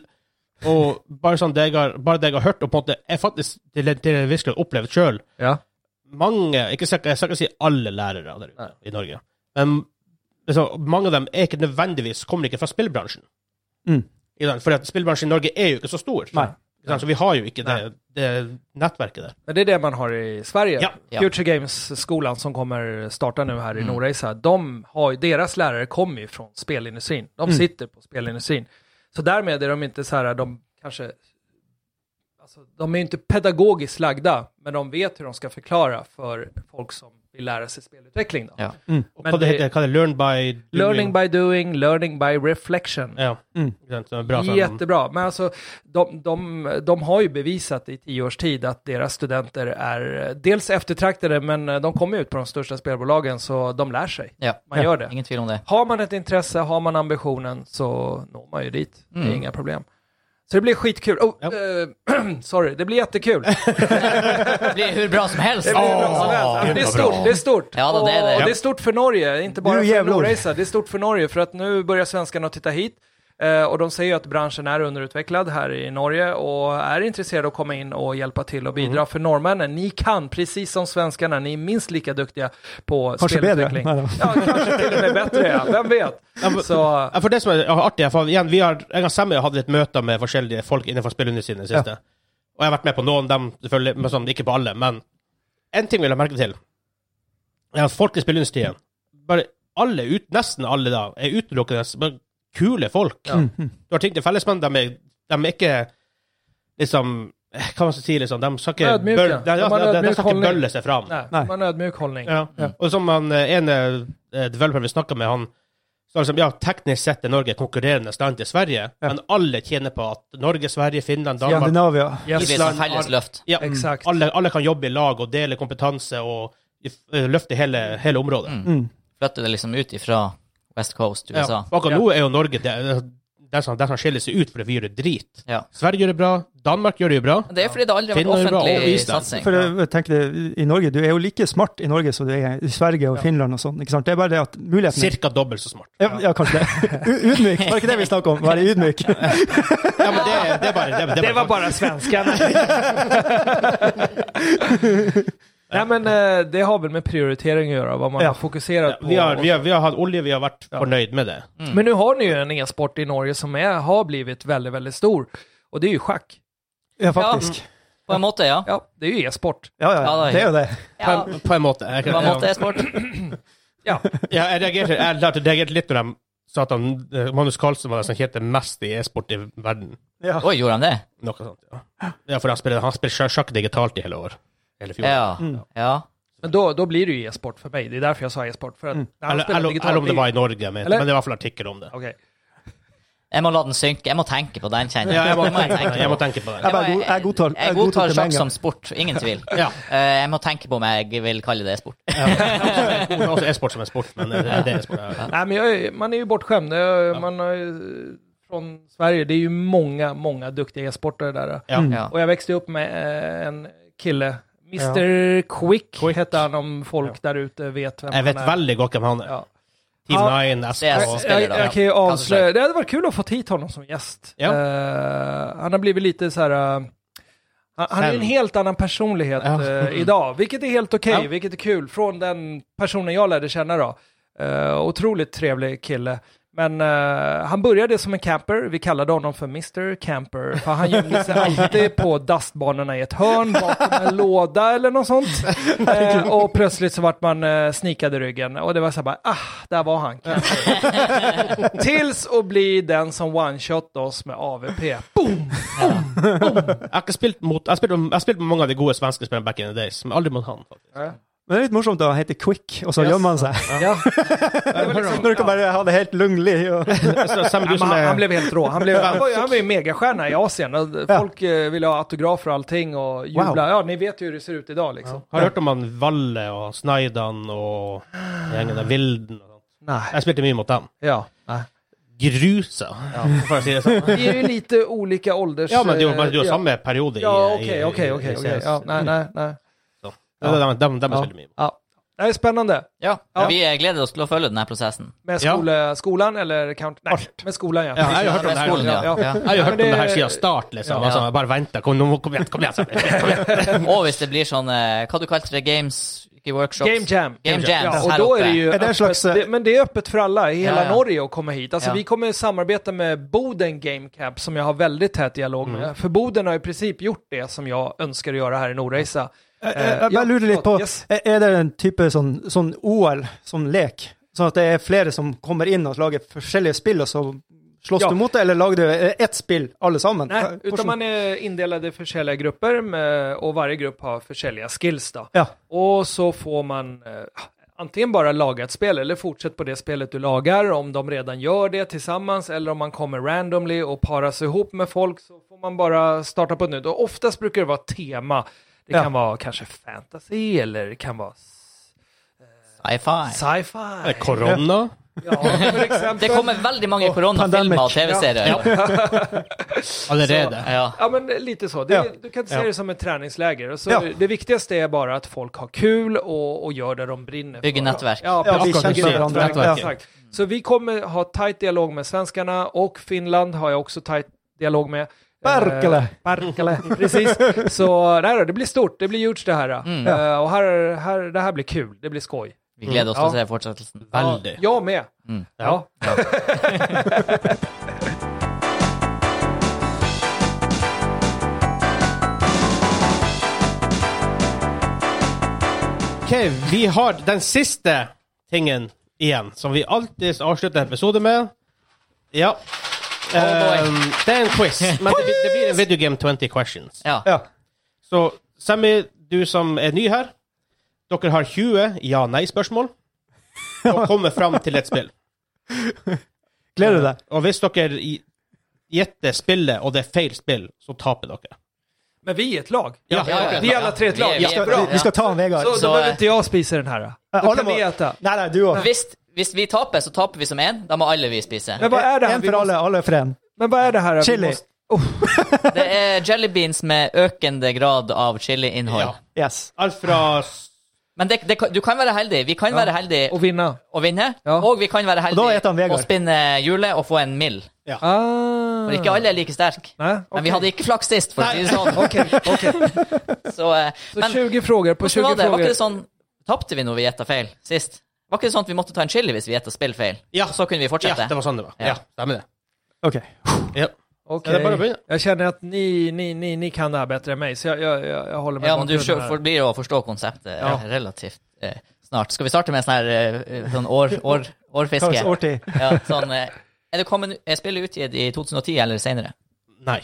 B: og bare sånn det jeg har, bare det jeg har hørt, og på en måte jeg faktisk til, til en viss grad opplevd sjøl
D: Ja.
B: Mange, ikke sikkert, jeg skal ikke si alle lærere der ute
D: Nei.
B: i Norge, men liksom, mange av dem er ikke nødvendigvis kommer ikke fra spillbransjen.
C: Mm.
B: Ikke sant? Fordi at spillbransjen i Norge er jo ikke så stor.
C: Nei.
B: Ikke sant? Så vi har jo ikke det,
D: Nei.
B: det nettverket der.
D: Men det är det man har i Sverige.
B: Ja.
A: Ja.
D: Future Games-skolan som kommer starta nu här i
B: Mm.
D: Norreisa, de har, ju- deras lärare kommer ju från spelindustrin. De
B: Mm.
D: sitter på spelindustrin. Så därmed är de inte så här, de kanske... Alltså, de är ju inte pedagogiskt lagda, men de vet hur de ska förklara för folk som vill lära sig spelutveckling. Då.
A: Ja.
B: Og
D: Men
B: hva det
D: det-
B: heter hva det? Learn by doing?
D: Learning by Mm. doing, learning by reflection.
B: Ja. Ikke sant? Det er bra sånn-
D: Jättebra, men alltså de, de, de har ju bevisat i tio års tid att deras studenter är eh, dels eftertraktade, men eh, de kommer ut på de största spelbolagen så de lär sig.
A: Ja.
D: Man gör det.
A: Ingen tvil om det.
D: Har man ett intresse, har man ambitionen så når man ju dit. Det är
A: Mm.
D: inga problem. Så det blir skitkul. Oh,
B: Ja.
D: eh, sorry, det blir jättekul.
A: Det blir hur bra som helst.
D: Det blir hur bra som
A: Åh,
D: helst. Alltså, Det är
A: vad Ah, bra.
D: stort, det är stort.
A: Ja, då, det är det.
D: Och det är stort för Norge, inte bara
C: Du
D: för
C: jävlar.
D: Norreisa, det är stort för Norge för att nu börjar svenskarna titta hit. Eh, och de säger ju att branschen är underutvecklad här i Norge och är intresserade av att komma in och hjälpa till och bidra. För norrmännen, ni kan precis som svenskarna, ni är minst lika duktiga på
C: Kanskje bedre. Nei
D: spelutveckling.
C: da.
D: Ja, kanske till och med bättre, ja. vem vet? Så,
B: Ja, for det som er artig, for igjen, vi har, en gang Sammy hadde litt møter med forskjellige folk innenfor spillindustrien i det siste. Og jeg har vært med på noen av dem, selvfølgelig, men sånn, ikke på alle. Men en ting vil jeg merke til. er at folk i spillindustrien, bare alle, ut, nesten alle da, er utelukkende bare kule folk. Du har ting til felles, men de er, de er ikke liksom eh, Hva man skal si, liksom? De skal ikke,
D: Ødmyke.
B: bøl, de,
D: De har
B: de, de, de
D: ødmyk
B: skal ikke
D: holdning.
B: bølle seg fram.
D: nej,
C: Nej.
D: man har ödmjuk hållning.
B: Ja. Og som han eh, ene eh, developer vi snakka med, han sa liksom ja, teknisk sett er Norge et konkurrerende land til Sverige, men alle tjener på at Norge, Sverige, Finland, Danmark
C: Skandinavia.
A: Gi
D: Yes.
A: det et felles løft.
B: ja,
D: Mm. Exakt.
B: alle, alle kan jobbe i lag og dele kompetanse og eh, løfte hele, hele området.
D: Mm,
A: Flytte det liksom ut ifra West Coast, USA.
B: Ja. Og Akkurat
D: Ja.
B: nå er jo Norge det, det, som, det som skiller seg ut, fordi vi gjør det drit.
A: Ja.
B: Sverige gjør det bra, Danmark gjør det jo bra.
A: Det er fordi det aldri har
B: Finland er
A: vært
B: bra, og
A: offentlig
B: Island.
A: satsing.
C: For eh, jeg tenker det, i Norge, Du er jo like smart i Norge som du er i Sverige og Finland. og sånn, ikke sant? Det er bare det at muligheten
B: Cirka dobbelt så smart.
C: ja, ja, kanskje det. U ydmyk, var det ikke det vi snakket om? Være ydmyk.
B: Ja, men det, det, er bare, det, er- det,
D: Det var
B: bare
D: bara svenskarna. Nej men eh, det har väl med prioritering att göra, vad man
C: Ja.
D: har fokuserat på. Mm.
B: vi har, vi, har, vi har hatt olje, vi har vært fornøyd med det.
D: Men nu har ni ju en e-sport i Norge som är, har blivit väldigt, väldigt stor. Och det är ju schack.
C: Ja, faktisk.
A: På en måte, ja.
D: Ja, det är ju e-sport.
C: Ja, ja, det er jo det.
A: ja.
B: På, en, på en måte. Jeg,
A: På en måte
B: jeg,
A: er sport.
D: Ja,
B: jeg, reagerte, jeg lærte- reagerte litt når de sa at han, eh, Magnus Carlsen var den som tjente mest i e-sport i verden.
C: Ja.
A: Oi, gjorde han det?
B: Noe sånt, ja. ja for han spiller, han spiller sjakk- sjakk digitalt i hele år. Hele fjor.
A: Ja. ja.
D: men då, då blir det ju e-sport för mig. Det är därför jag sa e-sport. För att när han
B: Eller,
D: spelar
B: eller,
D: digitalt,
B: eller om det
D: det är
B: var
D: ju-
B: i Norge, men,
D: Eller-
B: men det var i hvert fall artikkel om det.
D: Okej.
A: Jeg må la den synke. Jeg må tenke på den, kjenner
B: Ja, jeg må
A: Det
B: tenke,
A: tenke på.
B: jeg må tenke på det.
C: Jeg bare go- jeg godtar- jeg
A: jeg
C: godtar
A: godtar
C: til
A: sjakk
C: mengen.
A: som sport, ingen tvil.
B: Ja.
A: Eh, jeg må tenke på om jeg vil kalle det sport.
B: Det er også e-sport som en sport, men det er det e-sport. Ja.
D: Nej, men jag, är- man är ju bortskämd. Det är- Man har ju, från Sverige, det är ju många, många duktiga e-sportare där.
B: Ja.
A: Ja.
D: Och jag växte upp med eh, en kille, Mr Quick, hette han om folk där ute vet vem
B: Jeg vet
D: han är.
B: veldig godt hvem han er.
D: Ja.
B: Team
D: Ja.
B: 9,
A: Det er
B: SK
A: spiller
D: Jag,
A: då,
D: jag
A: ja.
D: kan ju
A: Counter-Strike.
D: avslöja, det hade varit kul att få hit honom som gäst.
B: Ja.
D: Eh, han har blivit lite så här... eh, han, han är ju en
B: Sen.
D: helt annan personlighet
B: Ja.
D: eh, idag, vilket är helt okej,
B: Ja.
D: vilket är kul, från den personen jag lärde känna då. Eh, otroligt trevlig kille. Men eh, han började som en camper, vi kallade honom för Mr Camper, för han gömde sig alltid på dustbanorna i ett hörn bakom en låda eller något sånt. Eh, och plötsligt så vart man eh, snikad i ryggen och det var så här bara, ah, där var han camper. Tills att bli den som one-shot oss med AVP.
B: Jeg har ikke spilt mot Jeg har spilt, jeg har spilt med mange av de gode svenske spillerne back in the days, men aldri mot han. faktisk.
C: Men det er litt morsomt at han heter Quick, og så
D: Yes.
C: gjemmer han seg.
D: Ja.
C: Når du kan bare ha det helt lunglig. Og...
D: Eh,
B: Så, Sam, du
D: Ja, men
B: som
D: han, han
B: er
D: blev helt rå. Han, blev, han, var, ju- han var ju megastjärna i Asien. Och Folk eh, ville ha autografer och allting och jubla.
C: Wow.
D: Ja, ni vet ju hur det ser ut idag liksom.
B: Har du hørt om han Valle og Snaidan og gjengen der Vilden og sånt?
D: Nej.
B: Jeg spilte mye mot dem.
D: Ja. Nej.
B: Grusa, for å si det sånn.
D: Vi är ju lite olika ålders...
B: Ja, men det er jo- men det er jo
D: eh,
B: samme periode i
D: Ja,
B: i-
D: okej,
B: i-
D: okej,
B: i-
D: okej.
B: i-
D: okej.
B: CS.
D: Ja, nej, nej, nej.
B: Ja, De, de, de, de
D: Ja.
B: spiller mye mot.
D: Ja. Det här är spännande.
A: Ja.
D: Ja.
A: Vi eh, gleder oss til å følge denne prosessen.
D: Med
B: Ja.
D: skole, skolan eller count... Nej, med skolan ja.
B: Ja, jeg har jo hørt om
A: Med
B: det her.
A: skolen, ja.
D: Ja.
A: ja.
B: Jeg har jo hørt om
D: det-
B: det her siden start, liksom.
A: Ja.
B: Altså, jeg bare venter. Kom, nå, kom igjen, kom igjen! Sam.
A: Og hvis det blir sånn eh, Hva du kalte det? Games? Ikke workshops?
D: Game jam.
A: Game jams
D: Ja, och
A: her
D: då är
A: oppe.
D: det ju
C: Är det en
D: öppet,
C: slags, eh,
D: det, men det är öppet för alla i hela
A: Ja, ja.
D: Norge att komma hit. Alltså
A: Ja.
D: vi kommer samarbeta med Boden Game Camp som jag har väldigt tät dialog
A: Mm.
D: med. För Boden har i princip gjort det som jeg ønsker å gjøre her i Nordreisa.
C: Eh, Jeg jeg bare lurer litt på,
D: eh, Yes.
C: er er det en type sånn, sånn OL, sånn lek, sånn at det er flere som kommer inn og lager forskjellige spill, og så slåss
D: Ja.
C: du mot det, eller lager du eh, ett spill alle sammen?
D: Nej,
C: Hvordan-
D: utan man är indelade i forskjelliga grupper med, och varje grupp har forskjelliga skills då.
C: Ja.
D: Och så får man eh, antingen bara laga ett spel eller fortsätt på det spelet du lagar om de redan gör det tillsammans eller om man kommer randomly och paras ihop med folk så får man bara starta på ett nytt. Och oftast brukar det vara tema. Det
C: Ja.
D: kan vara kanske fantasy eller det kan vara
A: Sci-fi.
D: sci-fi.
B: Korona?
D: Ja, för exempel.
A: Det kommer veldig mange koronafilmer og TV-serier. Ja.
B: Allerede.
A: Ja.
D: Ja, men lite så. Det,
C: Ja.
D: Du kan se
B: Ja.
D: det som ett träningsläger. Och Så
C: Ja.
D: Det viktigaste är bara att folk har kul och, och gör det de brinner
A: Bygger
D: för.
A: nätverk.
D: Ja,
C: Ja,
D: precis.
B: vi känner
D: Bygger
C: varandra.
D: nätverk.
C: Ja.
D: Exakt. Så vi kommer ha tajt dialog med svenskarna och Finland har jag också tajt dialog med.
C: Perkele.
D: Eh, Perkele, precis. Så nej då, det blir stort, det blir huge det här.
A: Mm.
D: Eh, och här, här, det här blir kul, det blir skoj.
A: Vi gleder oss til å se fortsettelsen.
B: Veldig.
D: Ja, jag med.
A: Mm.
D: Ja.
B: Ok, vi har den siste tingen igjen, som vi alltid avslutter en episode med. Ja.
A: boy.
B: Ehm, det er en quiz, men det, blir- det blir en Video Game 20 questions.
A: Ja.
C: Ja.
B: Så Sammy, du som er ny her, dere har 20 ja-nei-spørsmål og kommer fram til et spill.
C: Gleder du deg?
B: Og hvis dere i- gjetter spillet, og det er feil spill, så taper dere.
D: Men vi är ett lag.
B: Ja,
A: Ja, ja,
D: Vi er alle tre et lag.
A: Vi er- vi er-
C: Vi, vi skal ta han Vegard.
D: Så,
A: Så,
D: då behöver
A: eh,
D: inte jag spisa den här. Då
C: Alle
D: kan
C: må-
D: ni äta.
C: Nei, nei, du òg.
A: Hvis, hvis vi taper, så taper vi som én. Da må alle vi spise.
D: Men vad är det här
C: Eh, En
D: vi
C: for
D: måste...
C: alle, alle for en.
D: Men vad är det här vi
C: Chili.
D: måste...
A: Det er jelly beans med økende grad av chiliinnhold.
B: Ja.
C: Yes.
B: Alt fra s-
A: Men det, det, kan- du kan være heldig. Vi kan være heldig
D: Och vinna.
A: å vinne,
D: Ja.
A: og vi kan være
C: Og da heter han
A: heldig
C: Vegard.
A: å spinne hjulet og få en mill.
D: Ah.
A: For ikke alle er like sterke.
D: Nej,
A: Men vi
D: okej.
A: hadde ikke flaks sist, for å si det sånn.
D: Okej, okej.
A: Så, eh,
D: Så
A: men
D: 20 frågor på 20
A: hvordan var det? Var
D: frågor.
A: ikke det sånn Tapte vi når vi gjetta feil sist? Var ikke det sånn at vi måtte ta en chili hvis vi gjetta spill feil?
B: Ja.
A: Så kunne vi
B: Ja,
A: fortsette?
B: det var sånn det var.
A: Ja.
B: Ja, stemmer det.
C: Ok.
B: Ja.
D: Okej.
B: Ja, det är bara att börja.
D: Jag känner att ni, ni, ni, ni kan det här bättre än mig, så jag, jag, jag, jag håller mig
A: Ja, men du
D: bakgrunden
A: kjø-
D: här.
A: forblir å forstå konseptet
D: Ja.
A: eh, relativt eh, snart. Skal vi starte med en sånn her eh, sånn år, år, årfiske?
C: Kanskje årtid.
A: Ja, sånn, eh, er, det kommet, er spillet utgitt i 2010 eller senere?
B: Nei.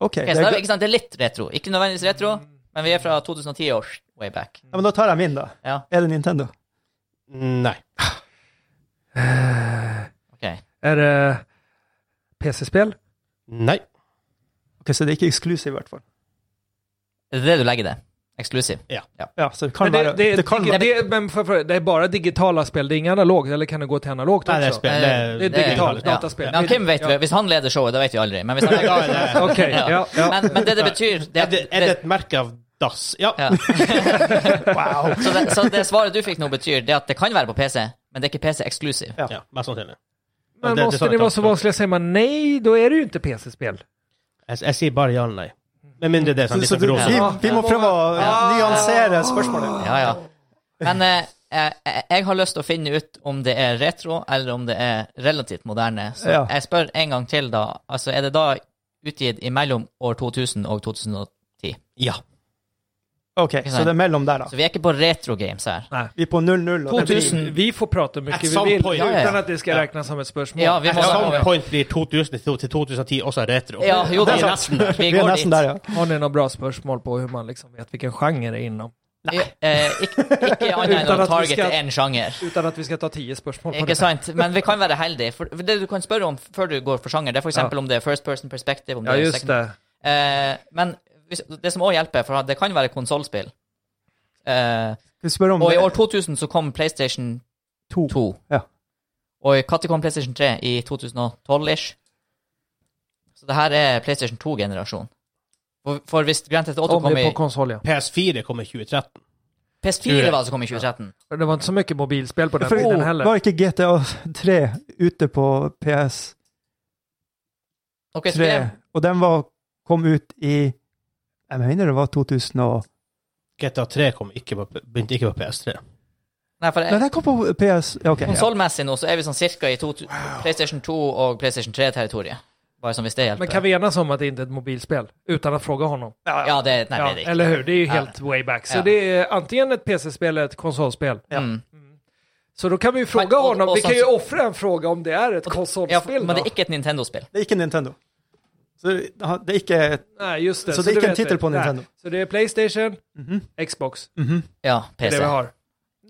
C: Ok.
A: Ok,
C: det
A: så
C: er
A: da,
C: gøy.
A: ikke sant, det er litt retro. Ikke nødvendigvis retro, men vi er fra 2010 år way back.
C: Ja, men da tar jeg min, da.
A: Ja.
C: Er det Nintendo?
B: Nei.
A: Ok.
D: Är det PC-spel?
B: Nei.
C: Ok, Så det er ikke exclusive, i hvert fall.
A: Det er det du legger i det. Eksklusiv.
C: Ja, så det
D: Men
C: kan
D: det,
C: være
D: det, det,
C: det kan være-
D: det, det, men för, för, det är bara digitala spel, det är inga analogt, eller kan det gå till analogt
B: Nei, det er
D: också?
B: spill. Det er,
D: Det är digitalt,
A: Ja.
D: dataspel.
A: Men Kim vet
D: Ja.
A: vi, Hvis han leder showet, da vet vi aldri. Men hvis han
B: Ja,
A: legger,
B: det er-
D: Okej, ja. ja.
A: men, men det det betyr det,
B: Er det, er det et merke av dass? Ja.
A: ja.
C: Wow.
A: så, det, så det svaret du fikk nå, betyr det at det kan være på PC, men det er ikke PC-eksklusiv.
B: ja. Mest sannsynlig.
D: Men
B: det- sånn det
D: måste
B: sa
D: ni
B: jag
D: vara
B: också.
D: så vanskliga, säger man nej, då är det ju inte PC-spel.
B: Jeg, jeg sier bare ja eller nei. Med mindre det er sånn
C: Så, så
B: litt
C: du, vi,
B: grovt.
C: vi må prøve å
A: Ja.
C: nyansere spørsmålet.
A: Ja, ja. Men eh, eh, eh, jeg har lyst til å finne ut om det er retro, eller om det er relativt moderne. Så
C: Ja.
A: jeg spør en gang til, da. Altså, er det da utgitt imellom år 2000 og 2010?
B: Ja.
C: Ok, så det er mellom der,
A: Så
C: da.
A: vi er ikke på retro games her.
C: Vi er på 0-0. og det blir-
A: 2000.
D: Vi får prata hur
B: At
D: mycket
B: some
D: vi vill,
B: point.
A: Ja, ja, ja.
D: utan att det ska räknas som ett spörsmål.
A: Ja, vi
B: At
A: må
B: some point blir 2000 til 2010 også retro.
A: Ja, jo
B: det
A: da.
B: er nesten der.
A: Vi
C: Vi er
A: går
C: nesten der,
A: dit.
C: ja.
D: Har ni några bra spörsmål på hur man liksom vet vilken genre det är inom?
A: Eh, ikke, ikke annet enn
D: Utan
A: å
D: at vi
A: targete
D: skal-
A: én sjanger.
D: Utan att vi ska ta tio spörsmål på
A: Ikke
D: det.
A: sant? Men vi kan være heldige. For for det du kan spørre om før du går for sjanger, det er f.eks.
D: Ja.
A: eksempel om det er first person perspective. Om
D: Ja,
A: det er
D: just
A: second
D: det.
A: Eh, men hvis, det som òg hjelper, for det kan være konsollspill eh,
C: Skal vi spørre om
A: Og i år 2000 så kom PlayStation
C: to?
A: 2.
C: Ja.
A: Og i- når kom PlayStation 3? I 2012-ish. Så det her er PlayStation 2-generasjon. For, for hvis Grand Theft Auto
D: Om
A: kom
D: det är
A: i
D: på konsol, ja.
B: PS4 kom i 2013.
A: PS4 var det som kom i 2013.
D: Det var inte så mycket mobilspel på den
C: For
D: tiden
C: var
D: heller.
C: ikke GTA 3 ute på PS3,
A: Ok, så vi er,
C: og den var, kom ut i Jeg mener det var 2000 og
B: GTA 3 kom ikke på, begynte ikke på PS3.
A: nei, for
C: Nei, den kom på PS ja, ok.
A: konsollmessig nå så er vi sånn cirka i to, PlayStation 2 og PlayStation 3-territoriet. Bare som hvis det hjelper.
D: Men kan vi enas om att det inte är ett mobilspel? Utan att fråga honom.
A: Ja, det, nei,
D: ja,
A: det er det ikke.
D: eller hur? Det är ju helt way back. Så
A: Ja.
D: det är antingen ett PC-spel eller ett konsolspel.
A: Mm.
D: Så då kan vi ju fråga
A: Men- och-
D: honom.
A: och
D: vi
A: som-
D: kan ju offra en fråga om det är ett
A: Ja, for,
D: konsolspel
A: men det
D: då.
A: er ikke et Nintendo-spill.
C: Det er ikke Nintendo. Så det er ikke
D: Nej, just det.
C: Så det är
D: du
C: inte en
D: vet
C: titel på
D: Nej.
C: Nintendo.
D: Så det är Playstation,
C: Mhm.
D: Xbox.
C: Mhm.
A: Ja,
D: Det är
A: PC.
D: det vi har.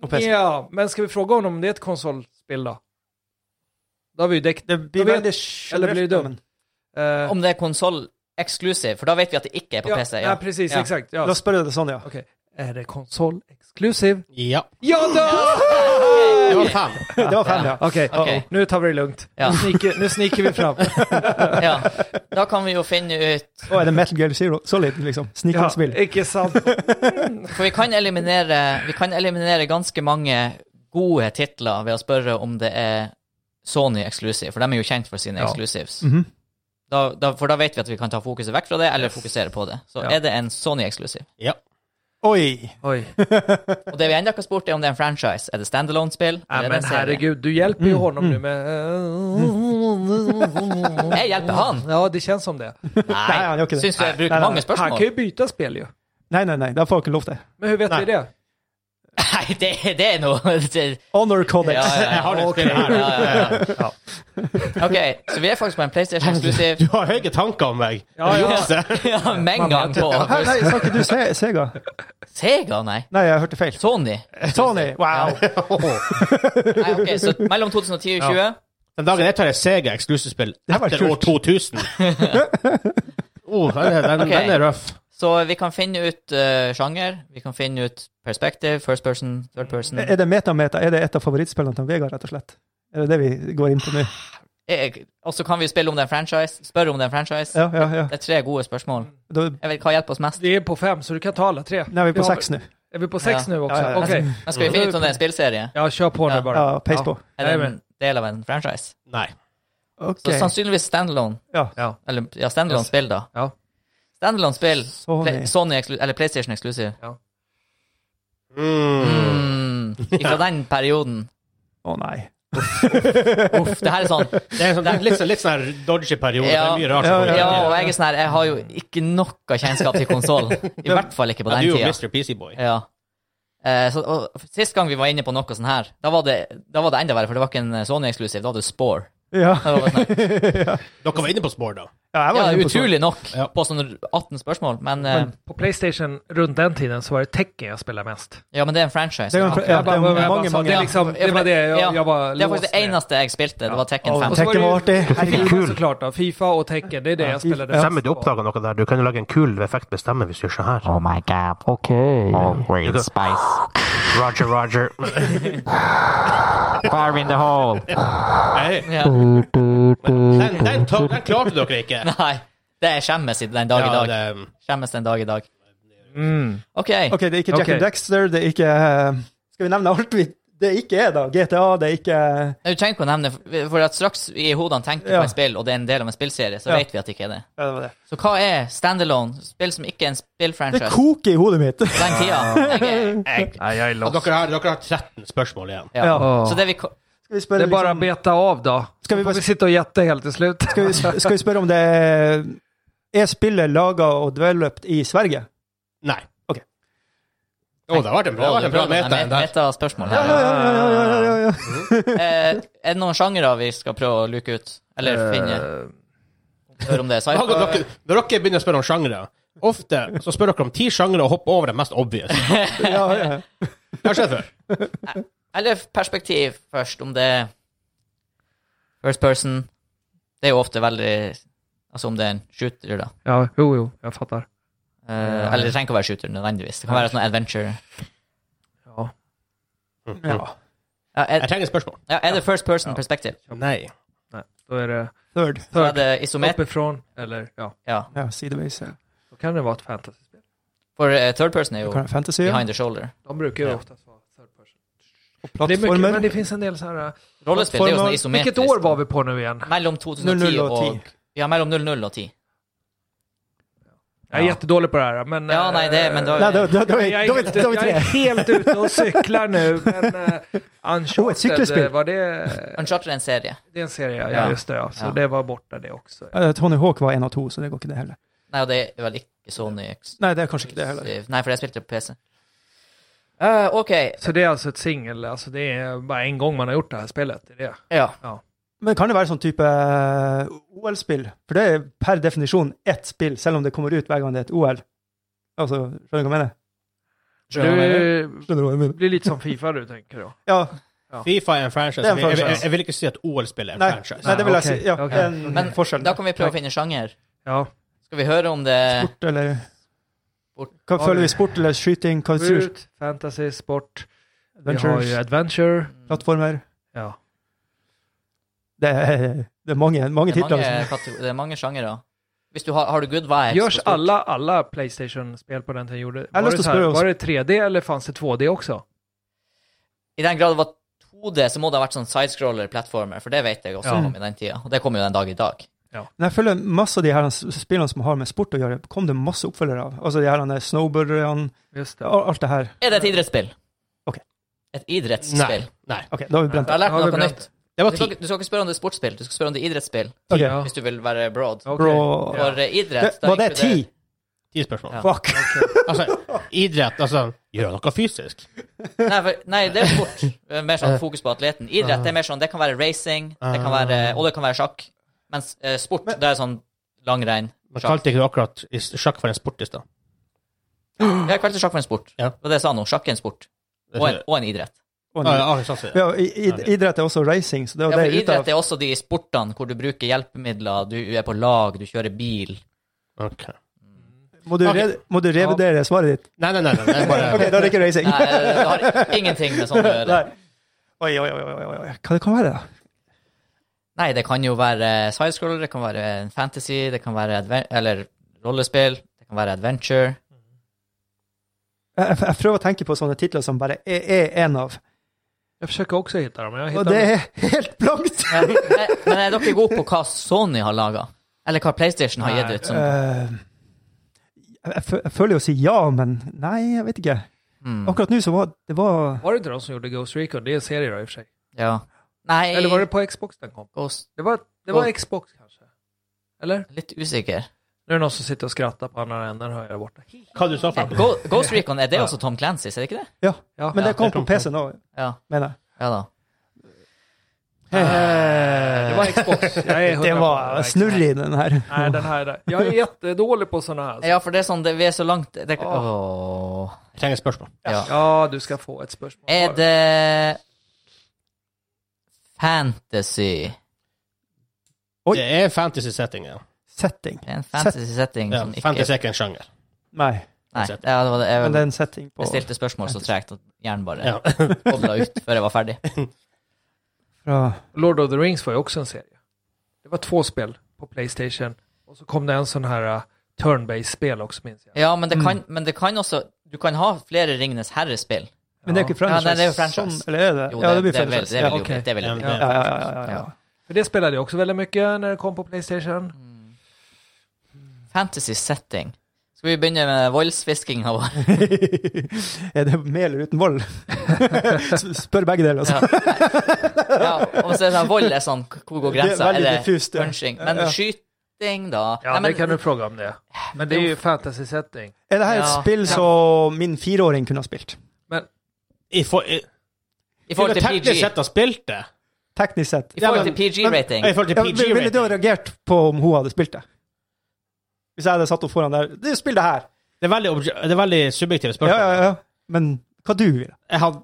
C: Och PC.
D: Ja, men ska vi fråga honom om det är ett konsolspel då? Då har vi ju däckt.
C: Det blir
D: Jag vet-
C: veldig
D: eller blir det
C: generelt, men-
D: eh,
A: Om det er konsoll-eksklusiv, for da vet vi at det ikke er på
D: ja,
A: PC.
D: nej, precis.
A: Ja.
D: Exakt. Ja.
C: La oss spørre det sånn, ja.
D: Okej. Är det konsol-exklusiv?
B: Ja.
D: Ja, då!
A: Yay!
B: Det var fem.
C: Det var fem, ja.
D: Okej,
A: Okej.
D: nu tar vi det lugnt.
A: Ja.
D: Nu, sniker, nu sniker vi fram.
A: Ja. Da kan vi jo finne ut
C: Og er det Metal Gear Zero? Solid, liksom.
D: Ja,
C: Snikerspill.
D: ikke sant?
A: For vi kan eliminere, vi kan eliminere ganske mange gode titler ved å spørre om det er Sony exclusive, for de er jo kjent for sine
D: Ja.
A: exclusives. da, da, for da vet vi at vi kan ta fokuset vekk fra det, eller fokusere på det. Så
D: Ja.
A: er det en Sony exclusive.
B: Ja.
C: Oi!
D: Oj.
A: Og det vi ennå ikke har spurt, er om det er en franchise. Er det standalone-spill?
D: Ja,
A: eller er det
D: men
A: en serie?
D: herregud, du hjälper
C: Mm,
D: ju honom nu med... eh,
A: Jeg hjelper han!
D: Ja, det känns som det.
A: Nei,
C: han gjør ikke det.
A: syns du jeg
C: Nei,
A: bruker
C: nei,
A: mange
D: Han
A: spørsmål?
D: kan ju byta spel ju.
C: Nei, nei, nei, da får jeg ikke lov til.
D: Men hur vet
C: Nej.
D: vi det?
A: Nei, det, det er noe det,
C: Honor Codex.
A: ja, ja,
B: Jeg
A: ja.
B: har det spillet her.
A: Ja, ja, ja. Ok, så vi er faktisk på en PlayStation
B: Du
A: exclusive.
B: har høye tanker om meg.
D: Ja, ja.
A: Ja, Med en gang på
C: Hæ, nei, sa ikke du Se Sega?
A: Sega, nei.
C: Nei, jeg hørte feil.
A: Sony.
C: Sony! Wow!
A: Nei, ok, så mellom 2010 og 2020
B: Den dagen jeg tar et Sega eksklusivspill
C: Det her var
B: etter år
C: kult.
B: 2000 oh, den, er- den,
A: Ok.
B: den er røff.
A: Så vi kan finne ut eh, sjanger, vi kan finne ut perspektiv, first person, third person.
C: Er det Metameta? Er det et av favorittspillene til Vegard, rett og slett? Er det det vi går inn på nå?
A: Jeg- Eh, Og så kan vi spille om det er en franchise, spørre om det er en franchise.
C: Ja, ja, ja.
A: Det er tre gode spørsmål.
C: Da,
A: Jeg vet hva hjelper oss mest.
D: Vi är på fem, så du kan ta alla tre.
C: nei, vi er på
D: har-
C: seks nå.
D: Är vi på sex
A: Ja.
D: nu också?
C: Ja, ja, ja.
D: Okej.
A: Men skal vi finne ut om det er en spillserie?
D: Ja, kör på
A: Ja.
D: nu bara.
C: Ja, peis på.
A: Er det en
D: Amen.
A: del av en franchise?
B: Nei.
C: Ok.
A: Så sannsynligvis standalone.
C: Ja.
D: Ja.
A: Eller ja, standalone-spill, da.
D: Ja.
A: Standalone-spill,
C: Sony.
A: Play- Sony eksklu- eller PlayStation eksklusiv.
B: Mm.
A: Mm. Fra den perioden.
C: Å nei.
A: Uff, det her er sånn
B: Det er, sånn, det er litt, sånn- litt sånn her dodgy periode.
A: Ja.
B: Det er mye rart.
C: Ja,
B: som
C: ja,
A: Ja,
B: kommer
A: og jeg er sånn her, jeg har jo ikke noe kjennskap til konsoll. I hvert fall ikke på
B: inn.
A: den
B: Du er
A: tida.
B: jo Mr. PC-boy.
A: Ja. Eh, så, og, sist gang vi var inne på noe sånn her, da var det, da var det enda verre, for det var ikke en Sony-eksklusiv, da var det Spore.
C: Ja.
A: Da var det sånn her,
B: Dere var inne på spor, da.
C: ja jeg
A: ja,
C: var inne på Sony.
A: utrolig nok,
B: Ja.
A: på sånn 18 spørsmål, men, eh,
D: På Playstation runt den tiden så var det tecken jag spelade mest.
A: ja, men det er en franchise.
C: Det er jo en fra-
A: ja.
C: ja,
D: Jag bara,
C: det er
D: jag
C: jo
D: bara
C: mange,
D: sa, det,
C: mange.
D: är liksom, det var det jag,
A: Ja.
D: jag var
A: Det er faktisk
D: låst
A: det
D: med.
A: eneste jeg spilte, det var Tekken
C: Å,
A: 5.
D: så var
C: sånn. Tekken
D: det
C: var
D: jo-
C: artig.
D: Fifa
C: Herregud.
E: Kul.
D: såklart da. Fifa och tecken, det är det
C: Ja,
D: jag
C: Fifa.
D: spelade
C: Ja.
D: mest
C: Sen
E: Stemmer, du
D: på.
E: oppdaga noe der. Du kan jo lage en kul effekt med stemme hvis du gjør sånn her.
F: Oh my god. Okay. Oh, green
E: Yeah.
F: spice.
E: Roger, Roger.
F: Fire in the hole.
B: Nei.
A: Ja.
B: Den, den, to- den klarte dere ikke.
A: Nei, det er skjemmes i- den dag i
B: Ja,
A: dag.
B: det,
A: Skjemmes den dag i dag. Ok,
C: Ok, det er ikke Jack
D: Ok.
C: and Dexter, det er ikke eh, Skal vi nevne alt vi det ikke er, da? GTA, det er ikke
A: du trenger ikke å nevne, for at straks vi i hodene tenker
C: Ja.
A: på en spill, og det er en del av en spillserie, så
C: Ja.
A: vet vi at det ikke er det.
C: Ja, det var det.
A: Så hva er standalone? Spill som ikke er en
C: Det
A: spillfranchise?
C: koker i hodet mitt!
A: På Den tida. Jeg, er- jeg,
D: Nej, jag är
B: og
D: lost.
B: dere, har, dere har 13 spørsmål igjen.
A: ja.
C: Ja.
A: Så det vi ko-
C: Skal vi
D: Det
C: spørre,
D: är bara att
C: liksom,
D: beta av då.
C: Ska
D: Ska
C: vi
D: vi,
C: bara-
D: får vi sitta och jätta helt till slut.
C: skal vi, skal vi spørre om det er- er spillet laga og developed i Sverige?
B: Nei.
C: Ok.
B: Å, det har vært en bra, det har vært en bra meta. den der.
A: Meta-spørsmål her.
C: Ja, ja, ja, ja, ja, ja, ja.
A: Eh, er det noen sjangere vi skal prøve å luke ut? Eller
C: Eh.
A: finne
D: Eh,
A: Høre om det er
B: Da
A: sci-fi?
B: kan dere- Når dere begynner å spørre om sjangre, ofte så spør dere om ti sjangre og hopper over den mest obvious.
C: ja, ja, ja.
B: Det har skjedd før.
A: Eller perspektiv først, om det er first person. Det er jo ofte veldig Altså om det er en shooter, da.
D: Ja, jo, jo, jag fattar.
A: Eh, Eller det trenger ikke å være shooter nødvendigvis. Det kan være sånn adventure.
D: Ja.
A: Ja, er,
B: Jeg trenger et spørsmål.
A: ja, er det first person perspektiv?
B: Nei.
D: Nej, då är det
C: Third.
A: Så er det isomet...
D: uppifrån eller ja,
A: Ja.
C: Ja, sideveis. Ja.
D: då kan det vara ett fantasyspel.
A: For eh, third person er jo
C: Kan det Fantasy, ja.
A: behind the shoulder.
D: De brukar ju oftast vara third person.
C: og
D: Det är mycket, men
C: plattformer.
D: det finns en del så här... äh,
A: Rollespill det er jo sånn isometrisk.
D: Vilket år var vi på nu igen?
A: Mellom
C: 00
A: 2010
C: sånn og
A: og
C: 10.
A: Ja, mellom 00 og 10.
D: Jag är jättedålig på det här, men...
A: Ja,
D: äh,
A: nej, det- men då-
C: Nei, da, da, da, er vi-
D: Jag
C: da,
D: är,
C: er
D: inte,
C: vi- da er vi
D: jag är
C: tre.
D: helt ute och cyklar nu, men uh,
C: Oh, ett
D: Uncharted,
C: cykelspel.
D: eh, var det...
A: Uncharted er en serie.
D: Det är en serie, ja,
A: Ja.
D: just det. Ja. Så
A: Ja.
D: det var borta det också.
C: Eh, Tony Hawk var én av to, så det går ikke det heller.
A: Nei, og det er vel ikke Sony X.
C: Nei, det er kanskje ikke det heller.
A: Nei, for jeg spilte på PC. Eh, OK.
D: Så det är alltså ett singel, alltså det är bara en gång man har gjort det här spelet. Det är det.
A: Ja.
C: Men kan det være sånn type eh, OL-spill? For det er per definisjon ett spill, selv om det kommer ut hver gang det er et OL. Altså, skjønner du hva jeg mener?
D: Du
C: Skjønner du hva jeg mener?
D: blir lite som Fifa du tänker då.
C: Ja.
B: Fifa er en franchise.
C: Det er en
B: Jeg- jeg- Jeg,
C: franchise.
B: jeg vil ikke si at OL-spill er en
C: Nei,
B: franchise.
C: nei, det vil jeg si.
D: ok,
C: Ja,
D: ok.
C: en
A: Men
C: forskjell.
A: Da kan vi prøve å finne sjanger.
D: Ja.
A: Skal vi høre om det er
C: Sport eller
A: Eh. Sport.
C: Hva føler vi? Sport eller skyting? Hva tror du?
D: Skjut, fantasy, sport, Vi har ju
C: Adventures,
D: Adventure.
C: plattformer.
D: Ja.
C: Det er, det er mange, mange
A: Det er
C: titler.
A: mange,
C: Liksom.
A: kategor- det er mange sjangere. Hvis du har, har du Good Vibes
D: Görs
A: på Switch?
D: alla, alla Playstation-spel på den tiden gjorde?
C: har
D: Var
C: lust
D: det,
C: att
D: så här,
C: spela oss.
D: var det 3D eller fanns det 2D också?
A: I den grad det var 2D, så må det ha vært sånn sidescroller-plattformer, for det vet jeg også
D: Ja.
A: om i den tida. Og det kommer jo den dag i dag.
C: Men jeg føler masse av de her spillene som har med sport å gjøre, kom det masse oppfølgere av. Altså de her snowboarderne,
D: Just det.
C: al- alt det her.
A: Er det et idrettsspill?
C: Ok.
A: Et idrettsspill.
B: Nei.
C: Ok, da har vi
A: Du
C: brent
A: har
C: det.
A: lært
D: Har
A: noe
D: vi brent?
A: nytt.
B: Det
A: Du
B: var ti.
A: skal, ikke- du skal ikke spørre om det er sportsspill, du skal spørre om det er idrettsspill.
C: Ok.
D: Ja.
A: Hvis du vil være broad.
D: Okej.
C: Bro.
A: For eh, idrett
C: Det, var
A: da
C: det ti?
A: inkluderer-
B: Ti spørsmål.
A: Ja.
C: Fuck.
B: Altså, idrett, altså Gjør noe fysisk.
A: Nei, for, nei, det er sport. Det er Mer sånn fokus på atleten. Idrett det er mer sånn, det kan være racing, det kan
C: Ah.
A: være, og det kan være sjakk. Mens eh, sport, det er sånn
B: Man
A: langrenn, sjakk.
B: kalte ikke det akkurat i s- sjakk for en sport i stad.
A: Jeg kalte sjakk for en sport.
B: Ja.
A: Det var det jeg sa nå. Sjakk er en sport. Og en, og en idrett.
C: Å,
B: Ja,
C: nei.
B: ja, sånn ser det.
C: Ja, i, i, idrett er også racing, så det
A: Ja,
C: var
A: for
C: det ut
A: idrett
C: av.
A: er også de sportene hvor du bruker hjelpemidler, du er på lag, du kjører bil.
B: Ok.
C: Må du,
B: Ok.
C: re, må du revurdere svaret ditt?
B: Nei, nei, nei. nei, det er bare...
C: Ok, da er det ikke racing.
A: Nei, eh, det har ingenting med sånn å gjøre.
C: Nei. Oi, oi, oi, oi, oi, oi. Hva det kan være, da?
A: Nei, det kan jo være sidescroller, det kan være fantasy, det kan være adven eller rollespill, det kan være adventure.
C: Jeg, jeg, jeg prøver å tenke på sånne titler som bare er, er en av.
D: Jag försöker också hitta dem. men Jag hittar
C: Og det er helt blankt!
A: Men, eh, men er dere gode på hva Sony har laga? Eller hva PlayStation har gitt ut? Som,
C: Eh, jeg, jeg fø- jeg føler jo å si ja, men nei, jeg vet ikke.
A: mm,
C: Akkurat nå så var det var,
D: Var det inte de som gjorde Ghost Recon? Det är en serie då, i och för sig.
A: ja. Nei,
D: Eller var det på Xbox den kom?
A: Ghost,
D: Det var, det var Xbox kanske? Eller?
A: litt usikker.
D: Nu är det någon som sitter och skrattar på andra änden, hör jag där borta.
B: Hva du sa for noe?
A: Go- Ghost Recon, er det også Tom Clancy, er det ikke det?
C: Ja,
D: Ja.
C: men det kom
B: det
C: på
B: kom
C: PC nå,
A: Ja,
C: mener jeg.
A: ja da.
D: Det var Xbox. Jag är 100%
C: Det var snurr i den her.
D: Nej, den här, är- jag är jättedålig på sådana här.
A: Ja, for det er sånn, det, vi er så langt det, Åh.
B: Jeg trenger et spørsmål.
A: Ja.
D: Ja, du ska få ett spörsmål.
A: Er det fantasy?
C: Oi.
B: Det er fantasy setting, ja.
C: Setting.
A: Det er en fantasy setting
B: ja
A: som ikke
B: fantasy er ikke en sjanger.
C: Nei,
A: Nei, ja, det var det.
C: men det er
A: Jeg
C: en setting på
A: bestilte spørsmål så tregt at hjernen bare
B: Ja.
A: bodla ut før jeg var ferdig.
C: fra
D: Lord of the Rings var ju också en serie. Det var två spel på Playstation. Och så kom det en sån här uh, turn-based-spel också minns jag.
A: Ja, men det kan, men det kan også Du kan ha flere Ringenes herre-spill.
C: Men det er jo ikke franchise.
A: Ja, nei, det er jo franchise.
C: Sånn, eller er det?
A: Jo,
C: ja, det blir
A: det, vil,
C: franchise.
A: det, vil, jo
D: Ja,
A: bli-
D: ok.
A: det vil jo bli.
B: Ja,
C: ja, ja, ja, ja, ja.
D: För det spelade jag också väldigt mycket när det kom på Playstation.
A: Mm. Fantasy setting. Skal vi begynne med voldsfiskinga vår?
C: er det med eller uten vold? S- Spør begge deler. Altså.
A: Ja. ja, og så er det sånn, vold er sånn Hvor går
C: Det er
A: grensa?
C: veldig
A: Eller
C: diffust, ja.
A: punching? Men
C: Ja, ja.
A: skyting, da?
D: Ja,
A: Nei, men,
D: det kan du fråga om det. Men det är ju fantasy-setting.
C: Er det her et
A: Ja.
C: spill som min fireåring kunne ha spilt?
B: I for, i,
A: I forhold til
B: teknisk
A: PG.
B: sett har spilt det.
C: Teknisk sett.
A: I
B: Ja,
A: forhold
B: men-
A: til PG-rating.
B: I forhold
C: Ja,
B: til
C: vil- ville du ha
B: PG-rating.
C: reagert på om hun hadde spilt det? Hvis jeg hadde satt henne foran der Du, spill det her!
B: Det er veldig, obje- det er veldig subjektive
C: Ja,
B: spørsmål.
C: ja, ja. Men hva du ville?
B: Jeg hadde,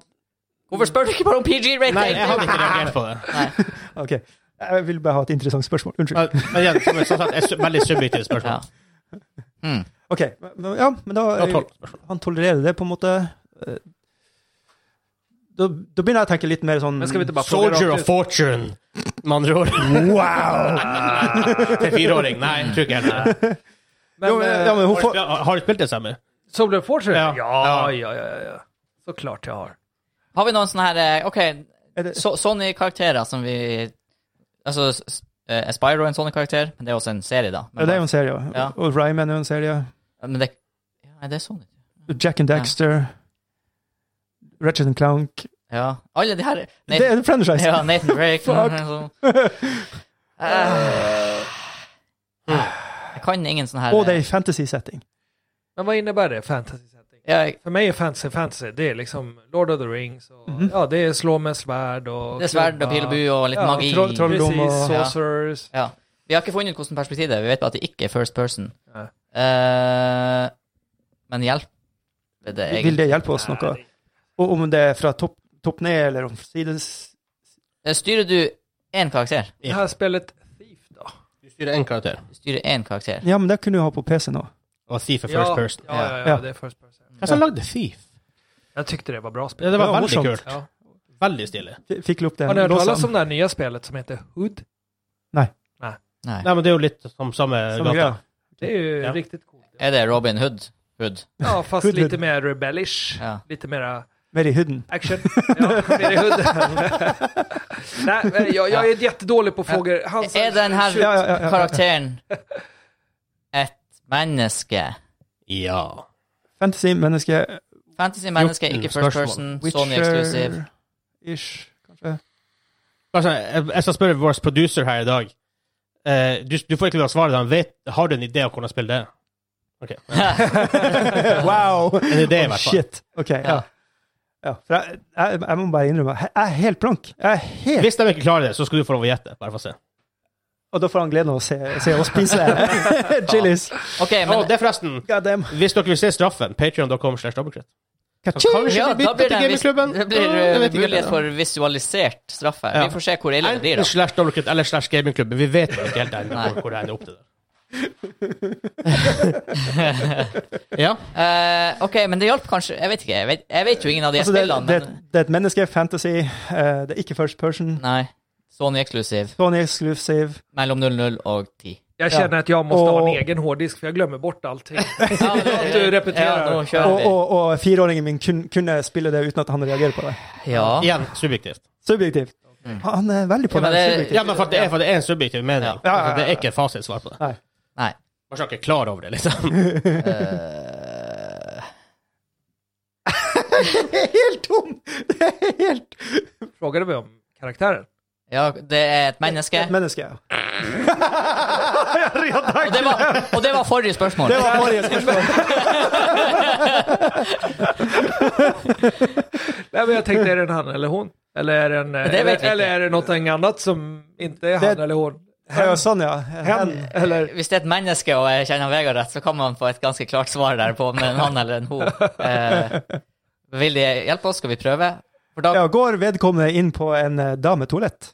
A: Hvorfor spør du ikke bare om PG-rating?
B: nei, jeg hadde ikke reagert på det.
C: OK. Jeg vil bare ha et interessant spørsmål. Unnskyld.
B: Men, men igjen, som jeg sa, det er su- veldig subjektive
A: Ja.
B: spørsmål.
A: Mm.
C: OK. Men, ja, men da
B: Det var tolv spørsmål.
C: Han tolererer det, på en måte. Eh, Da, da begynner jeg å tenke litt mer sånn
D: Men ska vi inte bara fråga
B: Soldier
D: rakt
B: of
D: ut?
B: Fortune, med andre ord. Wow! Til fireåring. Nei, jeg tror ikke helt det.
D: Men,
C: Jo, men-
D: eh,
C: ja, men hun
B: Har du
C: får...
B: spil- har- Har du spilt det, Sammy?
D: Soldier of Fortune?
B: Ja.
D: Ja. Ja, ja, ja, ja. Såklart jag har.
A: Har vi noen sånne her eh,
C: Er
A: OK,
C: det-
A: so Sony-karakterer som vi Altså, s- s- eh, Spyro er en Sony-karakter, men det er også en serie, da.
C: Ja,
A: Men,
C: det er jo en serie.
A: Ja.
C: Og- Og Ryman er jo en serie.
A: men det, ja, nei, det er Sony.
C: Jack and Dexter. Ratchet and Clank.
A: Ja. Alle de her
C: Det er en franchise!
A: Ja, Nathan Drake.
C: Fuck.
A: sånn. Eh, Jeg kan ingen sånne her
C: Og det er i fantasy-setting.
D: Men vad innebär det, fantasy-setting?
A: Ja, jeg-
D: För mig är fantasy fantasy. Det är liksom Lord of the Rings och
C: Mhm.
D: ja, det är slå med svärd och...
A: Det er sverd og
D: klubba.
A: pilbu og litt
D: Ja,
A: magi.
C: troll- troll- Trolldom
D: Precis,
C: och-
A: Ja.
D: sorcerers.
A: Ja. Vi har ikke funnet ut hvordan perspektiv det er. Vi vet bare at det ikke er first person.
D: Nei.
A: Eh, men hjelper det
C: Vil
A: egentlig?
C: det hjelpe oss noe? Og om det er fra topp topp ned, eller om sides
A: Eh, Styrer du én karakter?
D: Det här spelet Thief då?
B: Du styrer én karakter,
A: Du styrer én karakter.
C: Ja, men det kunne du ha på PC nå.
B: og Thief er first person.
D: Ja, ja, ja,
C: Ja.
D: det är first person.
B: Hvem som lagde Thief?
D: Jag tyckte det var bra spel.
B: Ja, det var
C: Ja,
B: veldig
C: morsomt.
B: kult.
D: Ja.
B: Veldig stilig.
C: F- Fikk lupp den
D: Har ni hört talas
C: låsen.
D: om det här nya spelet som heter Hood?
A: Nei.
B: Nei, men det er jo litt som samme
C: Samme
B: gata.
C: greia.
D: Det är ju
B: Ja.
D: riktigt coolt.
A: Er det Robin Hood? Hood.
D: Ja, fast
C: Hood,
D: lite
C: Hood.
D: mer rebellish.
A: Ja.
D: Lite mera
C: Mer i huden.
D: action. Ja, mer i hood. Nej, men jag, jag är jättedålig på frågor. Hans,
A: Er den her
C: Ja, ja, ja, ja.
A: karakteren et menneske?
B: Ja.
C: Fantasy, menneske,
A: Fantasy-menneske,
B: Jo,
A: ikke
B: spørsmål.
A: first person, Sony eksklusiv.
C: Witcher-ish, kanskje.
B: Altså, jeg, jeg skal spørre vår producer her i dag. Eh, du, du får ikke lov å svare. da. Han vet, har du en idé om hvordan spille det?
C: wow!
B: En idé, i hvert fall.
C: Shit. Ok, ja.
A: Ja.
C: ja. For jeg, jeg, jeg må bare innrømme, jeg er helt blank. Jeg er helt...
B: Hvis de ikke klarer det, så skal du få lov å gjette. Bare for å se.
C: Og da får han gleden av å se, se oss spise chilies.
A: Ok,
B: Å,
A: men
B: det er forresten.
C: God damn.
B: Hvis dere vil se straffen, patreon.com slash dobbeltkritt. Kanskje
A: ja,
B: vi
A: da blir
B: bytter
A: det
B: til
A: en vis-
B: gamingklubben?
A: det blir
B: Ja, jeg
A: eh,
B: vet ikke.
A: mulighet for visualisert straffe.
B: Ja.
A: Vi får se hvor ille det blir,
B: Enten
A: da.
B: slash dobbeltkritt eller slash gamingklubben. Vi vet jo ikke helt ennå hvor- hvor det ender opp til. det. ja.
A: Eh, ok, men det hjalp kanskje Jeg vet ikke. Jeg vet, jeg vet jo ingen av de
C: Altså, det,
A: spillene.
C: det,
A: men,
C: det er et menneske, fantasy, eh, det er ikke first person,
A: nei. Sony eksklusiv.
C: Sony exclusive.
A: Mellom 00 og 10.
D: jag känner att jag måste ha en
C: Och-
D: egen hårddisk för jag glömmer bort allting.
A: Ja,
D: att du repeterar.
A: Ja, nå kjører
C: Og,
A: vi.
C: og, og fireåringen min kun, kunne spille det uten at han reagerer på det.
A: Ja.
B: Igjen subjektivt.
C: Subjektivt. Han er veldig på
A: Ja, men
C: det,
A: det-
C: subjektivt.
B: Ja, men for at det er, for at det er en subjektiv mening.
A: Ja.
C: ja, ja, ja.
B: Altså, Det er ikke et fasitsvar på det.
A: Nei.
B: Man skal ikke klar over det, liksom.
A: Eh,
C: Det er helt tom! Det er helt
D: Frågade vi om karaktären?
A: ja, det er et menneske.
C: Et menneske. ja.
A: Og det var, og det var forrige spørsmål.
C: Det var forrige spørsmål.
D: Nej, men jag tänkte, är det en han eller hon? Eller är det, en, eh,
A: Det vet vi
D: eller, eller
A: inte.
D: är det något annat som inte är han
C: Det-
D: eller hon?
C: Ja, sånn, ja.
D: Hen,
C: Hen.
D: eller?
A: Hvis det er et menneske og jeg kjenner Vegard rett, så kan man få et ganske klart svar der på om det er en han eller en hun. Eh, vil de hjelpe oss? Skal vi prøve? For da,
C: Ja, går vedkommende inn på en eh, dametoalett?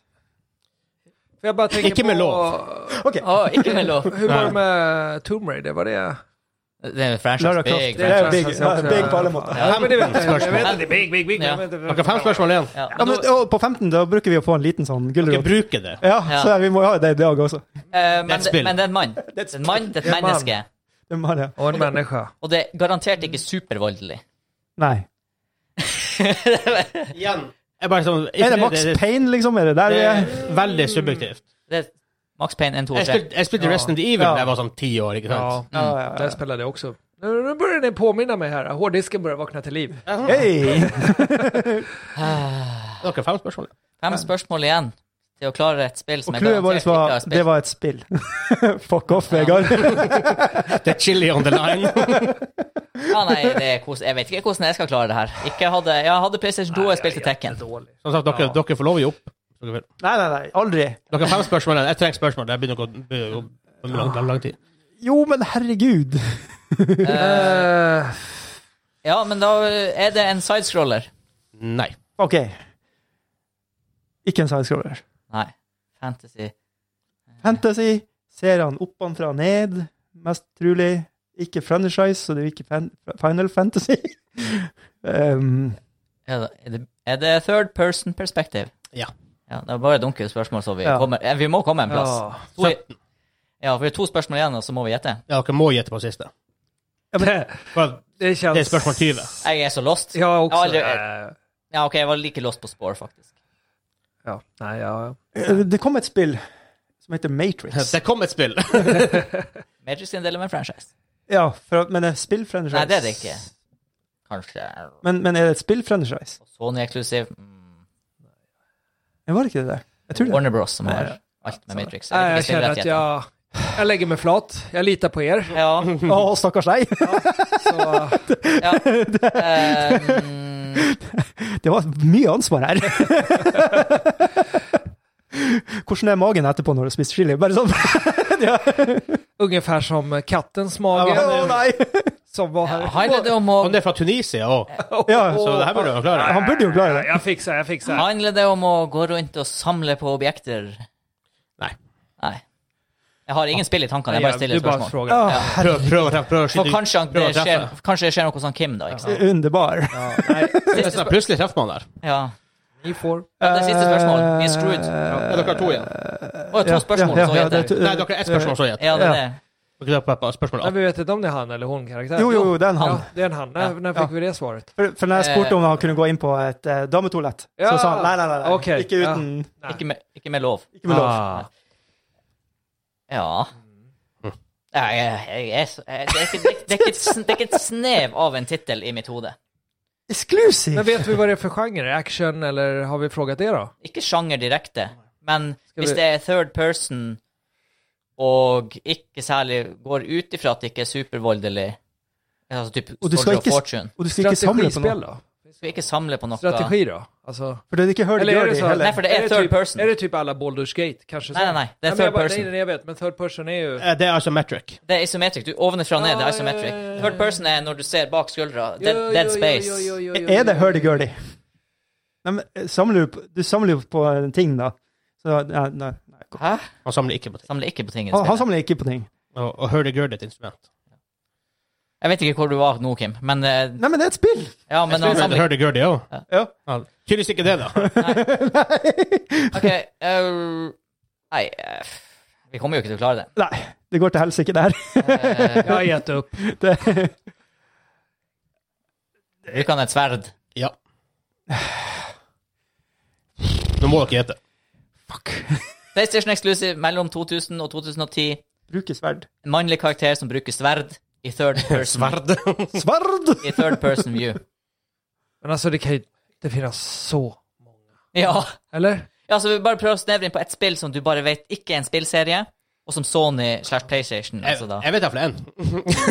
D: För jag bara tänker
B: Icke
D: på,
B: med lov.
C: OK.
A: Å, ikke med lov.
D: Hur var det med Tomb Raider? Var det...
A: Det er en
C: Lara
A: franchise.
C: Croft.
A: Big,
C: Det er
A: franchise.
C: big,
D: franchise
C: ja,
D: også,
C: big
D: ja.
C: på alle måter.
D: Ja, men det vet jeg.
B: Spørsmål.
D: Jeg vet at det er big, big, big.
A: Ja.
D: men jeg vet ikke-
B: Dere har fem spørsmål igjen.
A: Ja,
C: Ja, men,
A: nå-
C: og på 15 da bruker vi å få en liten sånn
B: Dere
C: gulrot.
B: bruker det.
C: Ja,
A: Ja.
C: så vi må jo ha det i dag også.
A: eh,
B: Det er
A: men,
B: et
A: det,
B: spill.
A: men det er en mann. Det er en mann, det er et
D: en mann.
A: menneske.
C: Det må det.
D: Och en människa.
A: Og det er garantert ikke supervoldelig.
C: Nei.
B: Igjen. Jeg bare sånn,
C: Er det Max
B: det,
C: Payne, liksom? Er det der
B: det Mm.
C: vi er?
B: er veldig subjektivt.
A: Det er Max Payne 1, 2
B: Jeg
A: 3.
B: spilte, jeg spilte
D: Ja.
B: Resident Evil
C: Ja.
B: da jeg var sånn ti år, ikke
D: Ja,
B: sant?
C: Ja,
A: Mm.
C: ja,
D: där spelade jag också. Nu nu börjar ni påminna mig här. Hårddisken börjar vakna till liv.
C: ja. Hei!
B: Dere har fem spørsmål.
A: Fem spørsmål igjen til å klare et spill som
C: Og
A: jeg
C: clouet vårt
A: garantert ikke
C: var
A: har
C: det
A: spilt.
C: var et spill. Fuck off, Vegard.
B: Det er chili on the line.
A: Ja, nei, det er kos... Jeg vet ikke hvordan jeg skal klare det her. Ikke hadde... Jeg hadde PlayStation 2 og jeg spilte Tekken.
D: Dålig.
B: Som sagt, dere, dere får lov å gi opp. Dere vil.
C: Nei, nei, nei. Aldri.
B: Dere har fem spørsmål igjen. Jeg trenger spørsmål. Det begynner å gå begynner å gå- begynner å gå lang, lang tid.
C: Jo, men herregud.
D: Eh,
A: Ja, men da er det en sidescroller.
B: Nei.
C: OK. Ikke en sidescroller.
A: Nei. Fantasy.
C: Fantasy. Ser han oppanfra og ned, mest trolig. Ikke franchise, så det er jo ikke fan Final Fantasy. um,
A: Er det, er det- er det third person perspective?
B: Ja.
A: Ja, det er bare dunke spørsmål, så vi
C: Ja.
A: kommer... eh, Vi må komme en plass.
D: ja.
A: To i- Ja, for det er to spørsmål igjen, og så må vi gjette.
B: Ja, dere må gjette på siste.
D: Det,
B: For
D: det känns...
B: det er spørsmål 20.
A: Jeg er så lost.
D: Jag också.
A: Ja, det-
D: eh,
A: Ja, ok, jeg var like lost på spår, faktisk.
D: ja. Nej, ja.
C: det kom et spill som heter Matrix.
B: Det kom et spill.
A: Magic sin del av en franchise.
C: Ja, for, at- men det er spillfranchise.
A: Nei, det er det ikke. Kanskje.
C: Men, men er det et spillfranchise?
A: Sony-eksklusiv. Mm.
C: Ja, Var det ikke det? Jeg tror det.
A: Warner Bros. som har alt med Matrix.
D: Nej, jag
A: Hvilke
D: känner att
A: spillrettigheter.
D: jag... Jag lägger mig flat. Jag litar på er.
A: Ja.
C: Å, stakkars deg!
D: Så...
A: ehm,
C: Det var mye ansvar her. Hvordan er magen etterpå når du har spist chili? Bare sånn
D: Ungefär som kattens mage
C: Å nei!
D: som var här.
A: handler det om å
B: Han er fra Tunisia òg,
C: Ja,
B: så det her burde dere klare.
C: han burde jo klare det.
D: Jag fixar, jag fixar.
A: Handler det om å gå rundt og samle på objekter?
B: Nei.
A: Nei. Jeg har ingen spill i tankene, jeg bare stiller
D: du bare
A: spørsmål.
D: frågar.
C: Å, herre,
B: Prøv, prøv å treffe. Prøv å
A: For
B: skyte
A: kanskje at det
B: Prøv å treffe.
A: skjer, kanskje det skjer noe sånn Kim, da. ikke
C: Ah,
A: sant?
C: underbar.
B: Det er sånn, Plutselig treffer man der.
A: Ja.
D: Ni får.
A: Ja, det er siste spørsmål.
C: Eh,
A: Vi er screwed.
B: Ja, dere har to igjen.
A: Å, to spørsmål, så
C: det er
A: heter det.
C: to-
B: Nei, dere har ett spørsmål, så gjett.
A: Ja, det er det.
B: Dere har på- på spørsmål
D: Nej,
B: åtte.
D: vi vet inte om det är han eller hon karaktär.
C: Jo, jo, det er en han.
D: Ja, det är en han. När,
A: Ja.
D: när fick vi det svaret?
C: For, for når jeg spurte om han kunne gå inn på et eh, dametoalett,
D: Ja.
C: så sa han nei, nei, nei, nei.
D: Ok,
C: ikke
D: ja.
C: uten
A: Ikke med, ikke med lov.
C: Ikke med lov.
D: Ah.
A: Ja.
D: Mm.
A: Nei, jeg, jeg, er så- jeg, det, er ikke, det, det, er ikke et, sn- det er ikke et snev av en tittel i mitt hode.
D: Men
C: Exclusive!
D: vet vi vad det är för genre? Action eller har vi frågat det då?
A: Ikke sjanger direkte, men
D: vi-
A: hvis det er third person og ikke særlig går ut ifra at det ikke er supervoldelig Altså typ
C: Og du skal
A: Soldier of
C: ikke-
A: Fortune.
C: Og du skal ikke samle på
D: Strategispel
C: noe.
D: då?
A: Du skal ikke samle på noe
D: Strategi då? Alltså,
C: For det er ikke Hurdy
D: Eller er det sånn
C: Gurdy
D: så-
C: heller.
A: Nei, for det er,
D: Är det
A: third
D: typ-
A: person.
D: Är det typ alla Baldur's Gate? Kanske
A: Nei,
D: så?
A: nei, nei. Det er
D: Nej, men
A: third
D: jag bara-
A: person.
D: Nej, nej, jag vet. Men third person är ju...
B: Eh, Det er altså metric.
A: Det er isometric. Du Ovenfra og ned det er
D: Ja, ja,
A: isometric.
D: ja, ja, ja.
A: Third person er når du ser bak skuldra.
D: Jo,
A: Dead,
D: jo,
A: dead
D: jo,
A: space.
D: jo, jo, jo, jo,
C: Er det
D: jo, jo.
C: Hurdy Gurdy? Nei, men eh, samler du, på- du samler jo på en ting, da. Så, nei, nei. nei.
A: Hæ?
B: Han samler ikke på ting.
A: Samler ikke på ting i
C: Han, han
A: spillet.
C: samler ikke på ting.
B: Og, og hurdy-gurdy er et instrument.
A: Jeg vet ikke hvor du var nå, Kim, men eh,
C: Nei, men det er et spill!
A: Ja, men han samler
B: Hurdy-gurdy òg.
C: Ja.
B: Tydeligvis ikke det, da.
A: OK. eh, nei, eh, f- vi kommer jo ikke til å klare det.
C: Nei, det går til helsike der.
A: Eh,
D: Jag har gett upp.
C: Det,
A: du kan et sverd.
B: Ja. Nå må dere gjette.
A: PlayStation Exclusive mellom 2000 og 2010.
C: bruker sverd.
A: En mannlig karakter som bruker sverd i third person,
B: Sverd.
C: Sverd!
A: i third person view.
D: Men alltså det kan ju inte finnas så...
A: Ja.
D: Eller?
A: ja, så vi bare prøver å snevre inn på ett spill som du bare vet ikke er en spillserie, og som Sony slash PlayStation.
B: Jeg,
A: Altså da.
B: jeg vet iallfall en.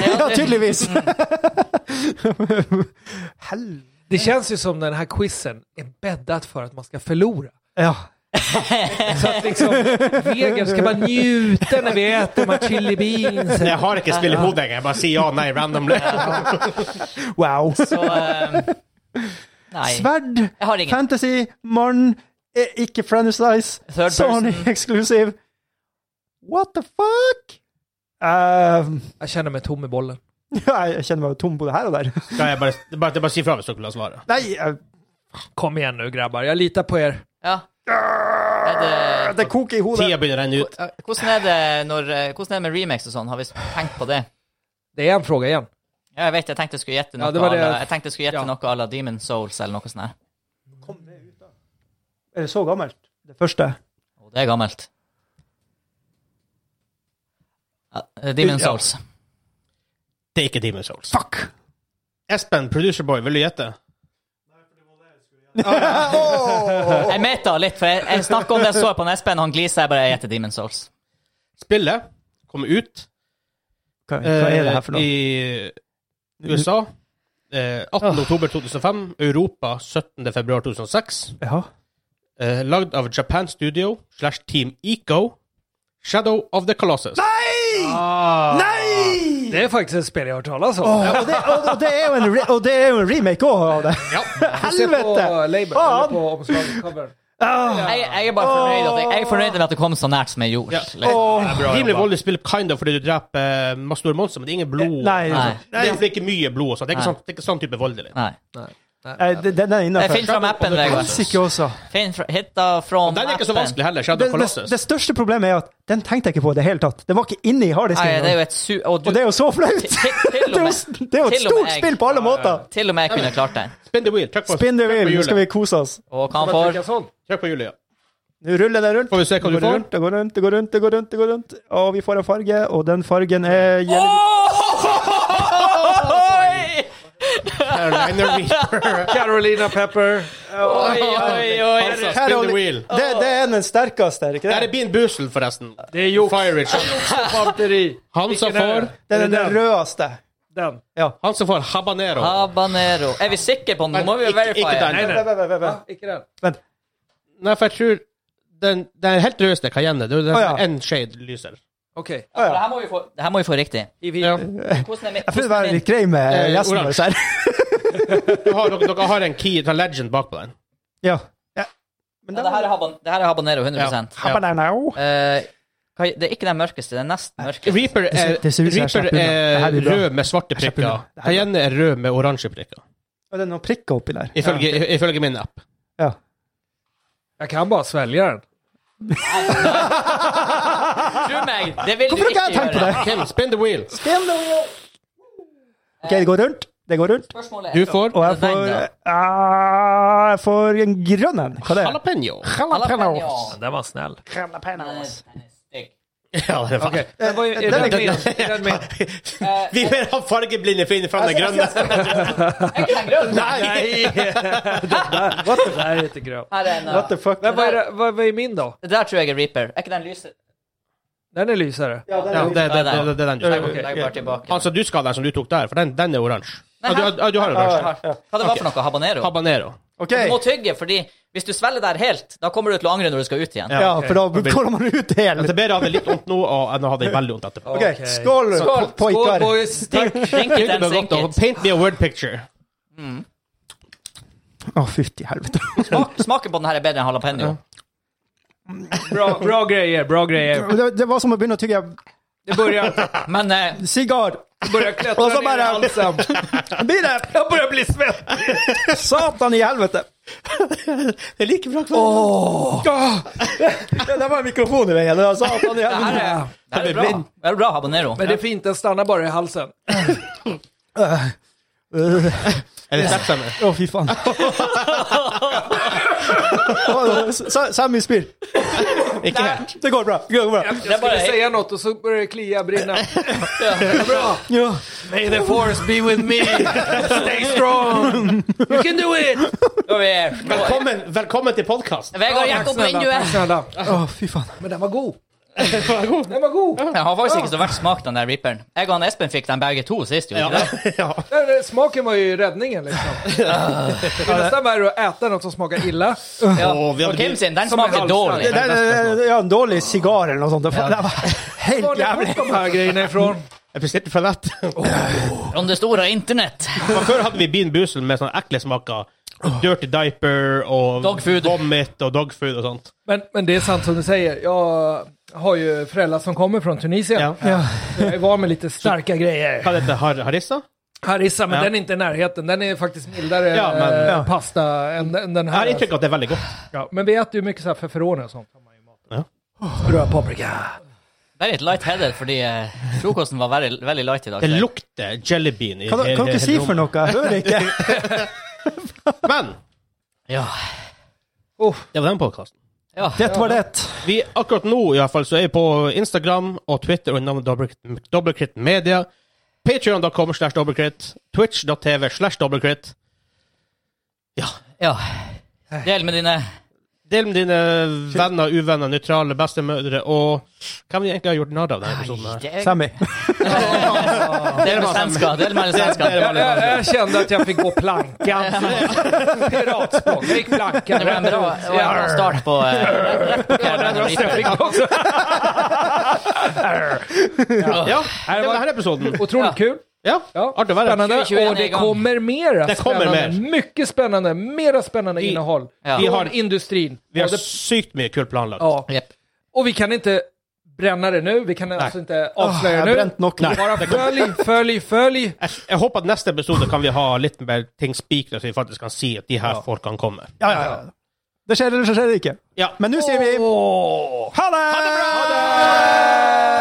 C: Ja, tydeligvis! Hell...
D: Det känns ju som den här quizen är bäddat för att man ska förlora.
C: Ja.
D: Så att liksom, regeln ska bara njuta när vi äter de här chili beans.
B: Jeg har ikke spill i hodet, jeg bare sier ja nei randomly.
C: Wow.
A: Så eh, Nei.
C: Sverd,
A: Jeg har ingen.
C: fantasy, mann, eh, ikke franchise,
A: Third
C: Sony
A: person.
C: exclusive. What the fuck? Ehm,
D: Jag känner mig tom i bollen.
C: jeg kjenner meg jo tom både her og der.
B: Skal jeg bare, det er bare, det er bare si fra hvis dere vil ha svaret.
C: Nei, eh,
D: Kom igen nu grabbar, jag litar på er.
A: Ja. Er det,
C: ah, det koker i hodet.
B: Tida begynner å renne ut.
A: eh, hvordan er det når eh, Hvordan er det med remakes og sånn? Har vi tenkt på det?
D: Det är en fråga igen.
A: Ja, jeg vet, jeg tenkte jeg skulle gjette
D: Ja,
A: noe
D: det var det-
A: à la- Jeg tenkte jeg skulle gjette
D: ja.
A: noe à la Demon Souls eller noe sånt. her.
C: Er det så gammelt? Det første.
A: Og det er gammelt. Ja, Demon
C: Ja.
A: Souls.
B: Det er ikke Demon Souls. Fuck! Espen, producer boy, vil du gjette?
A: Jeg meta litt, for jeg, jeg snakka om det jeg så på Espen, han glisa, jeg bare jeg gjetter Demon Souls.
B: Spillet kommer ut
C: Hva, hva er det her for
B: eh,
C: noe?
B: i USA eh, 18. oktober 2005, Europa 17. februar 2006.
C: Ja.
B: Eh, lagd av Japan Studio slash Team Eco. Shadow of the Colossus.
A: Ah.
C: Nei!
D: Det är faktiskt ett spel jag har hört talas om.
C: Åh, og, det, og, og, det er jo en re, och det er jo en remake òg av det.
D: Se på
C: Helvete!
D: label,
C: Fan!
D: eller på omslaget, covern.
C: Ah,
A: Jeg, jeg er bare fornøyd, at jeg, jeg er fornøyd med at det kom så nært som jeg gjorde.
B: Ja.
A: Liksom.
B: Rimelig voldelig spill kind of fordi du dreper eh, masse store monstre, men det er ingen blod.
C: Eh, Nei,
A: Nei.
B: Det er iallfall ikke mye blod. og sånt. Det er ikke sånn, det er ikke sånn type voldelig.
A: Nei.
C: eh, det- den er
A: Jeg Finn
C: innafor.
A: fram appen, Vegard.
C: Helsike også.
A: Finn fra, hitta from
B: Den er ikke så
A: appen.
B: vanskelig heller. Shadow
C: Det,
B: of
C: det,
B: Colossus.
C: det største problemet er at den tenkte jeg ikke på i det hele tatt. Den var ikke inne i harddisken.
A: Nei, det er
C: engang.
A: jo et su... Og,
C: Og det
A: du,
C: er jo så flaut!
A: Til- til-
C: Det
A: til og
C: er jo
A: med-
C: s- det er jo et
A: til og med
C: stort
A: jeg-
C: spill på alle måter!
A: til og med jeg kunne klart den.
B: Spin the wheel. Trykk på,
C: Spinn det
B: trykk på
C: vil, nå skal vi
B: hjulet.
C: kose oss.
A: Og hva han
D: Vad
A: får?
D: tycker
C: sånn.
D: sånt?
B: Trykk på hjulet, ja.
C: Nå ruller den rundt.
B: Får vi se hva
C: Går
B: du
C: det
B: får?
C: rundt, det går rundt, det går rundt, det går rundt, det går rundt. Og vi får en farge, og den fargen er gjeldig.
A: Oi!
B: Carolina Reaper.
D: Carolina Pepper.
A: Oi, oi, oi.
B: Spin the wheel.
C: Det, det er den sterkeste, er det
B: Der
C: ikke
B: er
C: det?
B: Bean Boozled, forresten.
D: Det är Joks
B: Fire Rich.
D: fanteri.
B: Han som
D: Vilken är
B: får,
D: det?
C: Det er
D: Är det
C: den rødeste.
D: Den.
B: han som får habanero.
A: Habanero. Er vi sikre på den? Nå må vi jo
B: Ikke-
A: verify.
B: ikke den.
D: Nej,
C: Vent,
D: nej.
C: vent, vent, vent,
D: Va?
C: vent.
D: Icke den.
C: Vent.
B: Nei, for jeg tror den, den helt rødeste Cayenne. Det er den
C: Å, ja.
B: en shade lyser.
D: Okej.
C: Å,
A: Det
C: ja.
A: her må vi få, det her må vi få riktig.
D: I vi-
B: Ja.
A: Hvordan er
C: Jeg føler det
A: min, hvordan er
C: var
A: min,
C: litt grei med
B: Eh,
C: gjesten vår
B: oransje.
C: her.
B: Du har, dere, dere har en key til legend bakpå den.
C: Ja. ja. Men
A: ja, det, her er haban, det her er habanero 100
B: Ja.
A: Eh,
C: Habanero.
A: Hva Hva- Det er ikke den mørkeste, det er nesten mørkeste.
B: Reaper
C: Det
B: er,
C: ser- det ser ut som jeg
B: Reaper
C: slipper unna. Det her
B: er
C: blir bra.
B: rød med svarte
C: Jeg slipper
B: prikker.
C: unna. Det her blir
B: Hyene er rød med oransje prikker,
C: Ja, det er noen prikker oppi der.
B: ifølge, ifølge min app.
C: Ja.
D: Jag kan bara svälja den.
A: Tro meg, det vil
C: Hvorfor
A: du ikke
C: har ikke jeg tenkt på det?
A: gjøre.
B: Kim, spin the wheel.
C: OK, det går rundt. Det går rundt.
A: Spørsmålet
B: Du
A: er
B: får
C: Og jeg får ah, Jeg får en grønn en. Hva det er det?
B: jalapeño.
A: Jalapeños.
G: Den var snäll.
B: Ja, det er faktisk
D: Den var ju, är den med? Är den med?
B: Vi vil ha fargeblinde finn fra den grønne. Nei!
D: What the, nej, inte grön.
A: Her er en,
C: What
A: uh,
C: the fuck?
D: Men vad är, det- vad, vad är min då?
A: det der tror jeg er Reaper. Er ikke den lyse?
D: Den är lysare.
C: Ja, det
B: Ja,
C: er
B: det, det, det, det, det er den du
A: Legg
B: skal
A: legg bare tilbake.
B: Altså, du skal ha den som du tok der, for den, den er oransje.
A: Nei,
B: Ja, du,
A: her-
B: ja, du har oransje.
A: Hva det var for noe? Habanero?
B: Habanero.
C: OK.
A: Du må tygge, fordi hvis du svelger der helt, da kommer du til å angre når du skal ut igjen.
C: Ja, for da går man ut
B: Men
C: helt.
B: det er bedre å ha det litt vondt nå og- enn å ha det veldig vondt etterpå.
C: OK, skål,
D: Skål, skål
C: poikar.
D: boys! Tack!
A: Drink
B: Tygg
A: it and
B: det
A: sink
B: godt, og
A: it.
B: Paint me a word picture.
C: Å, fytti helvete.
A: Smak, smaken på den her er bedre enn jalapeño.
D: Bra, bra grejer, bra grejer.
C: Det, det var som å begynne å tygge
D: Det börjar,
A: Men eh,
C: sigar.
D: det börjar klättra
C: Och så
D: ner
C: bara-
D: i halsen.
C: Blir det?
D: Jag börjar bli svettig!
C: Satan i helvete.
B: Det er like bra
C: Ja, det var en mikrofon i veien. Det var Satan i
A: det her
C: helvete.
A: er, det her er bra. Det her er bra habanero.
D: Men det är fint, den stannar bara i halsen.
C: Øh,
B: Er det sterkt sammen?
C: Å, fy faen. Sa- Sammy spyr.
B: Ikke helt.
C: Det går bra. Det går bra.
A: Det er
D: Jag
A: bare
D: vill säga något och så börjar det klia, brinna. Bra!
C: Ja.
D: May the force be with me! Stay strong! You can do it!
A: Nå er vi- nå er-
B: Velkommen, velkommen til podkast.
A: Vegard gikk opp vinduet.
D: snälla.
C: Å, fy faen.
D: Men den var god. Den var god.
A: Jeg har faktisk ikke så verst smak, den der reaperen. Jeg og han Espen fikk den begge to sist, jo.
B: Ja.
A: ikke det?
B: ja.
D: Den, den, smaken var ju räddningen liksom. Det är nästan värre att äta något som smakar illa.
A: Ja.
B: Åh, vi hadde
A: Og Kim
B: blitt-
A: sin, den
D: Som en
A: smaker
D: halv-
A: dårlig.
C: Det, det, det, det, ja, en dårlig sigar eller noe sånt. Det var- det var
D: Var
C: helt
D: har ni
C: jævlig.
D: fått de här grejerna ifrån?
B: Jeg bestilte for lett.
A: Om det store internett.
B: For Før hadde vi Bean Boozled med sånne ekle smaker. Dirty diaper og
A: Dog food.
B: vomit og dog food og sånt.
D: Men, men det är sant som du säger. Jag har ju föräldrar som kommer från Tunisien.
B: Ja.
D: Så Jag är van med lite starka grejer.
B: Hva heter det? Har harissa?
D: Harissa, men
B: Ja.
D: den är inte i närheten. Den är faktiskt mildare
B: Ja, men-
D: eh,
B: ja.
D: pasta än, än den
B: Jeg har
D: här.
B: inntrykk av at det er veldig godt.
D: Ja, men vi äter ju mycket så här feferoner och sånt.
B: Ja.
D: Röd paprika.
A: Det er litt light-headed, fordi eh, frokosten var veldig, veldig light i dag.
B: Det lukter jelly bean i
C: Kan,
B: hele-
C: kan dere si
B: hele
C: for
B: rommet.
C: noe? Jeg hører ikke.
B: Men
A: Ja.
B: det var den podkasten.
A: ja.
C: Det var det.
B: Vi, akkurat nå i hvert fall, så er vi på Instagram og Twitter under navnet Dobbelkrit- Dobbelkrit Media. Patreon.com slash dobbelkrit. Twitch.tv slash dobbelkrit.
A: ja. Del med dine
B: Del med dine venner, uvenner, nøytrale, bestemødre og Hvem vi egentlig har gjort narr av denne episoden her?
A: Del
C: Sammy.
A: med svensker. Del med svensker.
D: Jag, jag, jag kände att jag fick gå plankan. Piratspråk. Jag gick plankan.
A: Det var en bra, det var en bra start på eh, rett på kvelden.
D: Andra rösten jag fick också.
B: Ja, det var denne episoden.
D: Otroligt kul.
B: Ja,
D: Ja.
B: artig å være her.
D: Spännande.
A: 2021
D: Och
A: är
D: det
A: igång.
D: kommer mera
B: Det kommer
D: spännande.
B: mer.
D: Mycket spännande. Mera spännande innehåll.
A: Ja.
B: Vi
D: Från
B: har,
D: industrin.
B: vi har
D: Både-
B: sykt mye kult planlagt.
D: ja.
A: Jepp.
D: Och vi kan inte bränna det nu. Vi kan alltså inte
C: Jeg
D: avslöja
C: har
D: nu.
C: brent nok. nå.
D: Bara följ, följ, följ.
B: Jeg, jeg håper at neste episode kan vi ha litt mer ting spikra, så vi faktisk kan si at de her folkene kommer.
C: Ja, ja, ja. Det skjer eller så skjer det ikke.
B: Ja.
C: Men nå sier vi ha det! Ha det!